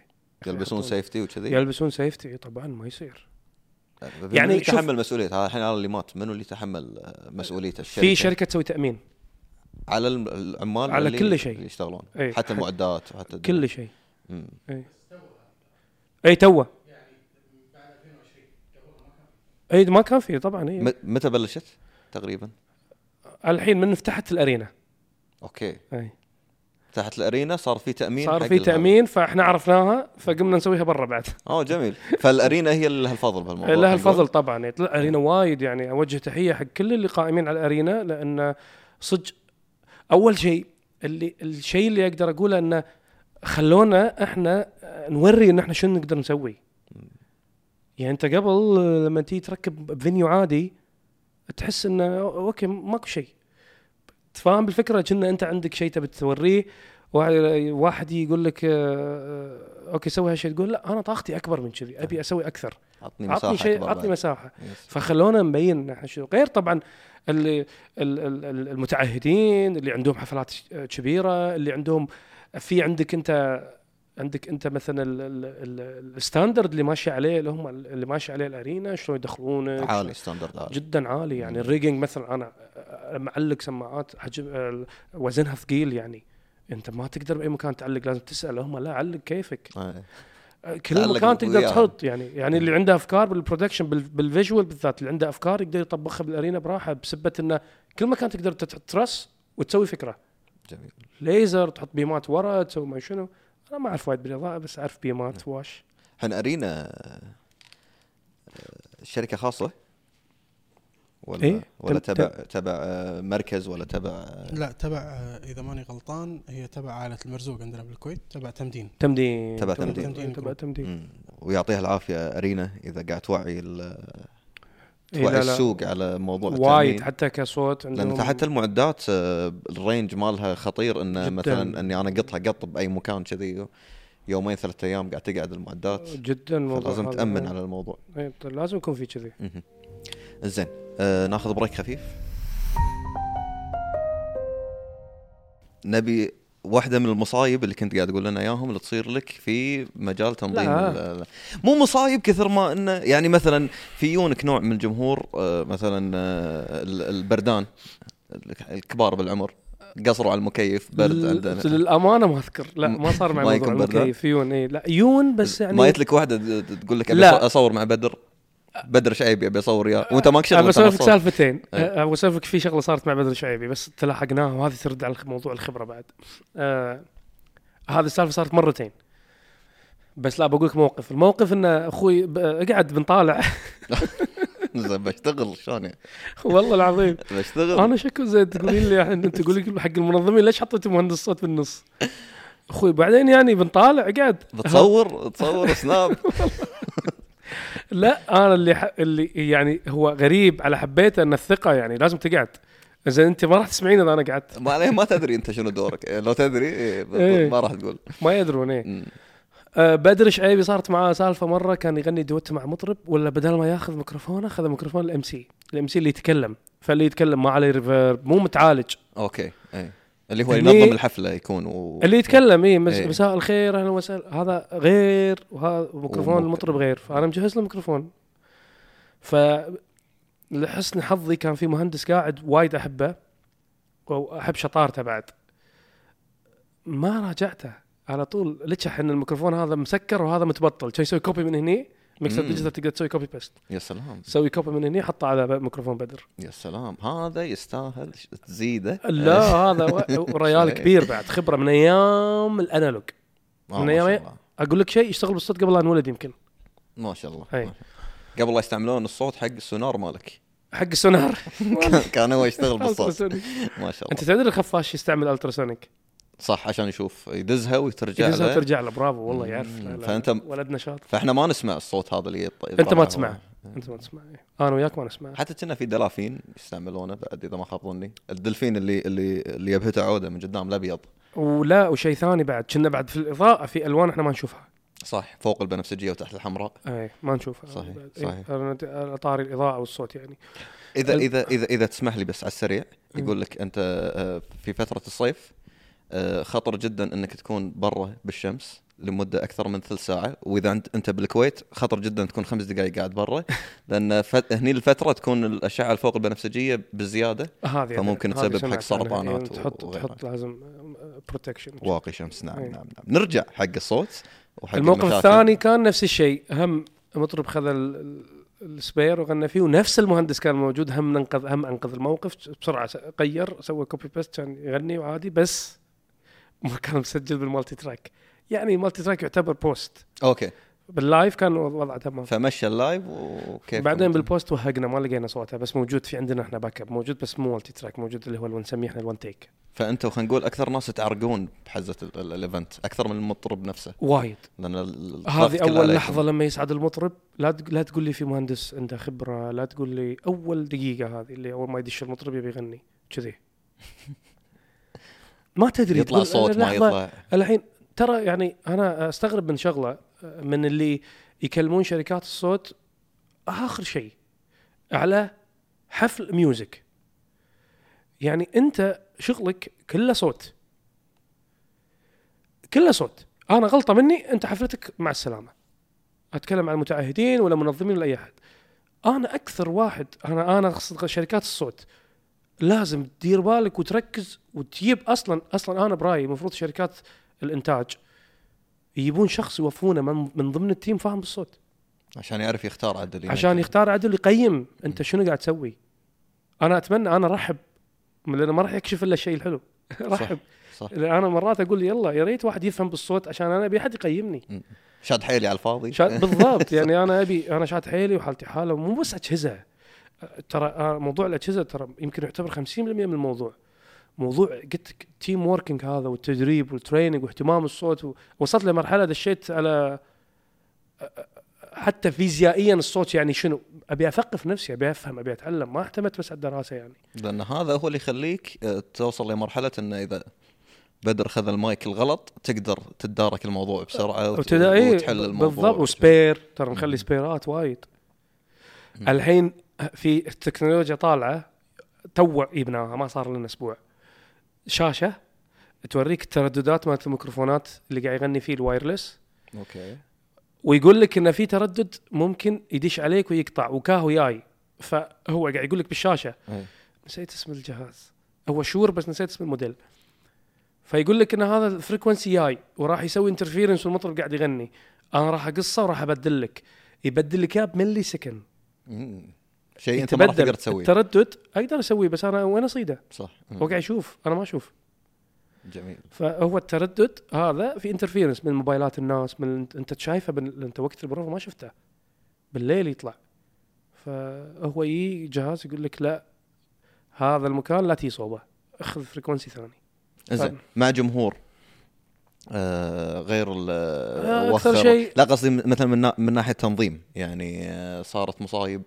S2: إيه، يلبسون سيفتي وكذي
S1: يلبسون سيفتي طبعا ما يصير يعني
S2: يعني
S1: شوف-
S2: يتحمل مسؤوليه هذا الحين انا اللي مات منو اللي يتحمل آه، مسؤوليه الشركه
S1: في شركه تسوي تامين
S2: على الم- العمال
S1: على
S2: اللي-
S1: كل شيء.
S2: اللي يشتغلون
S1: إي،
S2: حتى
S1: حق-
S2: المعدات وحتى
S1: كل شيء
S2: مم.
S1: اي إيه. توه اي إيه، ما كان فيه طبعا اي
S2: م- متى بلشت تقريبا
S1: الحين من فتحت الارينا
S2: اوكي
S1: اي
S2: تحت الارينا صار في تامين
S1: صار
S2: حق
S1: في
S2: الهواء.
S1: تامين فاحنا عرفناها فقمنا نسويها برا بعد
S2: اه جميل فالارينا هي اللي لها الفضل بهالموضوع
S1: لها الفضل طبعا يطلع الارينا وايد يعني اوجه تحيه حق كل اللي قائمين على الارينا لان صدق اول شيء اللي الشيء اللي اقدر اقوله انه خلونا احنا نوري ان احنا شنو نقدر نسوي يعني انت قبل لما تيجي تركب فينيو عادي تحس انه اوكي ماكو شيء تفهم بالفكره كأن انت عندك شيء تبي توريه وع- واحد يقول لك آه، اوكي سوي هالشيء تقول لا انا طاقتي اكبر من كذي ابي اسوي اكثر
S2: عطني
S1: عطني
S2: مساحه
S1: شيء
S2: أكبر
S1: عطني
S2: بعد.
S1: مساحه
S2: يس.
S1: فخلونا نبين إن احنا شو غير طبعا اللي ال- ال- ال- المتعهدين اللي عندهم حفلات ش- كبيره اللي عندهم في عندك انت عندك انت مثلا ال- ال- ال- الستاندرد اللي ماشي عليه اللي هم اللي ماشي عليه الارينا شلون يدخلونك
S2: عالي ستاندرد عالي
S1: جدا عالي يعني
S2: مم.
S1: الريجنج مثلا انا أ- أ- معلق سماعات حجم ال- وزنها ثقيل يعني انت ما تقدر باي مكان تعلق لازم تسال هم لا علق كيفك
S2: آه.
S1: كل
S2: تعلق
S1: مكان تقدر
S2: وياها.
S1: تحط يعني يعني اللي عنده افكار بالبرودكشن بال- بالفيجوال بالذات اللي عنده افكار يقدر يطبخها بالارينا براحه بسبه انه كل مكان تقدر انت تحط ترس وتسوي فكره
S2: جميل
S1: ليزر تحط بيمات ورا تسوي ما شنو انا ما اعرف وايد بالاضاءه بس اعرف بيمات واش
S2: الحين ارينا آه، شركه خاصه ولا
S1: إيه،
S2: ولا
S1: تب-
S2: تبع تبع آه، مركز ولا تبع آه،
S3: لا تبع آه، اذا ماني غلطان هي تبع عائله المرزوق عندنا بالكويت تبع تمدين
S1: تمدين
S2: تبع
S3: تمدين.
S1: تبع تمدين
S2: مم. ويعطيها العافيه ارينا اذا قاعد توعي ال-
S1: إيه، لا،
S2: توعي
S1: لا.
S2: السوق على موضوع
S1: وايد
S2: التأمين.
S1: حتى كصوت عندهم
S2: لان فحتى المعدات آه، الرينج مالها خطير انه
S1: جداً.
S2: مثلا اني انا قطها قط باي مكان كذي يومين ثلاثة ايام قاعد تقعد المعدات
S1: جدا الموضوع
S2: لازم
S1: هذا.
S2: تامن على الموضوع
S1: إيه، لازم يكون في كذي
S2: مهم. زين آه ناخذ بريك خفيف نبي واحده من المصايب اللي كنت قاعد اقول لنا اياهم اللي تصير لك في مجال تنظيم
S1: لا.
S2: ال- ال- مو مصايب كثر ما انه يعني مثلا في يونك نوع من الجمهور آه، مثلا آه، ال- البردان الكبار بالعمر قصروا على المكيف برد
S1: لل-
S2: عندنا
S1: للامانه ما اذكر لا ما صار معي
S2: ما
S1: موضوع
S2: يكون برد، لا؟
S1: المكيف يون اي لا يون بس يعني
S2: ما يتلك واحده ت- ت- تقول لك ابي
S1: لا.
S2: اصور مع بدر بدر شعيبي ابي اصور وياه وانت ما كشفت
S1: ابى
S2: وأنت ما
S1: اسولفك
S2: صورت.
S1: سالفتين
S2: إيه.
S1: ابى اسولفك في شغله صارت مع بدر الشعيبي بس تلاحقناها وهذه ترد على موضوع الخبره بعد آه هذه السالفه صارت مرتين بس لا بقول لك موقف الموقف ان اخوي ب- قاعد بنطالع <laughs>
S2: زين بشتغل شلون يعني
S1: والله العظيم
S2: بشتغل
S1: انا شكو زين تقولين لي الحين انت تقول لك حق المنظمين ليش حطيت مهندس صوت بالنص اخوي بعدين يعني بنطالع قاعد
S2: بتصور تصور سناب <laughs>
S1: لا انا اللي ح... اللي يعني هو غريب على حبيته ان الثقه يعني لازم تقعد زين انت ما راح تسمعين اذا انا قعدت
S2: ما عليه ما تدري انت شنو دورك إيه، لو تدري إيه، بالضبط،
S1: إيه.
S2: ما راح تقول
S1: ما يدرون ايه
S2: مم.
S1: آه، بدر شعيبي صارت معاه سالفه مره كان يغني دوت مع مطرب ولا بدل ما ياخذ ميكروفونه اخذ ميكروفون الام سي الام سي اللي يتكلم فاللي يتكلم ما عليه ريفيرب مو متعالج
S2: اوكي اي إيه. اللي هو
S1: اللي-
S2: ينظم الحفله يكون و...
S1: اللي يتكلم اي مس...
S2: إيه.
S1: مساء الخير اهلا وسهلا هذا غير وهذا ميكروفون
S2: ومك-
S1: المطرب غير فانا مجهز له ميكروفون ف لحسن حظي كان في مهندس قاعد وايد احبه واحب شطارته بعد ما راجعته على طول لتشح ان الميكروفون هذا مسكر وهذا متبطل كان يسوي كوبي من هني ميكسر
S2: مم.
S1: ديجيتال تقدر تسوي كوبي بيست
S2: يا سلام
S1: سوي كوبي من هني حطه على ب- ميكروفون بدر
S2: يا سلام هذا يستاهل ش- تزيده آه،
S1: لا
S2: <laughs>
S1: هذا و- وريال
S2: شوي.
S1: كبير بعد خبره من ايام الانالوج
S2: آه،
S1: من
S2: ما شاء
S1: أيام- إيه؟
S2: الله
S1: اقول لك شيء يشتغل بالصوت قبل لا انولد يمكن
S2: ما شاء الله
S1: إيه.
S2: ما شاء الله. قبل لا يستعملون الصوت حق السونار مالك
S1: <laughs> حق السونار
S2: كان هو يشتغل بالصوت
S1: ألتراسونيك.
S2: ما شاء
S1: انت
S2: الله
S1: تدري الخفاش يستعمل التراسونيك
S2: صح عشان يشوف يدزها وترجع
S1: يدزها
S2: له
S1: ترجع له برافو والله يعرف
S2: مم.
S1: لا لا
S2: فأنت-
S1: ولد نشاط
S2: فاحنا ما نسمع الصوت هذا اللي يط-
S1: انت
S2: يطلع
S1: ما
S2: هو.
S1: تسمع انت ما تسمع إيه. انا وياك ما نسمع
S2: حتى كنا في دلافين يستعملونه بعد اذا ما خاب ظني الدلفين اللي اللي اللي يبهته عوده من قدام الابيض
S1: ولا وشيء ثاني بعد كنا بعد في الاضاءه في الوان احنا ما نشوفها
S2: صح فوق البنفسجيه وتحت الحمراء
S1: اي ما نشوفها
S2: صحيح،
S1: بعد.
S2: صحيح.
S1: إيه، أنا- على طاري الاضاءه والصوت يعني
S2: اذا
S1: ال-
S2: اذا اذا اذا تسمح لي بس على السريع
S1: مم.
S2: يقول لك انت آه، في فتره الصيف آه، خطر جدا انك تكون برا بالشمس لمده اكثر من ثلث ساعه واذا عند- انت بالكويت خطر جدا تكون خمس دقائق قاعد
S1: <laughs>
S2: برا لان فت... هني الفتره تكون الاشعه اللي فوق البنفسجيه بالزياده
S1: هذه
S2: فممكن
S1: هذه
S2: تسبب حق
S1: سمعت عنها.
S2: سرطانات
S1: يعني تحط
S2: وغيرها.
S1: تحط لازم آه، بروتكشن
S2: واقي شمس نعم
S1: إيه.
S2: نعم, نعم. نرجع حق الصوت وحق
S1: الموقف
S2: المشاكل.
S1: الثاني كان نفس الشيء هم مطرب خذ ال- ال- السبير وغنى فيه ونفس المهندس كان موجود هم ننقذ هم انقذ الموقف بسرعه س- غير سوى كوبي بيست كان يغني وعادي بس ما كان مسجل بالمالتي تراك يعني المالتي تراك يعتبر بوست
S2: اوكي
S1: باللايف كان وضعه تمام
S2: فمشى اللايف وكيف
S1: بعدين بالبوست وهقنا ما لقينا صوته بس موجود في عندنا احنا باك اب موجود بس مو مالتي تراك موجود اللي هو اللي نسميه احنا الون تيك
S2: فانتوا خلينا نقول اكثر ناس تعرقون بحزه ال- ال- الايفنت اكثر من المطرب نفسه
S1: وايد
S2: لان ال- ال- الضغط
S1: هذه
S2: كله
S1: اول
S2: عليكم.
S1: لحظه لما يسعد المطرب لا تق- لا تقول لي في مهندس عنده خبره لا تقول لي اول دقيقه هذه اللي اول ما يدش المطرب يبي يغني كذي <laughs> ما تدري
S2: يطلع
S1: تقول
S2: صوت ما
S1: لحظة،
S2: يطلع
S1: الحين ترى يعني انا استغرب من شغله من اللي يكلمون شركات الصوت اخر شيء على حفل ميوزك يعني انت شغلك كله صوت كله صوت انا غلطه مني انت حفلتك مع السلامه اتكلم عن المتعهدين ولا منظمين ولا اي احد انا اكثر واحد انا انا اقصد شركات الصوت لازم تدير بالك وتركز وتجيب اصلا اصلا انا برايي المفروض شركات الانتاج يجيبون شخص يوفونه من, من ضمن التيم فاهم بالصوت
S2: عشان يعرف يختار عدل
S1: عشان يختار عدل يقيم انت شنو قاعد تسوي انا اتمنى انا ارحب لانه ما راح يكشف الا الشيء الحلو <laughs> رحب
S2: صح
S1: لأن انا مرات اقول يلا يا ريت واحد يفهم بالصوت عشان انا ابي احد يقيمني
S2: شاد حيلي على الفاضي
S1: شا... بالضبط يعني انا ابي انا شات حيلي وحالتي حاله مو بس اجهزه ترى آه، موضوع الاجهزه ترى يمكن يعتبر 50% من الموضوع موضوع قلت لك تيم ووركينج هذا والتدريب والتريننج واهتمام الصوت و... وصلت لمرحله دشيت على آه، حتى فيزيائيا الصوت يعني شنو ابي اثقف نفسي ابي افهم ابي اتعلم ما اعتمدت بس على الدراسه يعني
S2: لان هذا هو اللي يخليك آه، توصل لمرحله انه اذا بدر خذ المايك الغلط تقدر تدارك الموضوع بسرعه وت-
S1: وتدا إيه،
S2: وتحل الموضوع
S1: بالضبط وسبير ترى نخلي سبيرات وايد الحين في التكنولوجيا طالعه تو جبناها ما صار لنا اسبوع شاشه توريك الترددات مالت الميكروفونات اللي قاعد يغني فيه الوايرلس
S2: اوكي
S1: ويقول لك ان في تردد ممكن يدش عليك ويقطع وكاهو جاي فهو قاعد يقول لك بالشاشه
S2: إيه.
S1: نسيت اسم الجهاز هو شور بس نسيت اسم الموديل فيقول لك ان هذا الفريكونسي جاي وراح يسوي انترفيرنس والمطرب قاعد يغني انا راح اقصه وراح ابدل لك يبدل لك اياه بملي سكند
S2: مم. شيء انت إيه، ما راح تقدر تسويه
S1: التردد اقدر اسويه بس انا وين اصيده؟
S2: صح مم.
S1: هو قاعد يشوف انا ما اشوف
S2: جميل
S1: فهو التردد هذا في انترفيرنس من موبايلات الناس من انت شايفه بال... انت وقت البروفه ما شفته بالليل يطلع فهو يجي جهاز يقول لك لا هذا المكان لا تي صوبه اخذ فريكونسي ثاني طيب.
S2: زين مع جمهور آه غير ال-
S1: آه، أكثر
S2: وخر-
S1: شيء-
S2: لا قصدي من- مثلا من, نا- من ناحيه تنظيم يعني آه صارت مصايب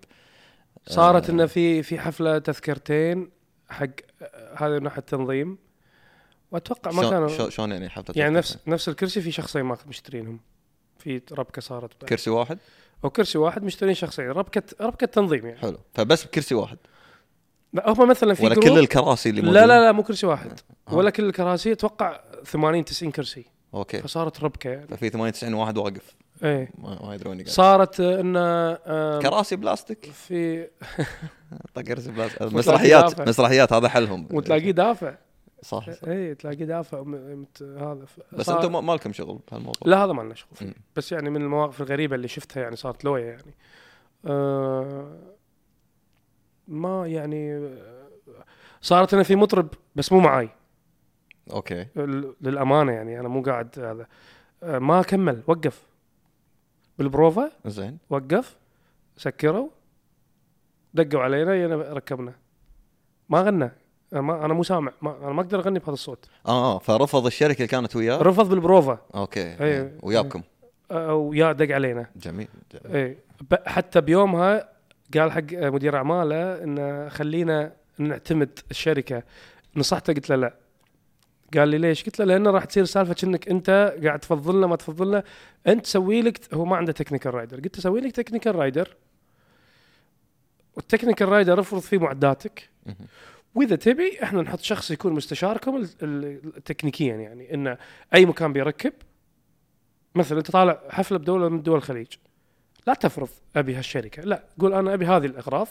S1: صارت
S2: آه.
S1: انه في في حفله تذكرتين حق آه، هذا من ناحيه التنظيم واتوقع ما
S2: شلون-
S1: كانوا
S2: شلون- شلون يعني حفله
S1: يعني نفس نفس الكرسي في شخصين ما مشترينهم في ربكه صارت بعد.
S2: كرسي واحد
S1: او كرسي واحد مشترين شخصين ربكه ربكه تنظيم يعني
S2: حلو فبس بكرسي واحد
S1: لا هم مثلا في
S2: ولا
S1: جروب-
S2: كل الكراسي اللي
S1: لا
S2: موجودة؟
S1: لا لا مو كرسي واحد
S2: آه.
S1: ولا كل الكراسي اتوقع 80 90 كرسي
S2: اوكي
S1: فصارت ربكه يعني
S2: ففي 98 واحد واقف
S1: ايه
S2: ما, ما يدرون وين قاعد.
S1: صارت آه، ان آه،
S2: كراسي بلاستيك
S1: في
S2: طق كرسي بلاستيك
S1: دافع.
S2: مسرحيات مسرحيات هذا حلهم
S1: وتلاقيه دافع
S2: صح
S1: ايه تلاقيه دافع وم- مت- هذا ف-
S2: بس
S1: صار-
S2: انتم ما- ما لكم شغل بهالموضوع
S1: لا هذا ما لنا شغل
S2: مم.
S1: فيه بس يعني من المواقف الغريبه اللي شفتها يعني صارت لويا يعني آه ما يعني آه، صارت انا في مطرب بس مو معاي
S2: اوكي
S1: ال- للامانه يعني انا مو قاعد هذا آه، ما كمل وقف بالبروفا
S2: زين
S1: وقف سكروا دقوا علينا يلا ركبنا ما غنى أنا ما انا مو سامع ما انا ما اقدر اغني بهذا الصوت
S2: اه آه، فرفض الشركه اللي كانت وياه
S1: رفض أيوه. بالبروفا
S2: اوكي
S1: أي.
S2: وياكم
S1: آه، ويا دق علينا
S2: جميل جميل.
S1: اي إيه. ب- حتى بيومها قال حق مدير اعماله انه خلينا نعتمد الشركه نصحته قلت له لا قال لي ليش؟ قلت له لانه راح تصير سالفه انك انت قاعد تفضلنا ما تفضلنا انت سوي لك هو ما عنده تكنيكال رايدر قلت له سوي لك تكنيكال رايدر والتكنيكال رايدر افرض فيه معداتك
S2: مهم.
S1: واذا تبي احنا نحط شخص يكون مستشاركم ال- ال- تكنيكيا يعني انه اي مكان بيركب مثلا انت طالع حفله بدوله من دول الخليج لا تفرض ابي هالشركه لا قول انا ابي هذه الاغراض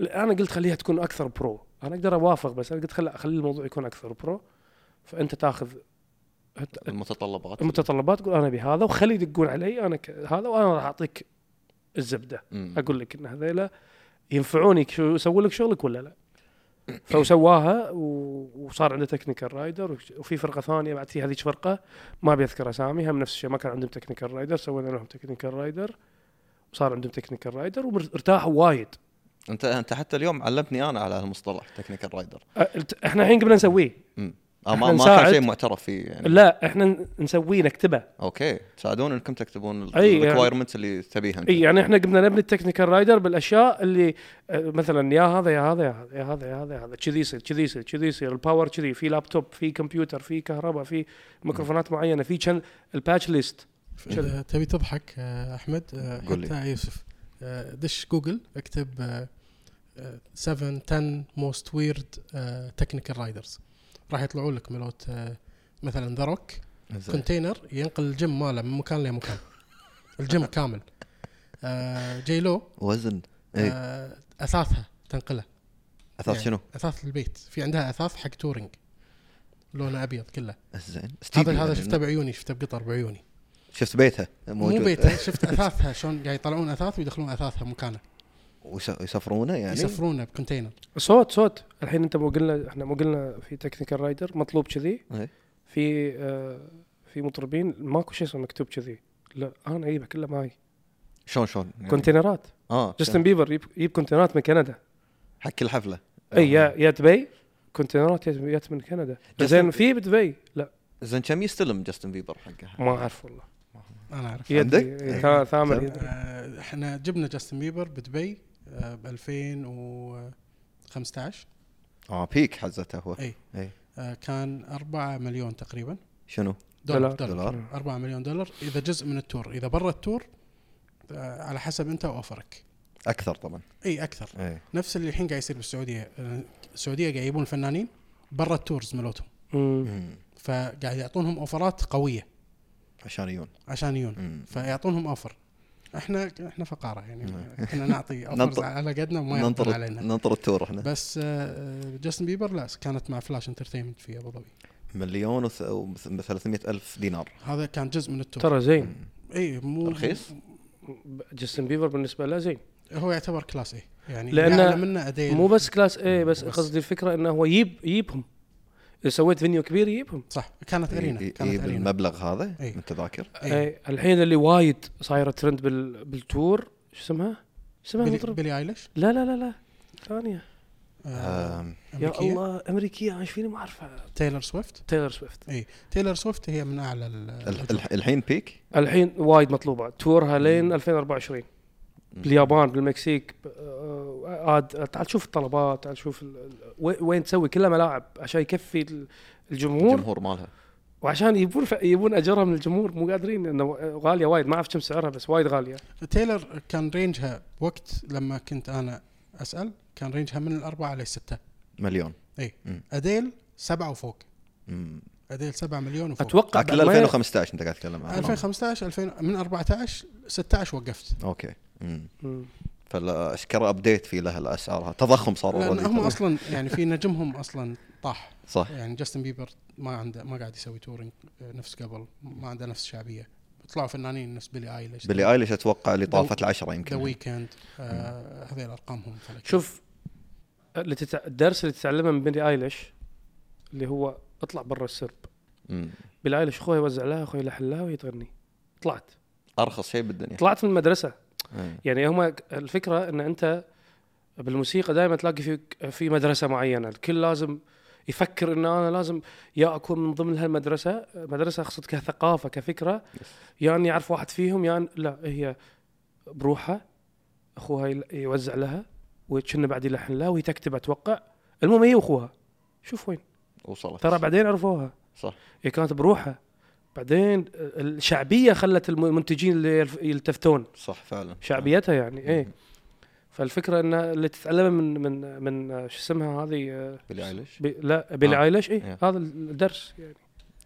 S1: انا قلت خليها تكون اكثر برو انا اقدر اوافق بس انا قلت خلي خلي الموضوع يكون اكثر برو فانت تاخذ هت-
S2: المتطلبات
S1: المتطلبات تقول انا ابي هذا وخلي يدقون علي انا ك- هذا وانا راح اعطيك الزبده
S2: مم.
S1: اقول لك ان هذيلا ينفعوني شو يسوون لك شغلك ولا لا فسواها و- وصار عنده تكنيكال رايدر وفي فرقه ثانيه بعد في هذيك فرقه ما ابي اذكر اساميها نفس الشيء ما كان عندهم تكنيكال رايدر سوينا لهم تكنيكال رايدر وصار عندهم تكنيكال رايدر وارتاحوا وايد
S2: انت انت حتى اليوم علمتني انا على هالمصطلح تكنيكال رايدر
S1: أ- احنا الحين قبل نسويه
S2: آه
S1: إحنا
S2: ما, ما كان
S1: نساعد.
S2: شيء معترف فيه يعني
S1: لا احنا ن- نسويه نكتبه
S2: اوكي تساعدون انكم تكتبون
S1: أي، يعني-
S2: الريكوايرمنت اللي تبيها
S1: اي يعني احنا قمنا نبني التكنيكال رايدر بالاشياء اللي آه، مثلا يا هذا يا هذا يا هذا يا هذا يا هذا يا هذا كذي يصير كذي يصير كذي يصير الباور كذي في لابتوب في كمبيوتر في كهرباء في ميكروفونات معينه في كان الباتش ليست
S3: إذا تبي تضحك آه، احمد آه،
S2: قول لي.
S3: حتى يوسف آه، دش جوجل اكتب آه، آه، 7 10 موست ويرد تكنيكال رايدرز آه، راح يطلعوا لك ملوت آه، مثلا ذا روك
S2: زين.
S3: كونتينر ينقل الجيم ماله من مكان لمكان الجيم كامل آه، جاي لو
S2: وزن اي
S3: آه، اثاثها تنقله
S2: اثاث
S3: يعني
S2: شنو؟
S3: اثاث البيت في عندها اثاث حق تورينج لونه ابيض كله
S2: زين
S3: هذا
S2: ستيفن
S3: هذا
S2: يعني
S3: شفته بعيوني شفته بقطر بعيوني
S2: شفت بيتها موجود
S3: مو بيته شفت اثاثها شلون قاعد يطلعون اثاث ويدخلون اثاثها مكانه
S2: ويسافرونه يعني
S3: يسفرونه بكونتينر
S1: صوت صوت الحين انت مو قلنا احنا مو قلنا في تكنيكال رايدر مطلوب كذي
S2: إي.
S1: في آه، في مطربين ماكو شيء اسمه مكتوب كذي لا انا اجيبه كله معي
S2: شلون شلون؟ يعني-
S1: كونتينرات
S2: اه
S1: جاستن
S2: جاستن
S1: بيبر يجيب- يجيب كونتينرات من كندا
S2: حق كل حفله
S1: اي يا يا دبي كونتينرات يا- جت من كندا زين في بدبي لا آه.
S2: زين كم يستلم جاستن بيبر حقه؟
S1: ما اعرف والله
S3: انا اعرف
S1: يدري.
S2: عندك؟
S1: إيه،
S2: إيه.
S1: تا- ثامر
S2: زين.
S1: يدري.
S3: آه، احنا جبنا جاستن بيبر بدبي آه، ب 2015
S2: اه بيك حزتها هو
S3: اي
S2: اي
S3: آه، كان 4 مليون تقريبا
S2: شنو؟
S3: دولار
S1: دولار.
S3: دولار
S2: دولار.
S3: 4 مليون دولار اذا جزء من التور اذا برا التور آه، على حسب انت واوفرك
S2: اكثر طبعا
S3: اي اكثر
S2: اي
S3: نفس اللي الحين قاعد يصير بالسعوديه آه، السعوديه قاعد يجيبون فنانين برا التورز ملوتهم
S1: مم.
S2: مم.
S3: فقاعد يعطونهم اوفرات قويه
S2: عشان يجون
S3: عشان يجون
S2: مم.
S3: فيعطونهم اوفر احنا احنا فقاره يعني
S2: نعم.
S3: كنا
S2: <laughs>
S3: نعطي اوفرز
S2: ننطر-
S3: على قدنا وما يعطون
S2: ننطر
S3: علينا
S2: ننطر التور احنا
S3: بس آه، جاستن بيبر لا كانت مع فلاش انترتينمنت في ابو ظبي
S2: مليون و 300 الف دينار
S3: هذا كان جزء من التور
S1: ترى زين
S3: اي مو
S2: رخيص؟
S1: جاستن بيبر بالنسبه له زين
S3: هو يعتبر كلاس اي يعني
S1: لأن-
S3: لانه منه ادين
S1: مو بس كلاس اي بس
S3: بس-
S1: قصدي الفكره انه هو يجيب يجيبهم اذا سويت فينيو كبير يجيبهم
S3: صح كانت ارينا
S2: إي- إي
S3: كانت ارينا
S2: بالمبلغ هذا
S3: إي.
S2: من تذاكر
S3: إيه.
S1: إيه. الحين اللي وايد صايره ترند بال... بالتور شو اسمها؟ شو اسمها
S3: بيلي,
S1: المطرب؟
S3: بيلي ايليش
S1: لا لا لا لا ثانيه
S3: آه
S2: آم،
S1: يا
S3: أمريكية.
S1: الله امريكيه انا ايش فيني ما اعرفها
S3: تايلر سويفت
S1: تايلر سويفت
S3: تايلر سويفت هي من اعلى ال-
S2: ال- ال- الحين بيك
S1: الحين وايد مطلوبه تورها لين 2024
S2: مم.
S1: باليابان بالمكسيك ب- آه، عاد تعال شوف الطلبات تعال شوف ال- ال- وين- وين تسوي كلها ملاعب عشان يكفي ال- الجمهور
S2: الجمهور مالها
S1: وعشان يبون ف- يبون اجرها من الجمهور مو قادرين انه غاليه وايد ما اعرف كم سعرها بس وايد غاليه
S3: تايلر كان رينجها وقت لما كنت انا اسال كان رينجها من الاربعه للسته
S2: مليون
S3: اديل سبعه وفوق
S2: مم.
S3: اديل 7 مليون وفوق
S1: اتوقع
S2: اكل
S1: بعد ما-
S2: 2015 انت قاعد تتكلم عنه
S3: 2015 2000 من 14 16 وقفت
S2: اوكي مم.
S1: مم.
S2: فالاشكال ابديت في لها الاسعار تضخم صار
S3: لان
S2: already. <laughs>
S3: هم اصلا يعني في نجمهم اصلا طاح
S2: صح
S3: يعني جاستن بيبر ما عنده ما قاعد يسوي تورنج نفس قبل ما عنده نفس الشعبيه طلعوا فنانين نفس بيلي ايليش
S2: بيلي ايليش اتوقع اللي
S3: The-
S2: طافت العشره
S3: ذا
S2: يمكن
S3: ويكند آه هذيل ارقامهم فلك.
S1: شوف اللي تتع... الدرس اللي تتعلمه من بيلي ايليش اللي هو اطلع برا السرب
S2: مم.
S1: بيلي ايليش اخوي وزع لها اخوي لحن لها وهي تغني طلعت
S2: ارخص شيء بالدنيا
S1: طلعت من المدرسه
S2: إيه.
S1: يعني هما الفكره ان انت بالموسيقى دائما تلاقي في في مدرسه معينه الكل لازم يفكر ان انا لازم يا اكون من ضمن هالمدرسه مدرسه اقصد كثقافه كفكره يا اني اعرف واحد فيهم يا أن... لا هي بروحها اخوها يل- يوزع لها وكنا بعد يلحن لها وهي تكتب اتوقع المهم هي واخوها شوف وين
S2: وصلت
S1: ترى بعدين عرفوها
S2: صح
S1: هي كانت بروحها بعدين الشعبيه خلت المنتجين اللي يلف- يلتفتون
S2: صح فعلا
S1: شعبيتها يعني ايه
S2: مم.
S1: فالفكره ان اللي تتعلمه من من من آه، شو اسمها هذه آه،
S2: بيلي ايليش
S1: بي لا بيلي
S2: آه.
S1: ايليش اي
S2: إيه.
S1: هذا الدرس يعني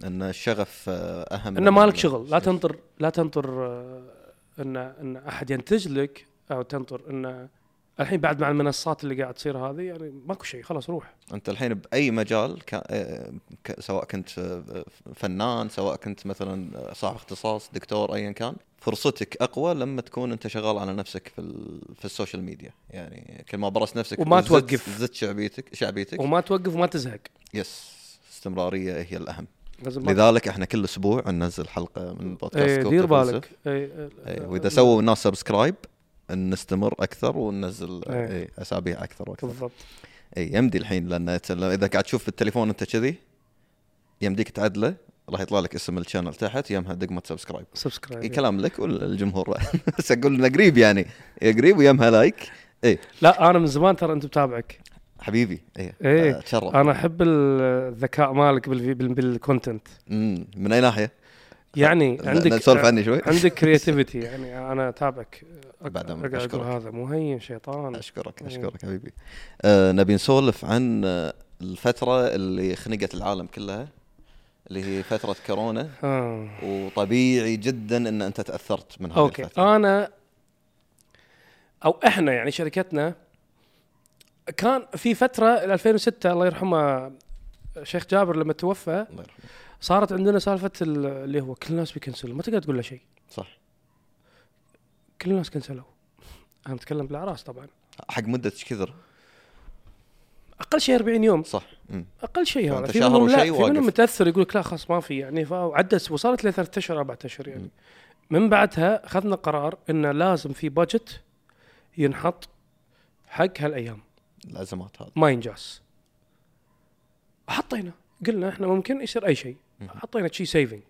S2: ان الشغف آه، اهم
S1: انه
S2: من
S1: مالك
S2: ال-
S1: شغل لا تنطر لا تنطر آه، ان ان احد ينتج لك او تنطر ان الحين بعد مع المنصات اللي قاعد تصير هذه يعني ماكو شيء خلاص روح
S2: انت الحين باي مجال ك... آه، ك... سواء كنت آه، فنان سواء كنت مثلا آه، صاحب اختصاص دكتور ايا كان فرصتك اقوى لما تكون انت شغال على نفسك في ال... في السوشيال ميديا يعني كل ما برست نفسك
S1: وما
S2: وزدت-
S1: توقف.
S2: زدت شعبيتك شعبيتك
S1: وما توقف وما تزهق
S2: يس استمراريه هي الاهم
S1: لازم ما-
S2: لذلك احنا كل اسبوع ننزل حلقه من بودكاست
S1: إيه،
S2: كوكب
S1: دير
S2: فلسف.
S1: بالك إيه، آه،
S2: إيه،
S1: آه،
S2: واذا سووا الناس سبسكرايب نستمر اكثر وننزل
S1: إيه.
S2: إيه، اسابيع اكثر واكثر
S1: بالضبط
S2: اي إيه، يمدي الحين لان ت- لو- اذا قاعد تشوف بالتليفون انت كذي يمديك تعدله راح يطلع لك اسم الشانل تحت يمها دقمه سبسكرايب اي
S1: سبسكرايب
S2: كلام لك والجمهور <laughs> بس اقول انه قريب يعني إيه، قريب ويمها لايك
S1: لا انا من زمان ترى انت متابعك
S2: حبيبي آه، اي
S1: إيه.
S2: اتشرف
S1: انا احب الذكاء مالك بالفي- بال- بالكونتنت
S2: مم، من اي ناحيه؟
S1: يعني
S2: ن-
S1: عندك
S2: نسولف عني شوي
S1: عندك
S2: <laughs>
S1: كرياتيفيتي يعني انا اتابعك أق-
S2: بعد عمرك،
S1: أقعد أقول
S2: أشكرك.
S1: هذا مهين شيطان
S2: اشكرك
S1: إيه.
S2: اشكرك حبيبي آه نبي نسولف عن آه، الفتره اللي خنقت العالم كلها اللي هي فتره كورونا
S1: آه.
S2: وطبيعي جدا ان انت تاثرت من هذه
S1: اوكي
S2: الفتره
S1: انا او احنا يعني شركتنا كان في فتره 2006 الله يرحمه شيخ جابر لما توفى
S2: الله يرحمه
S1: صارت عندنا سالفه ال- اللي هو كل الناس بيكنسل ما تقدر تقول له شيء
S2: صح
S1: كل الناس كنسلوا انا اتكلم بالاعراس طبعا
S2: حق مده ايش كثر
S1: اقل شيء 40 يوم
S2: صح مم.
S1: اقل شيء هذا
S2: فأنت
S1: في
S2: شهر
S1: منهم لا
S2: وشيء
S1: في منهم
S2: واقف.
S1: متاثر يقول لك لا خلاص ما في يعني فعدت وصلت لثلاث اشهر اربع اشهر يعني من بعدها اخذنا قرار انه لازم في بادجت ينحط حق هالايام
S2: الازمات هذه
S1: ما ينجاس حطينا قلنا احنا ممكن يصير اي شيء حطينا شيء سيفنج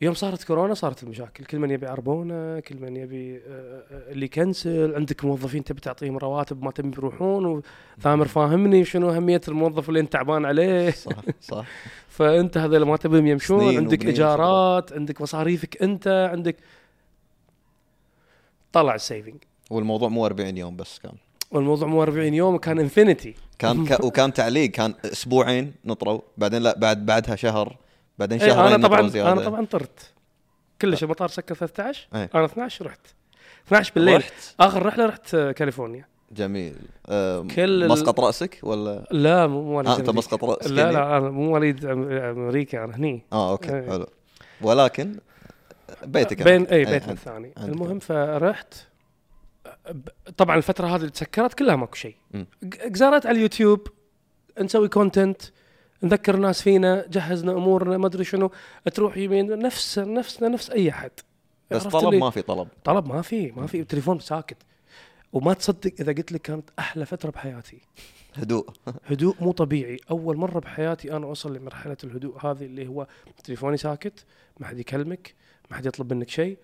S1: يوم صارت كورونا صارت المشاكل كل من يبي عربونه كل من يبي آه، آه، اللي يكنسل عندك موظفين تبي تعطيهم رواتب ما تبي يروحون وثامر فاهمني شنو اهميه الموظف اللي انت تعبان عليه
S2: صح صح
S1: فانت هذا اللي ما تبيهم يمشون
S2: سنين
S1: عندك
S2: وبنين
S1: ايجارات عندك مصاريفك انت عندك طلع السيفنج
S2: والموضوع مو 40 يوم بس كان
S1: والموضوع مو 40 يوم كان انفينيتي
S2: كان ك... وكان تعليق كان اسبوعين نطروا بعدين لا بعد بعدها شهر بعدين
S1: إيه،
S2: شهرين
S1: انا طبعا
S2: نطروا زياده
S1: انا طبعا طرت كلش المطار سكر 13
S2: إيه.
S1: انا 12 رحت 12 بالليل رحت.
S2: رحت
S1: اخر رحله رحت آه، كاليفورنيا
S2: جميل آه
S1: كل ال-
S2: مسقط راسك ولا
S1: لا مو مواليد
S2: آه انت
S1: أمريكا.
S2: مسقط راسك
S1: لا
S2: يعني؟
S1: لا انا مو مواليد أم- امريكا انا هني
S2: اه اوكي
S1: إيه.
S2: حلو ولكن بيتك
S1: بين إيه،
S2: أنت.
S1: اي بيتنا
S2: عند-
S1: الثاني
S2: عندك.
S1: المهم فرحت ب- طبعا الفتره هذه اللي تسكرت كلها ماكو شيء
S2: مم.
S1: ق- قزرت على اليوتيوب نسوي كونتنت نذكر الناس فينا جهزنا امورنا ما ادري شنو تروح يمين نفس نفسنا نفس اي احد
S2: بس
S1: عرفت
S2: طلب
S1: اللي-
S2: ما في طلب
S1: طلب ما في ما في التليفون ساكت وما تصدق اذا قلت لك كانت احلى فتره بحياتي
S2: هدوء
S1: هدوء مو طبيعي اول مره بحياتي انا اوصل لمرحله الهدوء هذه اللي هو تليفوني ساكت ما حد يكلمك ما حد يطلب منك شيء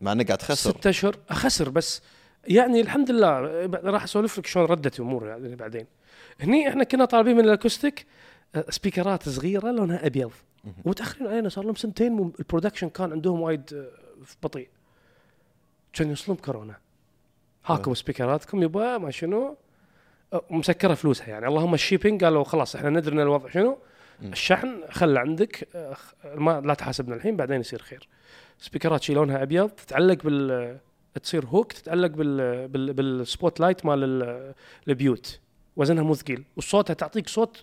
S2: مع انك قاعد تخسر
S1: ست اشهر اخسر بس يعني الحمد لله بعد- راح اسولف لك شلون ردت الامور يعني بعدين هني احنا كنا طالبين من الاكوستيك آه، سبيكرات صغيره لونها ابيض ومتاخرين علينا صار لهم سنتين مم- البرودكشن كان عندهم وايد آه، في بطيء كان يوصلهم كورونا هاكم سبيكراتكم يبا ما شنو آه، مسكره فلوسها يعني اللهم الشيبينج قالوا خلاص احنا ندري ان الوضع شنو الشحن خلى عندك آه، خ- ما لا تحاسبنا الحين بعدين يصير خير سبيكرات شي لونها ابيض تتعلق بال تصير هوك تتعلق بال, بال... بالسبوت لايت مال ال- البيوت وزنها مو ثقيل وصوتها تعطيك صوت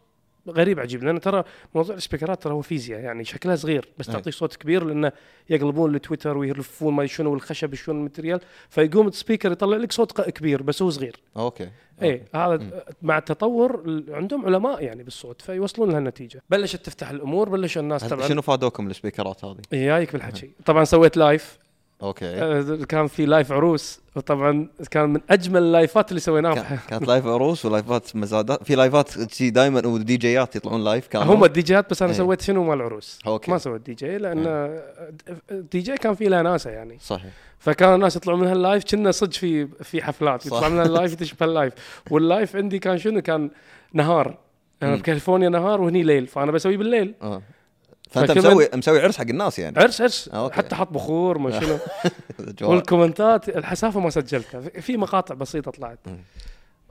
S1: غريب عجيب لان ترى موضوع السبيكرات ترى هو فيزياء يعني شكلها صغير بس
S2: أي.
S1: تعطيك صوت كبير لانه يقلبون لتويتر ويلفون ما شنو والخشب شنو الماتريال فيقوم السبيكر يطلع لك صوت ق- كبير بس هو صغير
S2: اوكي
S1: اي هذا مع التطور ال- عندهم علماء يعني بالصوت فيوصلون لهالنتيجه بلشت تفتح الامور بلش الناس
S2: هل-
S1: طبعا
S2: شنو فادوكم السبيكرات هذه؟
S1: جايك بالحكي طبعا سويت لايف
S2: اوكي
S1: آه، كان في لايف عروس وطبعا كان من اجمل اللايفات اللي سويناها
S2: كان- كانت لايف عروس ولايفات مزادات في لايفات شي دائما ودي جيات يطلعون لايف كانوا
S1: هم الدي جيات بس انا
S2: إيه.
S1: سويت شنو مال العروس
S2: أوكي. إيه.
S1: ما سويت دي جي لان آه، الدي جي كان في له ناسه يعني
S2: صحيح
S1: فكان الناس يطلعون من هاللايف كنا صدق في في حفلات
S2: صح.
S1: يطلع من هاللايف تشبه
S2: <laughs>
S1: اللايف واللايف عندي كان شنو كان نهار انا
S2: مم.
S1: بكاليفورنيا نهار وهني ليل فانا بسويه بالليل
S2: آه. فانت
S1: فكمان-
S2: مسوي مسوي عرس حق الناس يعني
S1: عرس عرس
S2: آه، أوكي.
S1: حتى حط بخور
S2: <laughs>
S1: ما شنو
S2: جوال.
S1: والكومنتات الحسافه ما سجلتها في مقاطع بسيطه طلعت
S2: مم.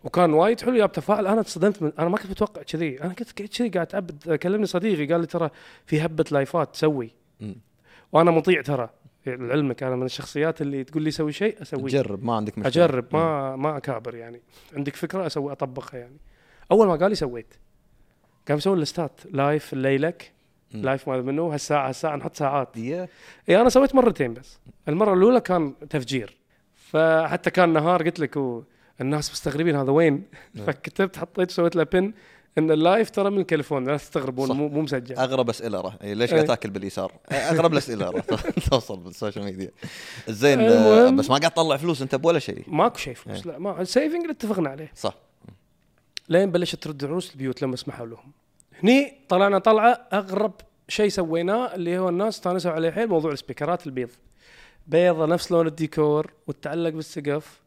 S1: وكان وايد حلو يا تفاعل انا تصدمت من انا ما كنت متوقع كذي انا كنت قاعد كذي قاعد ابد كلمني صديقي قال لي ترى في هبه لايفات تسوي
S2: مم.
S1: وانا مطيع ترى لعلمك انا من الشخصيات اللي تقول لي سوي شيء اسويه
S2: جرب ما عندك مشكله
S1: اجرب ما ما اكابر يعني عندك فكره اسوي اطبقها يعني اول ما قال لي سويت قام سوي الاستات لايف ليلك
S2: مم.
S1: لايف ما منو هالساعه هالساعه نحط ساعات
S2: ديه
S1: اي انا إيه، سويت مرتين بس المره الاولى كان تفجير فحتى كان نهار قلت لك و- الناس مستغربين هذا وين <laughs> فكتبت حطيت سويت له بن ان اللايف ترى من الكاليفورنيا لا تستغربون
S2: صح.
S1: مو مو مسجل
S2: اغرب اسئله راح إيه، ليش
S1: إيه.
S2: قاعد تاكل باليسار؟ إيه، اغرب الاسئله راح <laughs> توصل بالسوشيال ميديا زين آه،
S1: المهم.
S2: بس ما قاعد تطلع فلوس انت بولا شيء
S1: ماكو شيء فلوس لا ما السيفنج اللي اتفقنا عليه
S2: صح
S1: لين بلشت ترد عروس البيوت لما سمحوا لهم هني طلعنا طلعه اغرب شيء سويناه اللي هو الناس استانسوا عليه حيل موضوع السبيكرات البيض بيضه نفس لون الديكور وتتعلق بالسقف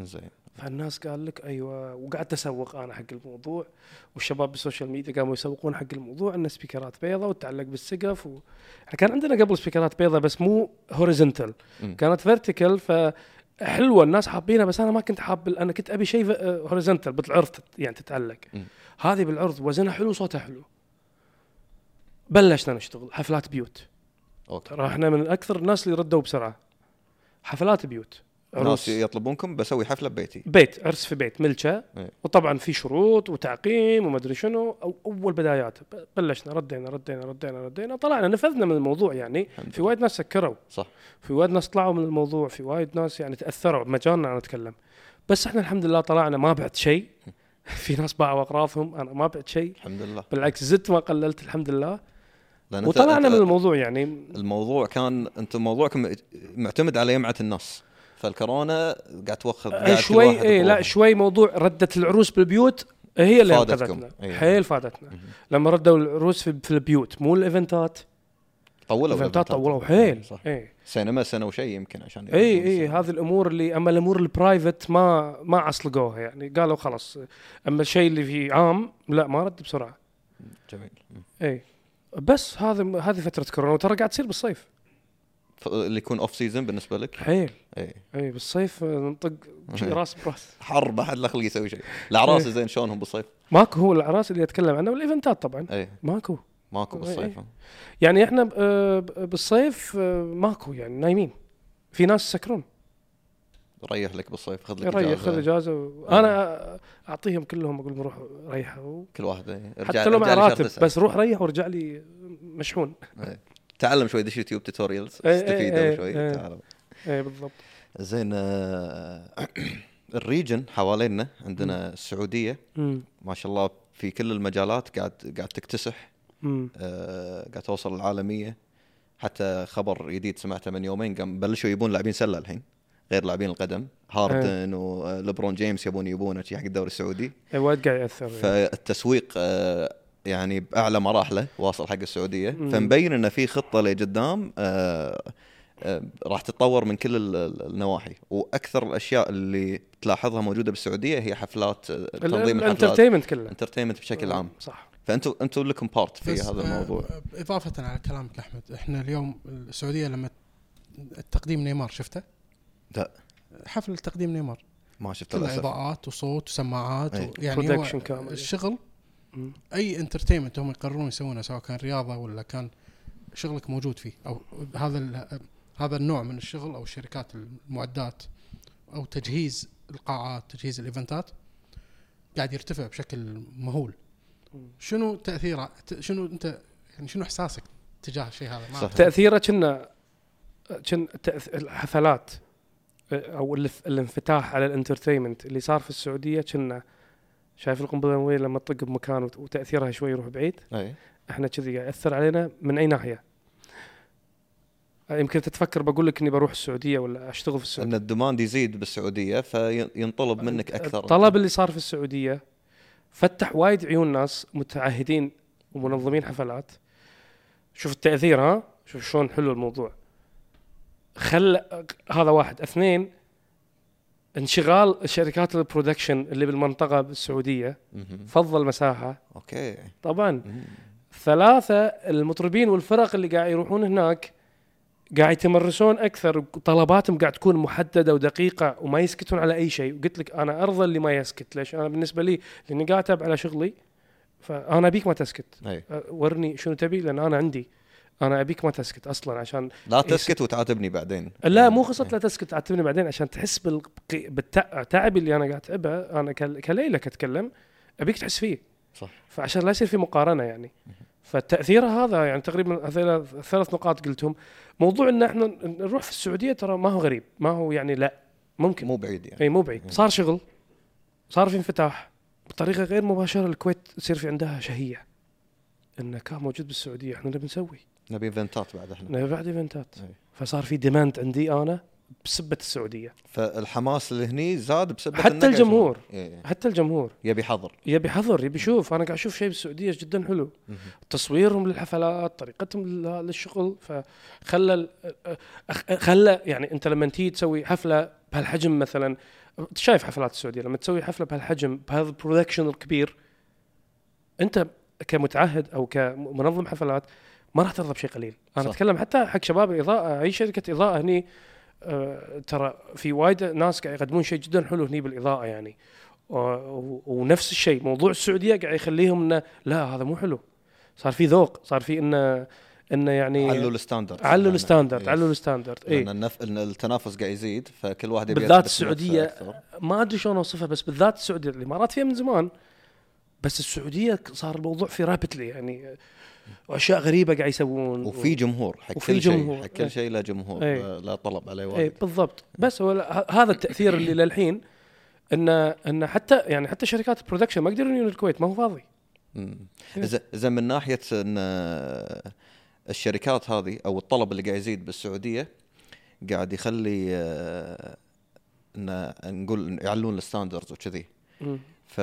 S2: زين
S1: فالناس قال لك ايوه وقعدت اسوق انا حق الموضوع والشباب بالسوشيال ميديا قاموا يسوقون حق الموضوع ان سبيكرات بيضة وتتعلق بالسقف و... يعني كان عندنا قبل سبيكرات بيضة بس مو هوريزنتال
S2: مم.
S1: كانت فيرتيكال فحلوه الناس حابينها بس انا ما كنت حاب انا كنت ابي شيء هوريزنتال بالعرض تت- يعني تتعلق
S2: مم.
S1: هذه بالعرض وزنها حلو صوتها حلو بلشنا نشتغل حفلات بيوت
S2: اوكي
S1: ترى احنا من اكثر الناس اللي ردوا بسرعه حفلات بيوت
S2: ناس يطلبونكم بسوي حفله ببيتي
S1: بيت عرس في بيت ملكه
S2: إيه.
S1: وطبعا في شروط وتعقيم وما ادري شنو أو اول بدايات ب- بلشنا ردينا ردينا ردينا ردينا طلعنا نفذنا من الموضوع يعني
S2: الحمد
S1: في وايد ناس سكروا
S2: صح
S1: في وايد ناس طلعوا من الموضوع في وايد ناس يعني تاثروا بمجالنا انا اتكلم بس احنا الحمد لله طلعنا ما بعت شيء <laughs> في ناس باعوا اغراضهم انا ما بعت شيء
S2: الحمد لله
S1: بالعكس زدت ما قللت الحمد لله
S2: لأن أنت-
S1: وطلعنا
S2: أنت-
S1: من الموضوع يعني
S2: الموضوع كان انتم موضوعكم معتمد على يمعه الناس فالكورونا قاعد توخذ
S1: آه،
S2: قاعد كل
S1: شوي
S2: واحد
S1: اي لا
S2: بروحه.
S1: شوي موضوع رده العروس بالبيوت هي اللي
S2: فادتكم.
S1: انقذتنا
S2: إي.
S1: حيل فادتنا لما ردوا العروس في, في البيوت مو الايفنتات
S2: طولوا
S1: الايفنتات طولوا حيل إيه،
S2: صح يعني
S1: اي
S2: سينما سنه وشيء يمكن عشان
S1: اي اي إيه. هذه الامور اللي اما الامور البرايفت ما ما عصلقوها يعني قالوا خلاص اما الشيء اللي في عام لا ما رد بسرعه
S2: جميل مم.
S1: اي بس هذا هذه فتره كورونا وترى قاعد تصير بالصيف
S2: ف- اللي يكون اوف سيزون بالنسبه لك إيه.
S1: حيل
S2: اي
S1: اي بالصيف نطق
S2: إيه.
S1: شي راس براس
S2: حر ما حد لا خليه يسوي شيء
S1: إيه.
S2: الاعراس زين شلونهم بالصيف
S1: ماكو هو الاعراس اللي اتكلم عنها والايفنتات طبعا
S2: اي
S1: ماكو إيه.
S2: ماكو بالصيف
S1: يعني احنا آه، بالصيف آه، ماكو يعني نايمين في ناس سكرون
S2: ريح لك بالصيف خذ لك آه.
S1: ريح خذ
S2: اجازه
S1: اجازه وانا اعطيهم كلهم اقول لهم روح ريحوا
S2: كل واحد إي. ارجع
S1: حتى لو مع
S2: ارجع لي شهر
S1: راتب
S2: تسعة.
S1: بس روح ريح ورجع لي مشحون
S2: إي. تعلم شوي دش يوتيوب توتوريالز
S1: إي، إي، إي،
S2: استفيد شوي
S1: إي.
S2: تعلم
S1: اي إيه، بالضبط
S2: زين آه، <clears throat> الريجن حوالينا عندنا السعوديه
S1: امم
S2: ما شاء الله في كل المجالات قاعد قاعد تكتسح
S1: امم
S2: آه، قاعد توصل العالميه حتى خبر جديد سمعته من يومين قام بلشوا يبون لاعبين سله الحين غير لاعبين القدم هاردن
S1: إيه.
S2: وليبرون جيمس يبون يبونه شي حق الدوري السعودي
S1: اي إيه، وايد قاعد ياثر يعني.
S2: فالتسويق آه، يعني باعلى مراحله واصل حق السعوديه
S1: مم.
S2: فمبين انه في خطه لقدام آه، آه، راح تتطور من كل ال- ال- النواحي واكثر الاشياء اللي تلاحظها موجوده بالسعوديه هي حفلات آه،
S1: ال-
S2: تنظيم الحفلات
S1: الانترتينمنت كله
S2: انترتينمنت بشكل عام
S1: صح
S2: فانتم انتم لكم بارت في
S3: بس،
S2: هذا
S3: آه،
S2: الموضوع
S3: اضافه على كلامك احمد احنا اليوم السعوديه لما تقديم نيمار شفته؟
S2: لا.
S3: حفل تقديم نيمار
S2: ما شفت
S3: كلها
S2: للاسف
S3: اضاءات وصوت وسماعات
S2: أي.
S3: و... يعني
S1: Production كامل.
S3: هو الشغل
S1: مم.
S3: اي انترتينمنت هم يقررون يسوونه سواء كان رياضه ولا كان شغلك موجود فيه او هذا ال... هذا النوع من الشغل او شركات المعدات او تجهيز القاعات تجهيز الايفنتات قاعد يرتفع بشكل مهول
S1: مم.
S3: شنو تاثيره ت- شنو انت يعني شنو احساسك تجاه الشيء هذا ما
S2: صح.
S3: أعرف.
S1: تاثيره كنا كن تأث- الحفلات آه، او الف- الانفتاح على الانترتينمنت اللي صار في السعوديه كنا شايف القنبله النوويه لما تطق بمكان وت- وتاثيرها شوي يروح بعيد
S2: اي
S1: احنا كذي قاعد ياثر علينا من اي ناحيه آه، يمكن تتفكر بقول لك اني بروح السعوديه ولا اشتغل في السعوديه
S2: ان الديماند يزيد بالسعوديه
S1: آه،
S2: فينطلب منك اكثر
S1: الطلب اللي صار في السعوديه فتح وايد عيون ناس متعهدين ومنظمين حفلات شوف التاثير ها شوف شلون حلو الموضوع خل هذا واحد اثنين انشغال شركات البرودكشن اللي بالمنطقه بالسعوديه
S2: مهم.
S1: فضل مساحه
S2: اوكي
S1: طبعا
S2: مم.
S1: ثلاثه المطربين والفرق اللي قاعد يروحون هناك قاعد يتمرسون اكثر طلباتهم قاعد تكون محدده ودقيقه وما يسكتون على اي شيء وقلت لك انا ارضى اللي ما يسكت ليش انا بالنسبه لي لاني قاعد اتعب على شغلي فانا ابيك ما تسكت
S2: اي
S1: أه، ورني شنو تبي لان انا عندي انا ابيك ما تسكت اصلا عشان
S2: لا تسكت وتعاتبني بعدين
S1: لا مو
S2: إيه.
S1: قصه لا تسكت تعاتبني بعدين عشان تحس بالق- بالتعب اللي انا قاعد اتعبه انا كل- كليله كاتكلم ابيك تحس فيه
S2: صح.
S1: فعشان لا يصير في مقارنه يعني فالتاثير هذا يعني تقريبا هذيلا الثلاث نقاط قلتهم موضوع ان احنا نروح في السعوديه ترى ما هو غريب ما هو يعني لا ممكن
S2: مو بعيد يعني
S1: اي مو بعيد صار شغل صار في انفتاح بطريقه غير مباشره الكويت يصير في عندها شهيه انه كان موجود بالسعوديه احنا اللي بنسوي
S2: نبي ايفنتات بعد احنا
S1: إنه بعد ايفنتات
S2: أي.
S1: فصار في ديماند عندي انا بسبه السعوديه
S2: فالحماس اللي هني زاد بسبب
S1: حتى
S2: إنه قاعد
S1: الجمهور.
S2: يسوون. إيه.
S1: حتى الجمهور
S2: يبي حظر
S1: يبي حضر يبي يشوف انا قاعد اشوف شيء بالسعوديه جدا حلو
S2: مهم.
S1: تصويرهم للحفلات طريقتهم لل- للشغل فخلى ال- أخ- خلى يعني انت لما تيجي تسوي حفله بهالحجم مثلا أنت شايف حفلات السعوديه لما تسوي حفله بهالحجم بهذا البرودكشن الكبير انت كمتعهد او كمنظم حفلات ما راح ترضى بشيء قليل انا صح.
S2: صح.
S1: اتكلم حتى حق شباب الاضاءه اي شركه اضاءه هني آه، ترى في وايد ناس قاعد يقدمون شيء جدا حلو هني بالاضاءه يعني و- و- ونفس الشيء موضوع السعوديه قاعد يخليهم انه لا هذا مو حلو صار في ذوق صار في انه انه يعني
S2: علوا الستاندرد
S1: علوا الستاندرد
S2: إيه.
S1: علوا الستاندرد
S2: لان
S1: اي
S2: النف... إن التنافس قاعد يزيد فكل واحد يبي
S1: بالذات
S2: يثبت نفسه
S1: السعودية.
S2: أكثر.
S1: ما ادري شلون اوصفها بس بالذات السعوديه الامارات فيها من زمان بس السعوديه ك- صار الموضوع في رابتلي يعني آه، واشياء غريبه قاعد يسوون إيه،
S2: وفي جمهور حق
S1: وفي
S2: كل شيء
S1: جمهور.
S2: حق
S1: إيه.
S2: كل شيء لا جمهور
S1: إيه.
S2: لا- لا طلب عليه
S1: اي
S2: واجد
S1: بالضبط بس هو لا- ه- هذا التاثير اللي للحين ان ان حتى يعني حتى شركات البرودكشن ما يقدرون يجون الكويت ما هو فاضي
S2: مم.
S1: إيه.
S2: إذا إذا من ناحيه ان آه، الشركات هذه او الطلب اللي قاعد يزيد بالسعوديه قاعد يخلي آه، ان نقول يعلون الستاندردز وكذي
S1: مم.
S2: ف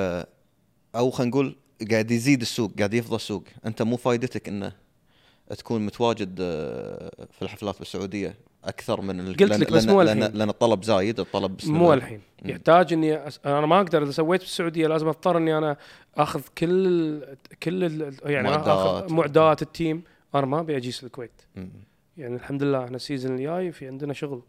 S2: او خلينا نقول قاعد يزيد السوق قاعد يفضى السوق انت مو فائدتك انه تكون متواجد آه، في الحفلات بالسعوديه اكثر من ال-
S1: قلت
S2: لأن-
S1: لك بس
S2: لأن-
S1: مو
S2: لأن-
S1: الحين.
S2: لان الطلب زايد الطلب بس-
S1: مو الحين
S2: مم.
S1: يحتاج اني أس... انا ما اقدر اذا سويت بالسعوديه لازم اضطر اني انا اخذ كل ال... كل ال... يعني
S2: معدات.
S1: اخذ معدات التيم انا ما ابي اجيس الكويت
S2: مم.
S1: يعني الحمد لله احنا السيزون الجاي في عندنا شغل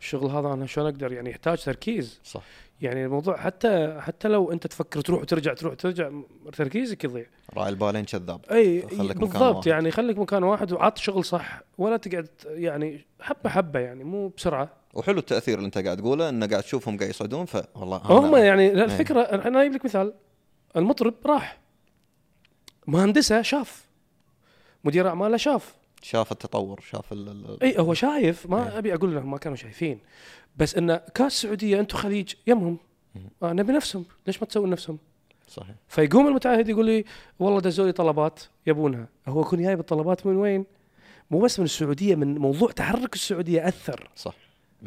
S1: الشغل هذا انا شلون اقدر يعني يحتاج تركيز
S2: صح
S1: يعني الموضوع حتى حتى لو انت تفكر تروح وترجع تروح وترجع م- تركيزك يضيع
S2: راعي البالين كذاب
S1: اي
S2: خليك مكان
S1: بالضبط
S2: واحد.
S1: يعني خليك مكان واحد وعط شغل صح ولا تقعد يعني حبه حبه يعني مو بسرعه
S2: وحلو التاثير اللي انت قاعد تقوله انه قاعد تشوفهم قاعد يصعدون فوالله أنا-
S1: هم يعني لا، الفكره انا جايب لك مثال المطرب راح مهندسه شاف مدير اعماله شاف
S2: شاف التطور شاف ال- ال-
S1: اي هو شايف ما ابي اقول انهم ما كانوا شايفين بس انه كاس السعوديه انتم خليج يمهم آه نبي نفسهم ليش ما تسوون نفسهم
S2: صحيح
S1: فيقوم المتعهد يقول لي والله دزوا لي طلبات يبونها هو يكون جايب الطلبات من وين مو بس من السعوديه من موضوع تحرك السعوديه اثر
S2: صح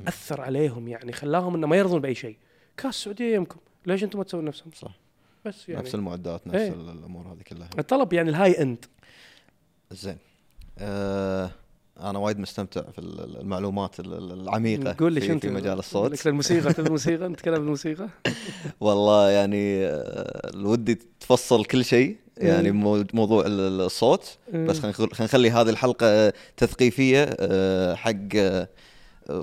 S1: اثر عليهم يعني خلاهم انه ما يرضون باي شيء كاس السعوديه يمكم ليش انتم ما تسوون نفسهم
S2: صح.
S1: بس يعني
S2: نفس المعدات نفس
S1: إيه.
S2: ال- الامور هذه كلها
S1: الطلب يعني الهاي اند
S2: زين آه انا وايد مستمتع في ال- ال- المعلومات ال- ال- العميقه
S1: قول لي
S2: في-
S1: شنو
S2: في مجال
S1: أقول لك
S2: الصوت
S1: الموسيقى تبي الموسيقى نتكلم عن الموسيقى
S2: والله يعني آه، ودي تفصل كل شيء يعني
S1: مم.
S2: مو- موضوع ال- ال- الصوت
S1: مم.
S2: بس خلينا نخلي هذه الحلقه آه، تثقيفيه آه، حق آه، آه،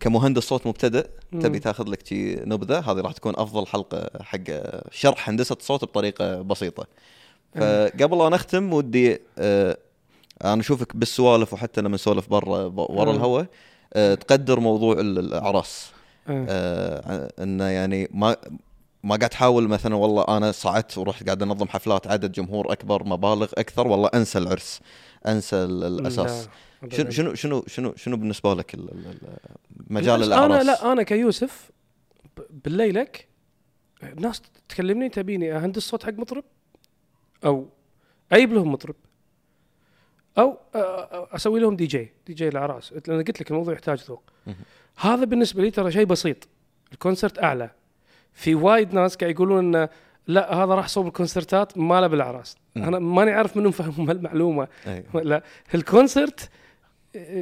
S2: كمهندس صوت مبتدئ
S1: مم.
S2: تبي تاخذ لك شي نبذه هذه راح تكون افضل حلقه حق آه، شرح هندسه صوت بطريقه بسيطه فقبل لا نختم ودي آه، انا اشوفك بالسوالف وحتى لما نسولف برا ب- ورا
S1: مم.
S2: الهواء آه، تقدر موضوع ال- الاعراس
S1: آه.
S2: آه، انه يعني ما ما قاعد احاول مثلا والله انا صعدت ورحت قاعد انظم حفلات عدد جمهور اكبر مبالغ اكثر والله انسى العرس انسى ال-
S1: نعم.
S2: الاساس
S1: لا،
S2: شنو
S1: أبداً.
S2: شنو شنو شنو شنو بالنسبه لك ال- ال- ال- مجال
S1: بس
S2: الاعراس
S1: انا لا انا كيوسف ب- بالليلك ناس تكلمني تبيني اهندس صوت حق مطرب او اجيب لهم مطرب او أ- أ- اسوي لهم دي جي دي جي الاعراس لان قلت لك الموضوع يحتاج ذوق
S2: مهم.
S1: هذا بالنسبه لي ترى شيء بسيط الكونسرت اعلى في وايد ناس قاعد يقولون انه لا هذا راح صوب الكونسرتات ما له بالاعراس
S2: مم.
S1: انا ماني عارف منهم فهموا هالمعلومه
S2: أي.
S1: لا الكونسرت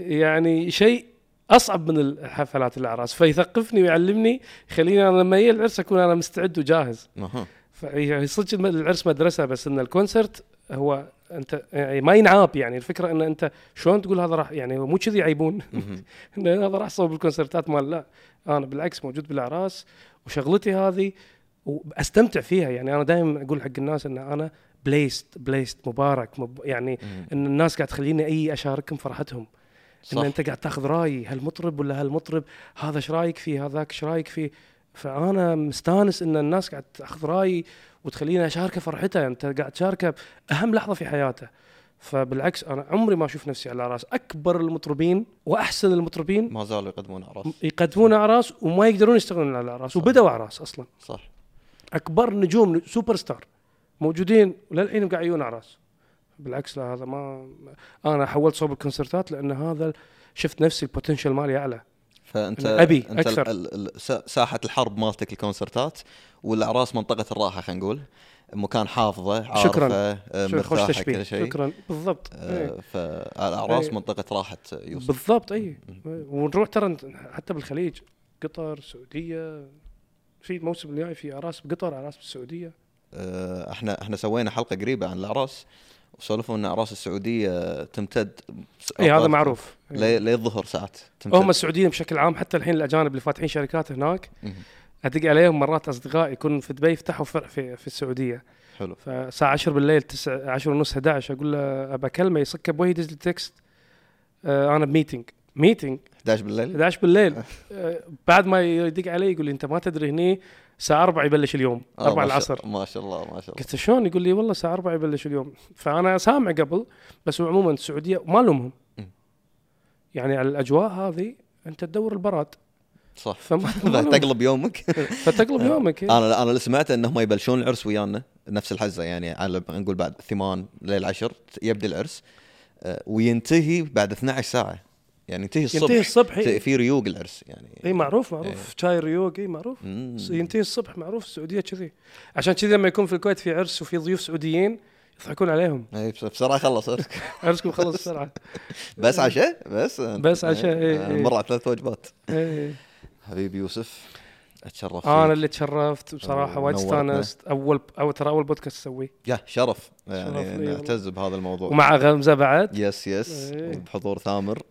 S1: يعني شيء اصعب من الحفلات الاعراس فيثقفني ويعلمني يخليني انا لما يجي العرس اكون انا مستعد وجاهز
S2: أها.
S1: فيعني صدق الم- العرس مدرسه بس ان الكونسرت هو انت يعني ما ينعاب يعني الفكره ان انت شلون تقول هذا راح يعني هو مو كذي يعيبون <laughs>
S2: مهم.
S1: ان هذا راح صوب الكونسرتات مال لا انا بالعكس موجود بالاعراس وشغلتي هذه واستمتع فيها يعني انا دائما اقول حق الناس ان انا بليست بليست مبارك مب يعني
S2: مم.
S1: ان الناس قاعد تخليني اي اشاركهم فرحتهم
S2: صح.
S1: ان انت قاعد تاخذ رايي هالمطرب ولا هالمطرب هذا ايش رايك فيه هذاك ايش رايك فيه فانا مستانس ان الناس قاعد تاخذ رايي وتخليني اشاركه فرحته انت قاعد تشاركه باهم لحظه في حياته فبالعكس انا عمري ما اشوف نفسي على راس اكبر المطربين واحسن المطربين
S2: ما زالوا يقدمون اعراس
S1: يقدمون اعراس وما يقدرون يشتغلون على اعراس وبدوا اعراس اصلا
S2: صح
S1: اكبر نجوم سوبر ستار موجودين وللحين قاعد يجون اعراس بالعكس لا هذا ما انا حولت صوب الكونسرتات لان هذا شفت نفسي البوتنشل مالي اعلى
S2: فانت
S1: أنا أبي
S2: انت
S1: أكثر.
S2: ال- ال- سا- ساحه الحرب مالتك الكونسرتات والاعراس منطقه الراحه خلينا نقول مكان حافظه عارفه
S1: شكراً.
S2: آه،
S1: شوف، خوش
S2: مرتاحه
S1: تشبيه
S2: كل شيء
S1: شكرا بالضبط إيه.
S2: آه، فالاعراس
S1: إيه.
S2: منطقه راحه يوسف
S1: بالضبط اي ونروح ترى حتى بالخليج قطر السعوديه في الموسم الجاي في اعراس بقطر اعراس بالسعوديه
S2: آه، احنا احنا سوينا حلقه قريبه عن الاعراس وسولفوا ان اعراس السعوديه تمتد س-
S1: اي إيه، هذا
S2: أوقات-
S1: معروف إيه.
S2: لي- للظهر ساعات تمتد
S1: هم السعوديين بشكل عام حتى الحين الاجانب اللي فاتحين شركات هناك
S2: مهم.
S1: ادق عليهم مرات اصدقاء يكون في دبي يفتحوا فرع في, في السعوديه
S2: حلو
S1: فالساعة 10 بالليل 9 10 ونص 11 اقول له ابى اكلمه يصكه بوجهي يدز لي تكست آه، انا بميتنج ميتنج
S2: 11 بالليل
S1: 11
S2: <laughs>
S1: بالليل آه، بعد ما يدق علي يقول لي انت ما تدري هني الساعه 4 يبلش اليوم
S2: آه،
S1: 4
S2: ما شاء-
S1: العصر
S2: ما شاء الله ما شاء الله
S1: قلت له شلون يقول لي والله الساعه 4 يبلش اليوم فانا سامع قبل بس هو عموما السعوديه ما لومهم
S2: م.
S1: يعني على الاجواء هذه انت تدور البراد
S2: صح <laughs>
S1: فما ما لومهم.
S2: تقلب يومك
S1: فتقلب يومك إيه.
S2: انا انا اللي سمعته انهم يبلشون العرس ويانا نفس الحزه يعني على نقول بعد ثمان ليل عشر يبدا العرس آه، وينتهي بعد 12 ساعه يعني ينتهي الصبح
S1: ينتهي الصبح
S2: ت-
S1: إيه.
S2: في ريوق العرس يعني
S1: اي معروف معروف شاي ريوق اي معروف
S2: مم.
S1: ينتهي الصبح معروف السعوديه كذي عشان كذي لما يكون في الكويت في عرس وفي ضيوف سعوديين يضحكون عليهم <laughs>
S2: اي بس- بسرعه خلص
S1: عرسكم خلص بسرعه
S2: <laughs> بس عشاء بس
S1: بس عشاء، إي، إي.
S2: مر على ثلاث وجبات
S1: إيه.
S2: حبيبي يوسف اتشرف
S1: انا
S2: فيك.
S1: اللي تشرفت بصراحه وايد
S2: نورتنا.
S1: استانست اول او ترى اول بودكاست اسويه
S2: يا شرف
S1: شرف لي
S2: يعني
S1: والله.
S2: نعتز بهذا الموضوع
S1: ومع غمزه بعد
S2: يس يس
S1: إي.
S2: بحضور ثامر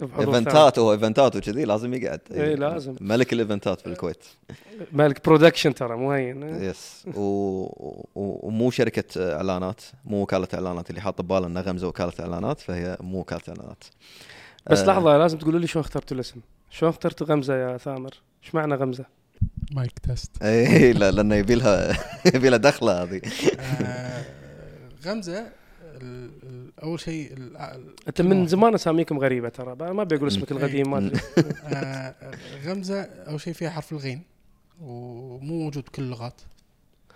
S1: بحضور ثاني.
S2: ايفنتات هو ايفنتات وكذي لازم يقعد إي.
S1: إي، لازم.
S2: ملك الايفنتات بالكويت
S1: مالك برودكشن ترى مو <laughs> هين
S2: يس و... و... ومو شركه اعلانات مو وكاله اعلانات اللي حاط بباله انها غمزه وكاله اعلانات فهي مو وكاله اعلانات
S1: بس
S2: آه، <laughs>
S1: لحظه لازم تقولوا لي شلون اخترتوا الاسم شلون اخترتوا غمزه يا ثامر ايش معنى غمزه
S3: مايك تيست
S2: اي إيه، لا لانه يبي لها <laughs> يبي لها دخله هذه
S3: غمزه آه، ال- ال- اول شيء ال- ال-
S1: انت من زمان اساميكم غريبه ترى بقى ما بقول اسمك القديم
S2: <laughs>
S1: ما ادري
S3: آه، غمزه اول شيء فيها حرف الغين ومو موجود كل اللغات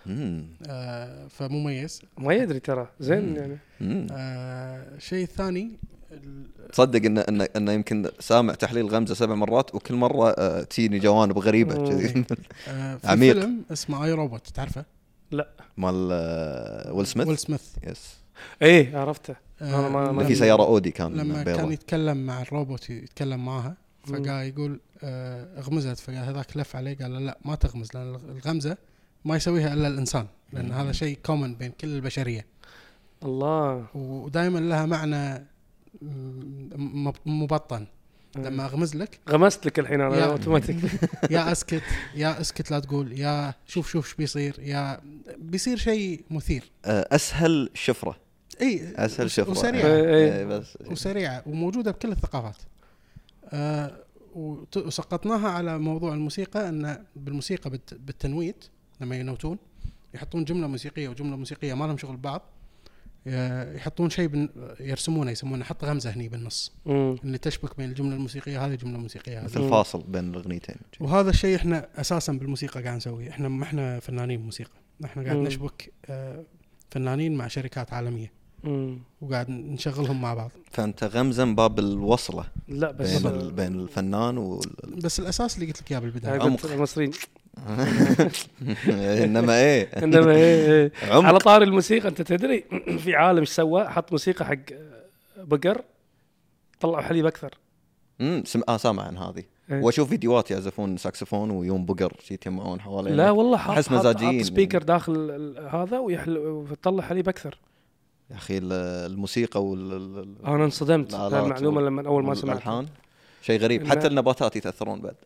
S2: أمم،
S3: آه، فمميز
S1: ما يدري ترى زين يعني
S2: أمم.
S3: آه، الشيء الثاني ال-
S2: تصدق انه انه انه يمكن سامع تحليل غمزه سبع مرات وكل مره آه، تجيني جوانب غريبه
S1: مم.
S2: كذي <laughs>
S3: آه، في
S2: عميق.
S3: فيلم اسمه اي روبوت تعرفه؟
S2: مال آه، ويل
S3: ويل
S2: سميث
S3: سميث
S2: يس
S1: ايه عرفته
S3: آه،
S1: أنا ما- ما-
S2: ما
S1: لما-
S2: في سياره اودي كان
S3: لما
S2: بيضة.
S3: كان يتكلم مع الروبوت يتكلم معاها
S1: مم.
S3: فقال يقول آه، اغمزت فقال هذاك لف عليه قال له لا ما تغمز لان الغمزه ما يسويها الا الانسان لان
S2: مم.
S3: هذا شيء كومن بين كل البشريه
S1: الله
S3: ودائما لها معنى م- م- مبطن لما اغمز لك
S1: غمست لك الحين انا
S3: يا.
S1: اوتوماتيك
S3: يا اسكت يا اسكت لا تقول يا شوف شوف ايش بيصير يا بيصير شيء مثير
S2: آه، اسهل شفره
S3: اي
S2: اسهل
S3: وس-
S2: شفره
S3: وسريعه
S1: إيه.
S2: آه، آه، بس
S3: وسريعه وموجوده بكل الثقافات. آه وت- وسقطناها على موضوع الموسيقى ان بالموسيقى بالت- بالتنويت لما ينوتون يحطون جمله موسيقيه وجمله موسيقيه ما لهم شغل ببعض آه، يحطون شيء بن- يرسمونه يسمونه حط غمزه هني
S1: <laughs>
S3: بالنص
S1: مم.
S3: اللي تشبك بين الجمله الموسيقيه هذه الجمله الموسيقيه هذه
S2: مثل فاصل بين الاغنيتين
S3: وهذا الشيء احنا اساسا بالموسيقى قاعد نسويه احنا ما احنا فنانين موسيقى احنا قاعد
S1: مم.
S3: نشبك آه، فنانين مع شركات عالميه
S1: مم.
S3: وقاعد نشغلهم مع بعض
S2: فانت غمزه من باب الوصله
S1: لا بس
S2: بين ال- بين الفنان وال <laughs>
S3: بس الاساس اللي قلت لك اياه بالبدايه
S1: أنا قلت المصريين
S2: انما ايه
S1: انما إيه، إيه. على
S2: عمق
S1: طار الموسيقى انت تدري <clears throat> في عالم ايش سوى حط موسيقى حق بقر طلعوا حليب اكثر
S2: امم سم... اه سامع عن هذه
S1: إيه.
S2: واشوف فيديوهات يعزفون ساكسفون ويوم بقر شي يتجمعون حواليه
S1: لا والله حط
S2: أحس
S1: حط-
S2: مزاجيين
S1: حط
S2: يعني.
S1: سبيكر داخل ال- هذا ويحل وتطلع حليب اكثر
S2: يا اخي ال- الموسيقى وال ال- ال-
S1: انا انصدمت
S2: الآلات
S1: المعلومه
S2: وال-
S1: لما اول ما سمعت
S2: والألحان. شيء غريب
S1: لا.
S2: حتى النباتات يتاثرون بعد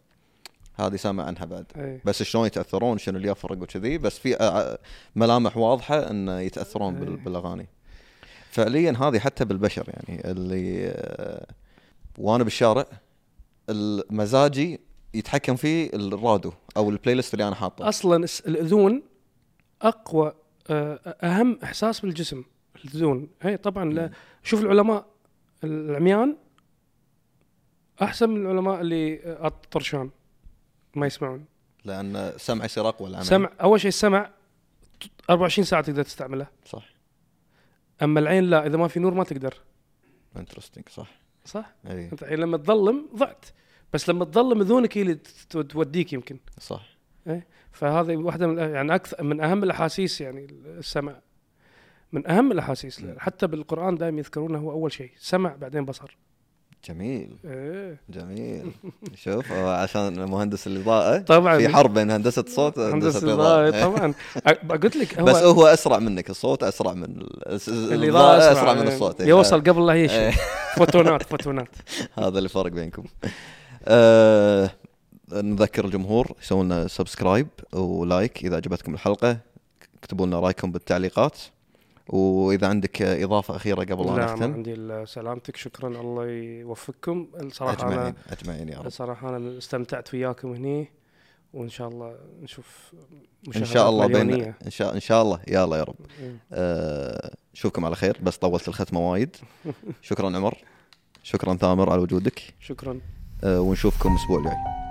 S2: هذه سامع عنها بعد
S1: إيه.
S2: بس شلون يتاثرون شنو اللي يفرق وكذي بس في آه، ملامح واضحه انه يتاثرون بال...
S1: إيه.
S2: بالاغاني فعليا هذه حتى بالبشر يعني اللي آه، وانا بالشارع مزاجي يتحكم فيه الرادو او البلاي ليست اللي انا حاطه
S1: اصلا الس- الاذون اقوى آه، اهم احساس بالجسم الاذون هي طبعا لا شوف العلماء العميان احسن من العلماء اللي آه، طرشان ما يسمعون
S2: لان سمع يصير اقوى العمل
S1: سمع اول شيء السمع ت- 24 ساعه تقدر تستعمله
S2: صح
S1: اما العين لا اذا ما في نور ما تقدر
S2: انترستنج صح إيه،
S1: صح
S2: اي
S1: انت الحين لما تظلم ضعت بس لما تظلم اذونك هي اللي ت- ت- توديك يمكن
S2: صح
S1: فهذه واحده من يعني اكثر من اهم الاحاسيس يعني السمع من اهم الاحاسيس
S2: نعم.
S1: حتى بالقران دائما يذكرونه هو اول شيء سمع بعدين بصر
S2: جميل
S1: إيه.
S2: جميل <laughs> شوف هو عشان مهندس الاضاءه
S1: طبعاً.
S2: في حرب بين هندسه صوت
S1: هندسه
S2: وهندسه
S1: الاضاءه
S2: الاضاءه
S1: طبعا أ- قلت لك
S2: بس
S1: هو
S2: هو اسرع منك الصوت اسرع من ال- الس-
S1: الاضاءه
S2: الاضاءه اسرع من الصوت إيه.
S1: يوصل قبل لا يشوف
S2: إيه.
S1: <laughs> فوتونات فوتونات
S2: <laughs> هذا اللي فرق بينكم آه، نذكر الجمهور يسوون لنا سبسكرايب ولايك اذا عجبتكم الحلقه اكتبوا لنا رايكم بالتعليقات واذا عندك اضافه اخيره قبل لا
S1: لا ما
S2: نختم
S1: عندي الا نعم، سلامتك شكرا الله يوفقكم الصراحه انا
S2: اجمعين اجمعين يا رب
S1: صراحة أنا استمتعت وياكم هني وإن شاء الله نشوف
S2: ان
S1: مشاهدات
S2: شاء الله بين
S1: مليونية.
S2: ان شاء ان شاء الله يا الله يا رب
S1: إيه.
S2: آه، اشوفكم على خير بس طولت الختمه
S1: <laughs>
S2: وايد شكرا عمر شكرا ثامر على وجودك
S1: شكرا
S2: آه، ونشوفكم الاسبوع الجاي